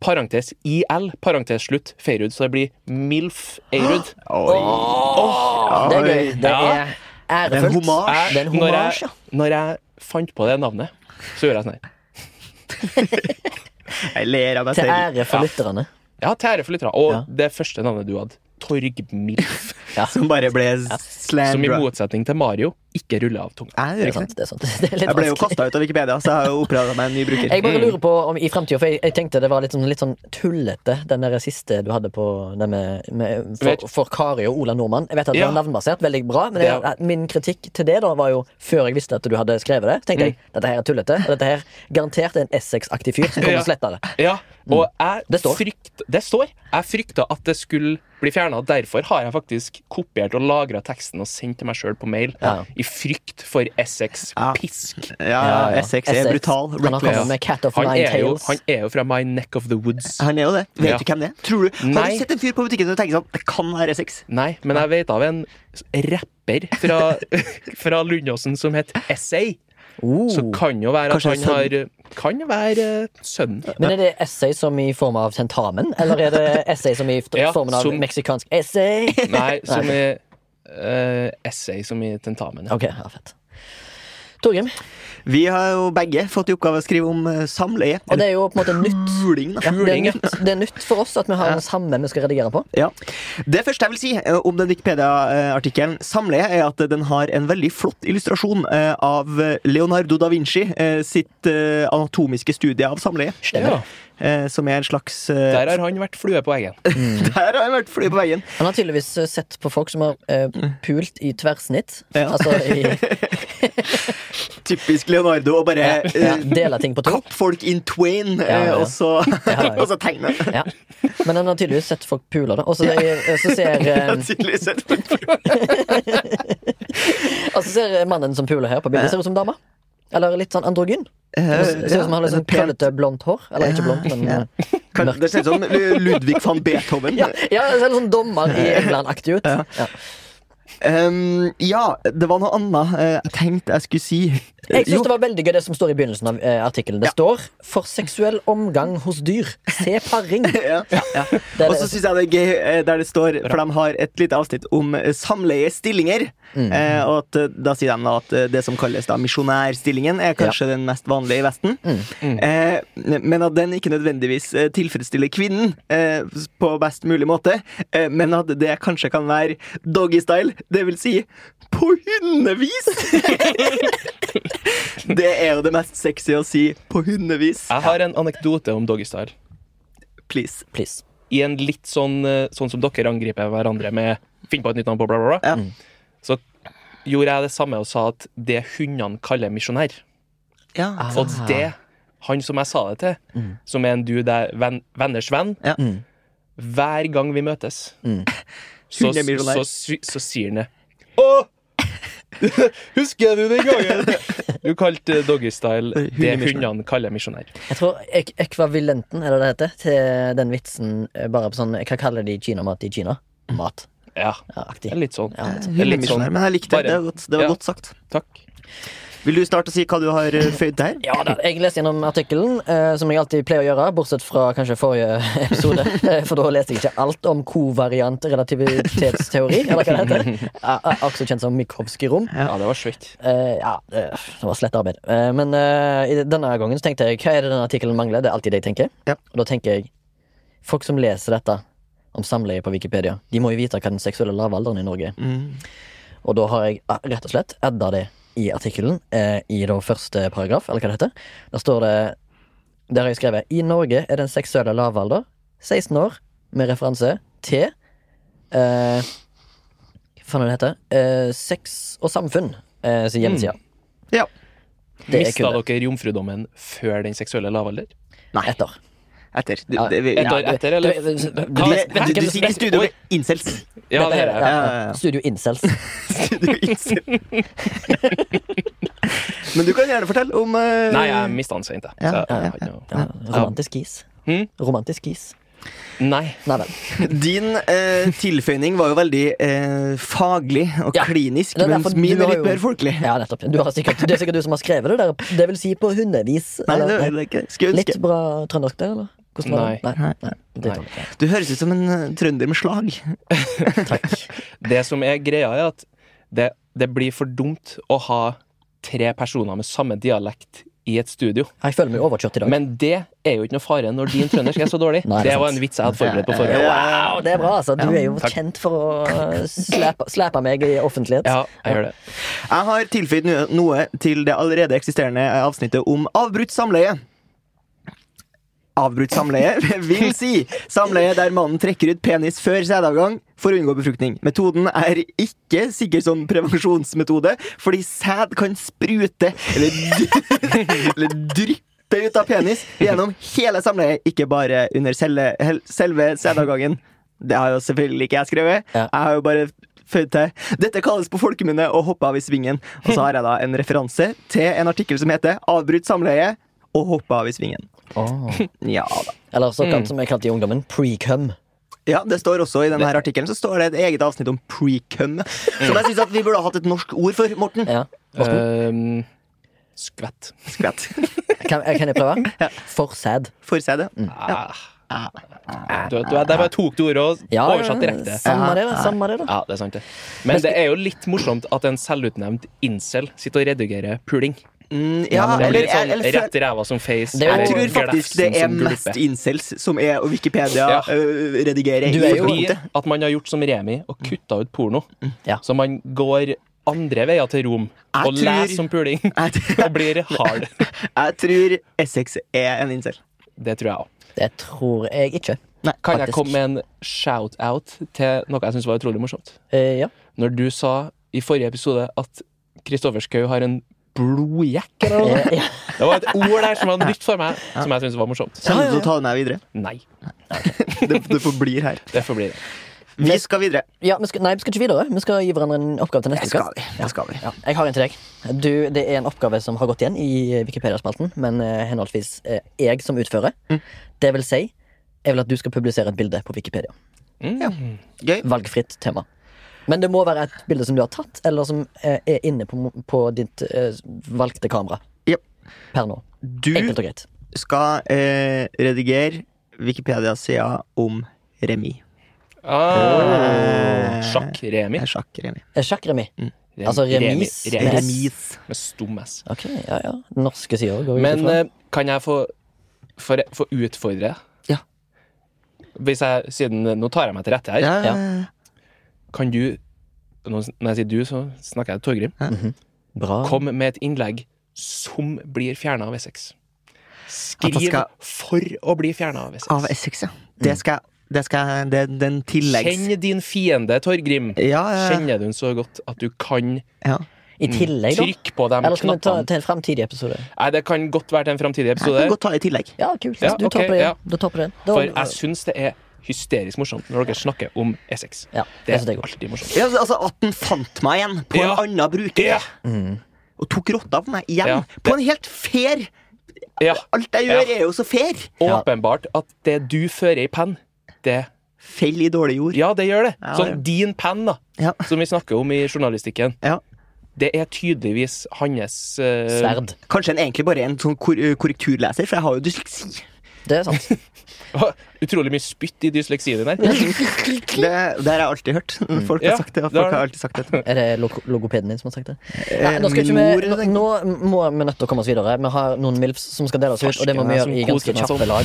Speaker 3: parentes IL, parentes slutt, Feirud. Så det blir MILF Eirud.
Speaker 1: Det er gøy. Det
Speaker 3: Ja.
Speaker 1: er ærefullt.
Speaker 2: Det er en hommage.
Speaker 1: Det er en
Speaker 3: når,
Speaker 1: hommage, ja.
Speaker 3: jeg, når jeg fant på det navnet, så gjorde jeg sånn her.
Speaker 2: Jeg ler av meg
Speaker 1: Til
Speaker 2: selv.
Speaker 1: ære for
Speaker 3: Ja.
Speaker 1: lytterne.
Speaker 3: Ja, til ære for lytterne. Og
Speaker 1: Ja.
Speaker 3: det første navnet du hadde, Torg Milf,
Speaker 2: Som bare ble
Speaker 3: som i
Speaker 2: slandra.
Speaker 3: motsetning til Mario ikke ruller av tunga.
Speaker 2: Nei, det
Speaker 1: Det
Speaker 2: gjør
Speaker 1: er
Speaker 2: ikke det.
Speaker 1: sant. Det er sant. Det er litt
Speaker 2: Jeg ble jo
Speaker 1: vanskelig.
Speaker 2: kasta ut av Wikipedia, så jeg har jo oppretta meg en ny bruker.
Speaker 1: Jeg bare lurer på om i fremtiden, for jeg, jeg tenkte det var litt sånn, litt sånn tullete, den der siste du hadde på den med, med,
Speaker 3: Vet-
Speaker 1: for, for Kari og Ola Nordmann. Jeg vet at det
Speaker 3: Ja.
Speaker 1: var navnbasert, veldig bra, men jeg,
Speaker 3: Ja.
Speaker 1: min kritikk til det da var jo før jeg visste at du hadde skrevet det, tenkte jeg dette her er tullete, og dette her garantert er en Essex-aktig fyr som kommer
Speaker 3: Ja.
Speaker 1: og sletter det.
Speaker 3: Ja, og
Speaker 1: Mm.
Speaker 3: jeg
Speaker 1: Det står.
Speaker 3: Frykt, det står. Jeg frykta at det skulle bli fjerna. Derfor har jeg faktisk kopiert og lagra teksten og sendt til meg sjøl på mail.
Speaker 1: Ja.
Speaker 3: I frykt for Essex
Speaker 2: Ja.
Speaker 3: pisk.
Speaker 2: Ja, ja, Essex er brutal.
Speaker 1: E. Han har
Speaker 2: Reckless.
Speaker 1: kommet med Cat of
Speaker 3: Han
Speaker 1: Nine
Speaker 3: er, jo,
Speaker 1: Tales.
Speaker 3: han er jo fra my neck of the woods.
Speaker 2: Han er jo det. Vet
Speaker 3: Ja.
Speaker 2: du hvem det er? Tror du? Har
Speaker 3: Nei.
Speaker 2: du sett en fyr på butikken og tenker sånn Det kan være Essex.
Speaker 3: Nei, men jeg vet av en rapper fra, fra Lundåsen som het Essay.
Speaker 1: Oh.
Speaker 3: Så kan jo være at
Speaker 2: Kanskje
Speaker 3: han har Kan være eh, sønnen.
Speaker 1: Men er det essay som i form av tentamen, eller er det essay som i f-
Speaker 3: Ja,
Speaker 1: formen av
Speaker 3: som-
Speaker 1: meksikansk essay?
Speaker 3: Nei, som i eh, essay, som i tentamen. Ja.
Speaker 1: Ok, ja, fett. Torgrim,
Speaker 2: Vi har jo begge fått i oppgave å skrive om eh, samleie.
Speaker 1: og det er jo på en måte nytt
Speaker 2: Puling, da.
Speaker 1: Ja, det, er
Speaker 3: Puling, ja.
Speaker 1: nytt, det er nytt for oss at vi har den samme vi skal redigere på.
Speaker 2: Ja. Det første jeg vil si eh, om den Wikipedia-artikkelen Samleie, er at eh, den har en veldig flott illustrasjon eh, av eh, Leonardo da Vinci eh, sitt eh, anatomiske studie av samleie.
Speaker 1: Stemmer.
Speaker 2: Eh, Som er en slags
Speaker 3: Der
Speaker 2: eh,
Speaker 3: har han vært flue på veggen.
Speaker 2: Der har jeg vært fly på veien!
Speaker 1: Han har tydeligvis eh, sett på folk som har eh, pult i tverrsnitt.
Speaker 2: Ja.
Speaker 1: Altså i
Speaker 2: Typisk Leonardo å bare
Speaker 1: ja,
Speaker 2: eh,
Speaker 1: dele ting på to.
Speaker 2: Kapp folk in twain, eh,
Speaker 1: ja, ja.
Speaker 2: og så,
Speaker 1: ja, ja.
Speaker 2: og så tegne.
Speaker 1: Ja. Men han har tydeligvis sett folk pule, da. Og så eh, så ser,
Speaker 2: Jeg har
Speaker 1: eh,
Speaker 2: tydeligvis sett på
Speaker 1: og så ser mannen som puler her på bildet, ser ut som dama. Eller litt sånn androgyn.
Speaker 2: Eh,
Speaker 1: Ser ut som han har litt sånn
Speaker 2: pent.
Speaker 1: krøllete blondt hår. Eller ikke blondt, men eh,
Speaker 2: Kan, det ser ut som Lu- Ludvig van Beethoven.
Speaker 1: ja, ja, det ser litt sånn dommer i England-aktig ut. Ja.
Speaker 2: Ehm, ja, det var noe annet eh, jeg tenkte jeg skulle si.
Speaker 1: Jeg
Speaker 2: Jo,
Speaker 1: synes det var veldig gøy det som står i begynnelsen av eh, artikkelen. Det står 'for seksuell omgang hos dyr'. Se paring.
Speaker 2: ja, ja.
Speaker 1: Det er
Speaker 2: Og så
Speaker 1: det-
Speaker 2: syns jeg det er gøy eh, der det står, for de har et lite avsnitt om eh, samleiestillinger.
Speaker 1: Mm.
Speaker 2: Eh, og at, eh, da sier de da at eh, det som kalles da misjonærstillingen, er kanskje den mest vanlige i Vesten.
Speaker 1: Mm.
Speaker 2: Eh, men at den ikke nødvendigvis eh, tilfredsstiller kvinnen eh, på best mulig måte. Eh, men at det kanskje kan være doggystyle, det vil si på hundevis! det er jo det mest sexy å si på hundevis.
Speaker 3: Jeg har en anekdote om doggystyle.
Speaker 2: Please.
Speaker 1: Please.
Speaker 3: I en litt sånn eh, Sånn som dere angriper hverandre med Finn på et nytt navn på bla, bla, bla.
Speaker 2: Ja.
Speaker 1: Mm.
Speaker 3: Så gjorde jeg det samme og sa at det hundene kaller misjonær.
Speaker 2: Ja.
Speaker 3: Og det Han som jeg sa det til, som er en dude jeg er venn, venners venn,
Speaker 2: Ja.
Speaker 3: hver gang vi møtes, så,
Speaker 2: Hundemisjonær.
Speaker 3: så, sy- så sier han det. Å! Husker du den gangen du kalte eh, doggystyle det
Speaker 2: Hundemisjonær.
Speaker 3: hundene kaller misjonær?
Speaker 1: Jeg tror ek ekvivalenten, er det det heter, til den vitsen eh, bare på sånn Hva kaller de kinamat i Kina? Mat.
Speaker 3: Ja.
Speaker 1: Ja, aktig.
Speaker 3: Det er litt sånn.
Speaker 1: Ja, litt
Speaker 3: Det er litt sånn.
Speaker 2: Misjonær, men jeg likte det.
Speaker 3: Bare-
Speaker 2: Det var godt, det var
Speaker 3: Ja.
Speaker 2: godt sagt.
Speaker 3: Takk.
Speaker 2: Vil du starte å si hva du har eh, føyd der?
Speaker 1: Ja da, jeg leste gjennom artikkelen, eh, som jeg alltid pleier å gjøre, bortsett fra kanskje forrige episode, eh, for da leste jeg ikke alt om kovariant relativitetsteori, eller hva det heter. Ja, ja, Også kjent som Mikhowski-rom.
Speaker 3: Ja, det var svett.
Speaker 1: Eh, ja, det det var slett arbeid. Eh, men eh, i denne gangen så tenkte jeg hva er det denne artikkelen mangler? Det er alltid det jeg tenker.
Speaker 2: Ja.
Speaker 1: Og da tenker jeg folk som leser dette om samleie på Wikipedia, de må jo vite hva den seksuelle lavalderen i Norge er. Og da har jeg eh, rett og slett edda det i artikkelen eh, i da første paragraf, eller hva det heter. Der står det Der har jeg skrevet I Norge er den seksuelle lavalder 16 år, med referanse til eh, Hva faen er det det heter? Eh, sex og samfunn, eh, sin hjemmeside.
Speaker 2: Ja.
Speaker 1: Det er
Speaker 3: Mista
Speaker 1: kun
Speaker 3: dere jomfrudommen før den seksuelle lavalder?
Speaker 2: Nei.
Speaker 1: etter.
Speaker 2: Etter. Du,
Speaker 1: Ja.
Speaker 2: det, vi,
Speaker 3: Et
Speaker 2: ja.
Speaker 3: år etter, eller?
Speaker 1: Du- du- du- du-
Speaker 3: Hva-
Speaker 2: Du, du, du sier ikke studio
Speaker 3: Oi.
Speaker 2: med incels.
Speaker 3: Ja, det er det.
Speaker 1: Ja,
Speaker 2: Ja,
Speaker 1: ja,
Speaker 2: ja, ja.
Speaker 1: Studio Incels.
Speaker 2: Studio incels. Men du kan gjerne fortelle om eh,
Speaker 3: Nei, jeg mista den seint, jeg. Så
Speaker 2: Ja,
Speaker 3: jeg
Speaker 2: ja,
Speaker 3: hadde noe-
Speaker 1: Ja, romantisk is.
Speaker 3: Hmm?
Speaker 1: Romantisk is.
Speaker 3: Nei.
Speaker 1: Nei vel.
Speaker 2: Din eh, tilføyning var jo veldig eh, faglig og
Speaker 1: Ja.
Speaker 2: klinisk,
Speaker 1: Det er
Speaker 2: mens
Speaker 1: derfor
Speaker 2: min
Speaker 1: du
Speaker 2: var
Speaker 1: har
Speaker 2: litt
Speaker 1: jo-
Speaker 2: mer folkelig.
Speaker 1: Ja, nettopp. Du har sikkert, det er sikkert du som har skrevet det der. Det vil si på hundevis.
Speaker 2: Nei, det,
Speaker 1: eller?
Speaker 2: det er ikke. Skulle
Speaker 1: Litt
Speaker 2: ønske.
Speaker 1: bra trøndersk der, eller? Hvordan var det?
Speaker 3: Nei.
Speaker 1: Nei. Nei. Det er trøndersk.
Speaker 2: Du høres ut som en eh, trønder med slag.
Speaker 1: Takk.
Speaker 3: Det som er greia, er at det, det blir for dumt å ha tre personer med samme dialekt i et studio.
Speaker 1: Jeg føler meg overkjørt i dag.
Speaker 3: Men det er jo ikke noe fare når din trøndersk er så dårlig.
Speaker 1: Nei, det
Speaker 3: det
Speaker 1: er
Speaker 3: var
Speaker 1: sant.
Speaker 3: en vits jeg hadde forberedt på forhånd.
Speaker 1: Wow, det er bra, altså. Du er jo
Speaker 3: takk.
Speaker 1: kjent for å eh, slæpe, slæpe meg i offentlighet.
Speaker 3: Ja, jeg gjør det.
Speaker 2: Jeg har tilføyd noe- noe til det allerede eksisterende avsnittet om avbrutt samleie. Avbrutt samleie vil si samleie der mannen trekker ut penis før sædavgang for å unngå befruktning. Metoden er ikke sikker som prevensjonsmetode, fordi sæd kan sprute eller, dry- eller dryppe ut av penis gjennom hele samleiet, ikke bare under selve, hel- selve sædavgangen. Det har jo selvfølgelig ikke jeg skrevet.
Speaker 1: Ja.
Speaker 2: Jeg har jo bare føyd til Dette kalles på folkemunne å hoppe av i svingen. Og så har jeg da en referanse til en artikkel som heter 'Avbryt samleie og hoppe av i svingen'.
Speaker 1: Åh.
Speaker 2: Ja da.
Speaker 1: Eller
Speaker 3: Mm.
Speaker 1: såkalt som jeg kalte i ungdommen, pre-cum.
Speaker 2: Ja, det står også I denne her artikkelen så står det et eget avsnitt om precum. Som jeg syns vi burde ha hatt et norsk ord for. Morten.
Speaker 1: Ja.
Speaker 3: Øhm, Ehm, skvett.
Speaker 2: Skvett.
Speaker 1: Kan, eh, kan jeg prøve? For sad.
Speaker 2: Får jeg si det?
Speaker 3: Ah. Du, du, der bare tok du ordet og
Speaker 1: Ja,
Speaker 3: oversatt direkte.
Speaker 1: Samme det, da. Samme det, da.
Speaker 3: Ja, det er sant, det. Men det er jo litt morsomt at en selvutnevnt incel sitter og redigerer puling.
Speaker 2: Mm, ja,
Speaker 3: Det er
Speaker 2: eller,
Speaker 3: litt sånn
Speaker 2: eller, eller
Speaker 3: rett i ræva som face.
Speaker 1: Det er jo-
Speaker 2: jeg
Speaker 3: eller
Speaker 2: tror faktisk det
Speaker 3: glefsen
Speaker 2: er
Speaker 3: som gulpe.
Speaker 2: mest incels som er og Wikipedia
Speaker 3: Ja.
Speaker 2: øh, redigerer.
Speaker 1: Du er jo-
Speaker 2: i Mm.
Speaker 3: Fordi
Speaker 2: utgangspunktet.
Speaker 3: at man har gjort som Remi og kutta ut porno.
Speaker 1: Ja.
Speaker 3: Så man går andre veier til Rom
Speaker 2: Mm. Jeg
Speaker 3: og
Speaker 2: tror-
Speaker 3: leser om puling og
Speaker 2: Jeg,
Speaker 3: blir hard.
Speaker 2: jeg tror Essex er en incel.
Speaker 3: Det tror jeg òg.
Speaker 1: Det tror jeg ikke.
Speaker 3: Kan jeg
Speaker 1: Faktisk.
Speaker 3: komme med en shout-out til noe jeg syns var utrolig morsomt?
Speaker 1: Eh, ja.
Speaker 3: Når du sa i forrige episode at Kristoffer Schou har en blodjekk eller noe.
Speaker 1: Eh, ja.
Speaker 3: Det var et ord der som var nytt for meg, som jeg syntes var morsomt.
Speaker 2: Kommer du til å ta det med videre?
Speaker 3: Nei.
Speaker 2: Det, det forblir her.
Speaker 3: Det får bli det.
Speaker 2: Vi skal videre.
Speaker 1: ja vi skal, nei, vi skal ikke videre. Vi skal gi hverandre en oppgave til neste uke.
Speaker 2: Det skal vi.
Speaker 1: Ja, jeg har en til deg. Du, det er en oppgave som har gått igjen i Wikipedia-spalten, men eh, henholdsvis eh, jeg som utfører.
Speaker 2: Mm.
Speaker 1: Det vil si, jeg vil at du skal publisere et bilde på Wikipedia.
Speaker 2: Gøy.
Speaker 1: Valgfritt tema. Men det må være et bilde som du har tatt, eller som eh, er inne på, mo- på ditt eh, valgte kamera
Speaker 2: Jep.
Speaker 1: per nå.
Speaker 2: Du
Speaker 1: Enkelt og greit.
Speaker 2: skal eh, redigere Wikipedia-sida om Remi.
Speaker 3: Ah, Sjakk-Remi.
Speaker 2: Eh, Sjakk-Remi.
Speaker 1: Eh, Sjakk-remi. Altså remis.
Speaker 3: Remi.
Speaker 1: Med S.
Speaker 2: Mm. Remis.
Speaker 3: Med stum S.
Speaker 1: Ok, ja, ja. Den norske sida går jo
Speaker 3: Men
Speaker 1: ifra.
Speaker 3: eh, kan jeg få, få, re- få utfordre deg?
Speaker 2: Ja.
Speaker 3: Hvis jeg, siden eh, Nå tar jeg meg til rette her.
Speaker 2: Ja.
Speaker 3: Kan du nå- Når jeg sier du, så snakker jeg til Torgrim.
Speaker 1: Bra.
Speaker 3: Kom med et innlegg som blir fjerna av Essex.
Speaker 2: At han
Speaker 3: Skriv
Speaker 2: skal-
Speaker 3: for å bli fjerna av Essex.
Speaker 2: Av Essex, ja. Det skal jeg det skal, det, Den tilleggs...
Speaker 3: Kjenn din fiende, Torgrim.
Speaker 2: Ja, ja, ja.
Speaker 3: Kjenner du den så godt at du kan
Speaker 2: ja.
Speaker 1: I tillegg, da.
Speaker 3: trykke Mm. på de
Speaker 1: Eller skal vi ta
Speaker 3: knappene?
Speaker 1: til en fremtidig episode?
Speaker 3: Nei, det kan godt være til en framtidig
Speaker 2: Jeg kan
Speaker 3: episode.
Speaker 2: godt ta i tillegg.
Speaker 1: Ja, kult.
Speaker 3: Ja,
Speaker 1: du
Speaker 3: ok,
Speaker 1: topper det.
Speaker 3: ja.
Speaker 1: Du topper det. Da-
Speaker 3: For jeg syns det er hysterisk morsomt når dere snakker om Essex.
Speaker 1: Ja,
Speaker 3: det
Speaker 1: jeg
Speaker 3: er
Speaker 1: synes det er godt.
Speaker 3: alltid morsomt.
Speaker 2: Ja, altså At den fant meg igjen på
Speaker 3: Ja.
Speaker 2: en annen bruker.
Speaker 3: Ja.
Speaker 1: Mm.
Speaker 2: Og tok rotta på meg igjen.
Speaker 3: Ja.
Speaker 2: På en helt fair
Speaker 3: Ja.
Speaker 2: Alt jeg gjør,
Speaker 3: Ja.
Speaker 2: er jo så fair.
Speaker 3: Åpenbart at det du fører i penn, det
Speaker 2: Fell i dårlig jord.
Speaker 3: Ja, det gjør det.
Speaker 2: Ja, ja.
Speaker 3: Sånn din penn, da,
Speaker 2: Ja.
Speaker 3: som vi snakker om i journalistikken,
Speaker 2: Ja.
Speaker 3: det er tydeligvis hans eh,
Speaker 1: Sverd.
Speaker 2: Kanskje en egentlig bare en sånn kor korrekturleser, for jeg har jo dysleksi.
Speaker 1: Det er sant.
Speaker 3: Utrolig mye spytt i dysleksien din her.
Speaker 2: Det, det har jeg alltid hørt. Folk har
Speaker 3: Ja,
Speaker 2: sagt Mm. det. og
Speaker 3: det har
Speaker 2: Folk har
Speaker 3: du.
Speaker 2: alltid sagt det.
Speaker 1: Er det log logopeden din som har sagt det? Nei,
Speaker 2: Eh,
Speaker 1: nå, skal
Speaker 2: min
Speaker 1: ikke vi,
Speaker 2: mor,
Speaker 1: nå, nå må vi nødt til å komme oss videre. Vi har noen MILFs som skal dele oss ut, og det må vi
Speaker 3: Farsken,
Speaker 1: gjøre i
Speaker 3: jeg som
Speaker 1: ganske
Speaker 3: koser meg
Speaker 1: kjappe
Speaker 3: sånn.
Speaker 1: lag.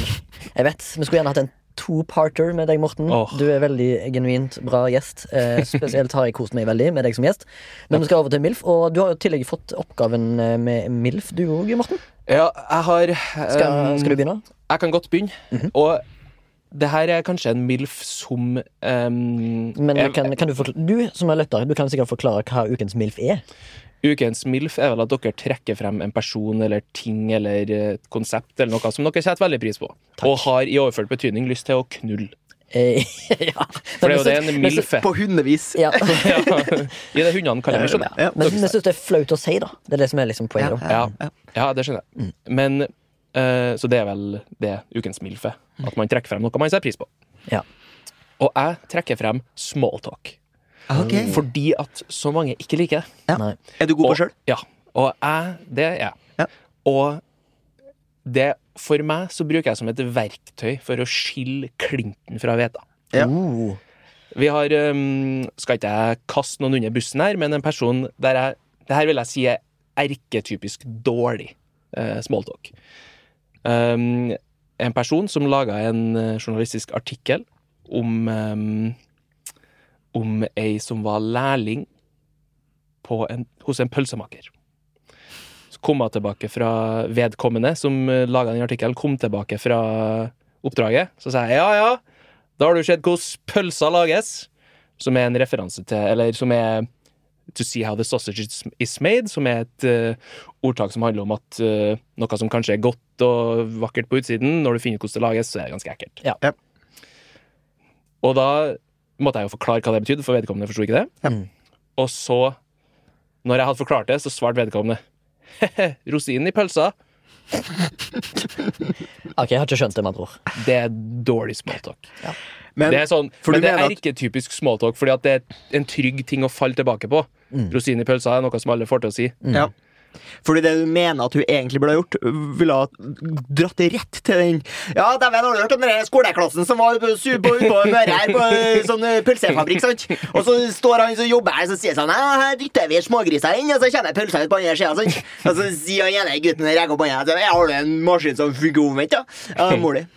Speaker 1: Jeg vet, Vi skulle gjerne hatt en two-parter med deg, Morten.
Speaker 3: Åh.
Speaker 1: Du er veldig genuint bra gjest. Eh, spesielt har jeg kost meg veldig med deg som gjest. Men vi skal over til MILF, og du har jo i tillegg fått oppgaven eh, med MILF, du òg, Morten.
Speaker 3: Ja, jeg har
Speaker 1: Skal,
Speaker 3: eh,
Speaker 1: skal du begynne?
Speaker 3: Jeg kan godt begynne.
Speaker 1: Mhm.
Speaker 3: Og det her er kanskje en MILF som ehm,
Speaker 1: Men
Speaker 3: er-
Speaker 1: kan, kan du, forkla- du som er lytter, du kan sikkert forklare hva ukens MILF er.
Speaker 3: Ukens MILF er vel at dere trekker frem en person eller ting eller eh, et konsept eller noe som dere setter veldig pris på, og har i overført betydning lyst til å knulle.
Speaker 1: Eh, ja.
Speaker 3: For det er jo det en MILF er.
Speaker 2: På hundevis.
Speaker 1: Ja.
Speaker 3: Ja. I det hundene kaller meg sånn.
Speaker 2: Ja.
Speaker 1: Men vi syns det er flaut å si, da. Det er det som er liksom poenget. da. Mm.
Speaker 3: Ja, ja det skjønner jeg. Men eh, Så det er vel det ukens MILF er. At man trekker frem noe man setter pris på.
Speaker 1: Mm. Ja.
Speaker 3: Og jeg trekker frem smalltalk.
Speaker 1: Mm.
Speaker 2: Ok.
Speaker 3: Fordi at så mange ikke liker det.
Speaker 2: Ja.
Speaker 1: Nei.
Speaker 2: Er du god på
Speaker 3: Og-
Speaker 2: sjøl?
Speaker 3: Ja. Og jeg Det er jeg.
Speaker 2: Ja.
Speaker 3: Og det For meg så bruker jeg som et verktøy for å skille klinten fra hveta.
Speaker 2: Ja.
Speaker 1: Oh.
Speaker 3: Vi har ehm, Skal ikke jeg kaste noen under bussen her, men en person der jeg Det her vil jeg si er erketypisk dårlig eh, smalltalk. Ehm, en person som laga en eh, journalistisk artikkel om ehm, Om ei som var lærling på en, hos en pølsemaker. Så kom hun tilbake fra vedkommende som laga den artikkelen, kom tilbake fra oppdraget. Så sa jeg ja, ja. Da har du sett hvordan pølser lages, som er en referanse til Eller som er To see how the sausage is- is made, som er et eh, ordtak som handler om at eh, noe som kanskje er godt og vakkert på utsiden, når du finner ut hvordan det lages, så er det ganske ekkelt.
Speaker 1: Ja.
Speaker 2: Ja.
Speaker 3: Og da måtte jeg jo forklare hva det betydde, for vedkommende forsto ikke det. Og så, når jeg hadde forklart det, så svarte vedkommende rosinen i pølsa.
Speaker 1: Ok, jeg har ikke skjønt det, med andre ord.
Speaker 3: Det er dårlig smalltalk.
Speaker 2: Men
Speaker 3: det er sånn,
Speaker 2: for
Speaker 3: men
Speaker 2: du
Speaker 3: det er
Speaker 2: mener at-
Speaker 3: erketypisk smalltalk, fordi at det er en trygg ting å falle tilbake på.
Speaker 2: Mm.
Speaker 3: Rosin i pølsa er noe som alle får til å si.
Speaker 2: Ja. Fordi det du mener at hun egentlig burde ha gjort, ville ha dratt rett til den Ja, dæven, har du hørt om den der skoleklassen som var på, su- på, på Møre her, på eh, sånn eh, pølsefabrikk, sant? Og så står han som jobber her, så sier han sånn Ja, her dytter vi smågriser inn, og så kommer pølsa ut på andre sida, sant? Og så sier han ene gutten der rekker opp hånda og sier Ja, har du en maskin som funker omvendt, da? Ja, mor di.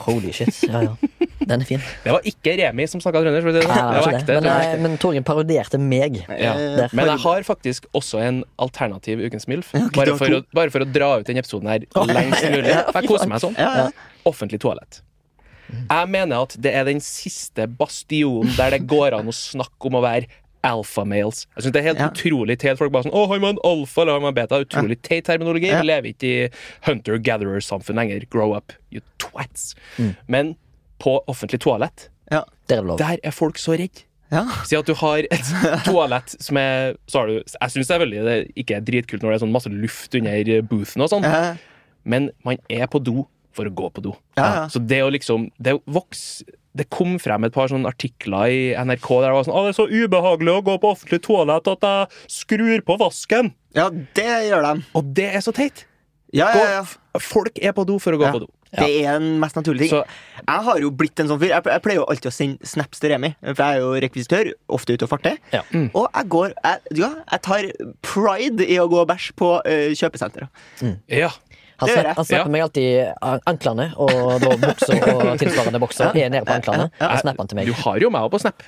Speaker 1: Holy shit. Ja, ja. Den er fin.
Speaker 3: Det var ikke Remi som snakka trøndersk. for Det, det
Speaker 1: Ja,
Speaker 3: var
Speaker 1: ikke
Speaker 3: ekte.
Speaker 1: det.
Speaker 3: det
Speaker 1: Men,
Speaker 3: var
Speaker 1: eh,
Speaker 3: ekte.
Speaker 1: men Torgen parodierte meg.
Speaker 2: eh,
Speaker 3: Ja.
Speaker 1: Der.
Speaker 3: Men jeg har faktisk også en alternativ Ukens MILF.
Speaker 2: det
Speaker 3: bare,
Speaker 2: var
Speaker 3: for
Speaker 2: to.
Speaker 3: å, bare for å dra ut den episoden her lengst mulig. For jeg koser meg sånn.
Speaker 2: Ja, ja.
Speaker 3: Offentlig toalett. Jeg mener at det er den siste bastionen der det går an å snakke om å være alfamales. Jeg synes Det er helt
Speaker 2: Ja.
Speaker 3: utrolig teit. Folk bare sånn 'Å, har man alfa, eller har man beta?' Utrolig teit terminologi.
Speaker 2: Ja.
Speaker 3: Vi lever ikke i hunter-gatherer-samfunn lenger. Grow up, you twats.
Speaker 2: Mm.
Speaker 3: Men på offentlig toalett,
Speaker 2: Ja.
Speaker 1: Der er det lov.
Speaker 3: der er folk så redde.
Speaker 2: ja.
Speaker 3: Si at du har et toalett som er så har du, Jeg syns det er veldig det ikke er dritkult når det er sånn masse luft under boothen og sånn,
Speaker 2: Ja.
Speaker 3: men man er på do for å gå på do.
Speaker 2: Ja, ja.
Speaker 3: Så det å liksom Det voks det kom frem et par sånne artikler i NRK der det var sånn «Å, det er så ubehagelig å gå på offentlig toalett at jeg skrur på vasken.
Speaker 2: ja, det gjør de.
Speaker 3: Og det er så teit!
Speaker 2: Ja,
Speaker 3: Gå,
Speaker 2: ja, ja.
Speaker 3: Folk er på do for å gå
Speaker 2: Ja.
Speaker 3: på do.
Speaker 2: Det er den mest naturlige ting.
Speaker 3: Så-
Speaker 2: jeg har jo blitt en sånn fyr. Jeg, jeg pleier jo alltid å sende snaps til Remi, for jeg er jo rekvisitør. Ofte ute og farter.
Speaker 1: Ja.
Speaker 2: Og jeg går jeg, ja, jeg tar pride i å gå og bæsje på uh, kjøpesentre.
Speaker 3: Ja.
Speaker 1: Han,
Speaker 2: Det gjør
Speaker 1: snak,
Speaker 2: jeg.
Speaker 1: han snakker
Speaker 3: Ja.
Speaker 1: meg alltid i an- anklene, og da bukser og tilsvarende bokser er nede på anklene. Og snapper han til meg.
Speaker 3: Du har jo meg på Snap.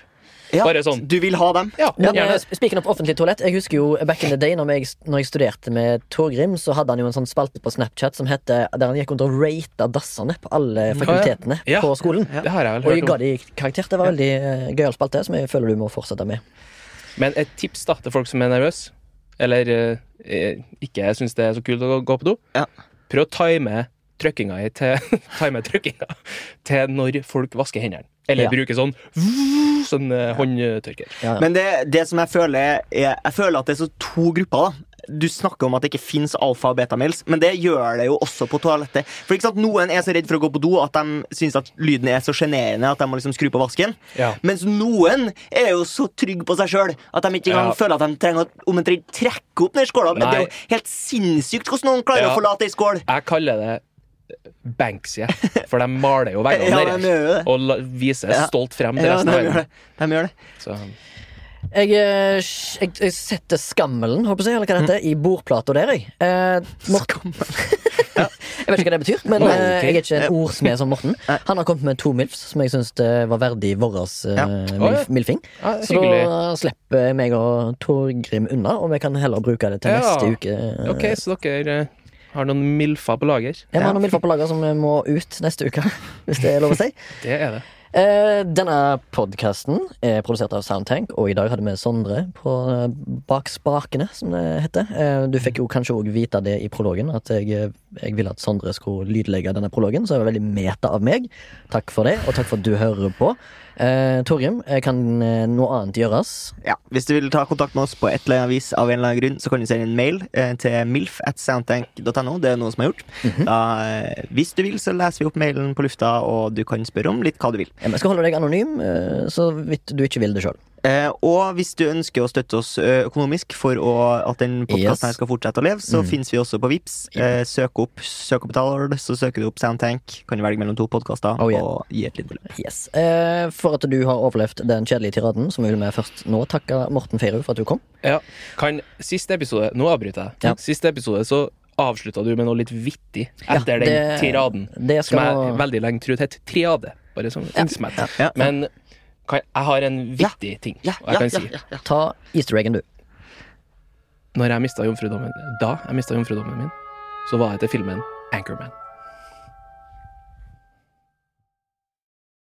Speaker 2: Ja,
Speaker 3: Bare sånn.
Speaker 2: Du vil ha dem?
Speaker 3: Ja,
Speaker 1: Men
Speaker 3: gjerne.
Speaker 1: eh, spiken opp offentlig toalett Jeg husker jo back in the day Når jeg, når jeg studerte med Torgrim Så hadde han jo en sånn spalte på Snapchat Som hette Der han gikk rundt og ratet dassene På alle fakultetene
Speaker 3: Ja.
Speaker 1: på skolen
Speaker 3: Det har jeg
Speaker 1: Og
Speaker 3: vel
Speaker 1: jeg
Speaker 3: hørt om.
Speaker 1: ga de karakter Det var veldig eh, gøyal spalte Som jeg føler du må fortsette med
Speaker 3: Men et tips da til folk som er nervøse, eller eh, ikke syns det er så kult å gå- gå på do,
Speaker 2: Ja.
Speaker 3: prøv å time trykkinga i til, time trykkinga til når folk vasker hendene. Eller
Speaker 1: Ja.
Speaker 3: bruker sånn, sånn eh, håndtørker.
Speaker 1: ja, ja.
Speaker 2: Men det, det som jeg føler er, Jeg føler at det er så to grupper. da Du snakker om at det ikke fins alfa- og betamils, men det gjør det jo også på toalettet. For ikke sant, Noen er så redd for å gå på do at de syns at lyden er så sjenerende at de må liksom skru på vasken.
Speaker 3: Ja.
Speaker 2: Mens noen er jo så trygge på seg sjøl at de ikke engang
Speaker 3: Ja.
Speaker 2: føler at de trenger å omtrent trekke opp den skåla. Det er
Speaker 3: Nei.
Speaker 2: jo helt sinnssykt hvordan noen klarer å
Speaker 3: Ja.
Speaker 2: forlate ei skål.
Speaker 3: Jeg kaller det Banksy, for de maler jo veggene
Speaker 2: Ja,
Speaker 3: deres
Speaker 2: de gjør jo det.
Speaker 3: og la, viser
Speaker 2: Ja.
Speaker 3: stolt frem til
Speaker 2: Ja,
Speaker 3: resten
Speaker 2: de
Speaker 3: av
Speaker 2: gjør det.
Speaker 3: verden.
Speaker 2: De gjør det.
Speaker 3: Så,
Speaker 1: jeg, eh, sj- jeg, jeg setter skammelen Håper jeg, eller hva det heter I bordplata der jeg eh, Morten Jeg vet ikke hva det betyr Men
Speaker 3: Ok.
Speaker 1: eh, jeg er ikke en ordsmed som Morten Han har kommet med to milfs Som jeg synes det var verdig Våres eh,
Speaker 2: Ja.
Speaker 1: milf,
Speaker 3: Å, ja.
Speaker 1: milfing
Speaker 3: ja,
Speaker 1: Så
Speaker 3: hyggelig.
Speaker 1: da slipper meg og Torgrim unna, og vi kan heller bruke det til
Speaker 3: Ja.
Speaker 1: neste uke.
Speaker 3: Ok, så dere eh, har noen milfer på lager.
Speaker 1: Jeg har noen milfer på lager som må ut neste uke, hvis det er lov å si.
Speaker 3: Det er det.
Speaker 1: Eh, denne podkasten er produsert av Soundtank, og i dag hadde vi Sondre på eh, bak spakene, som det heter. Eh, du fikk jo kanskje òg vite det i prologen, at jeg, eh, jeg ville at Sondre skulle lydlegge denne prologen, så det var veldig meta av meg. Takk for det, og takk for at du hører på. Eh, Torgrim, eh, kan eh, noe annet gjøres?
Speaker 2: Ja, Hvis du vil ta kontakt med oss på et eller annet vis, av en eller annen grunn, så kan du sende en mail eh, til milf at soundtank.no. Det er noe som er gjort.
Speaker 3: Mhm.
Speaker 2: da, eh, hvis du vil, så leser vi opp mailen på lufta, og du kan spørre om litt hva du vil.
Speaker 1: Eh, Jeg skal holde deg anonym, eh, så vidt du ikke vil det sjøl.
Speaker 2: Eh, og hvis du ønsker å støtte oss eh, økonomisk for å, at den
Speaker 1: Yes. Mm.
Speaker 2: podkasten her skal fortsette å leve, så finnes vi også på Vips eh, Søk opp søkebetal, så søker du opp Soundtank. Kan du velge mellom to podkaster
Speaker 1: Oh, yeah.
Speaker 2: og gi et lite beløp.
Speaker 1: Yes. Eh, for at du har overlevd den kjedelige tiraden, så vil vi først nå takke Morten Feirud for at du kom.
Speaker 3: Ja. Kan siste episode Nå avbryter jeg.
Speaker 1: Ja.
Speaker 3: Siste episode så avslutta du med noe litt vittig
Speaker 1: Ja,
Speaker 3: etter den
Speaker 1: det-
Speaker 3: tiraden.
Speaker 1: det skal-
Speaker 3: Som jeg veldig lenge trodde het triade. Bare som innsmett.
Speaker 2: Ja.
Speaker 3: Men kan, jeg har en vittig ting
Speaker 2: Ja,
Speaker 3: jeg
Speaker 2: ja,
Speaker 3: kan
Speaker 2: ja,
Speaker 3: si.
Speaker 2: ja, ja.
Speaker 1: Ta easter eggen, du.
Speaker 3: Når jeg mistet jomfrudommen Da jeg mista jomfrudommen min, så var jeg til filmen Anchorman.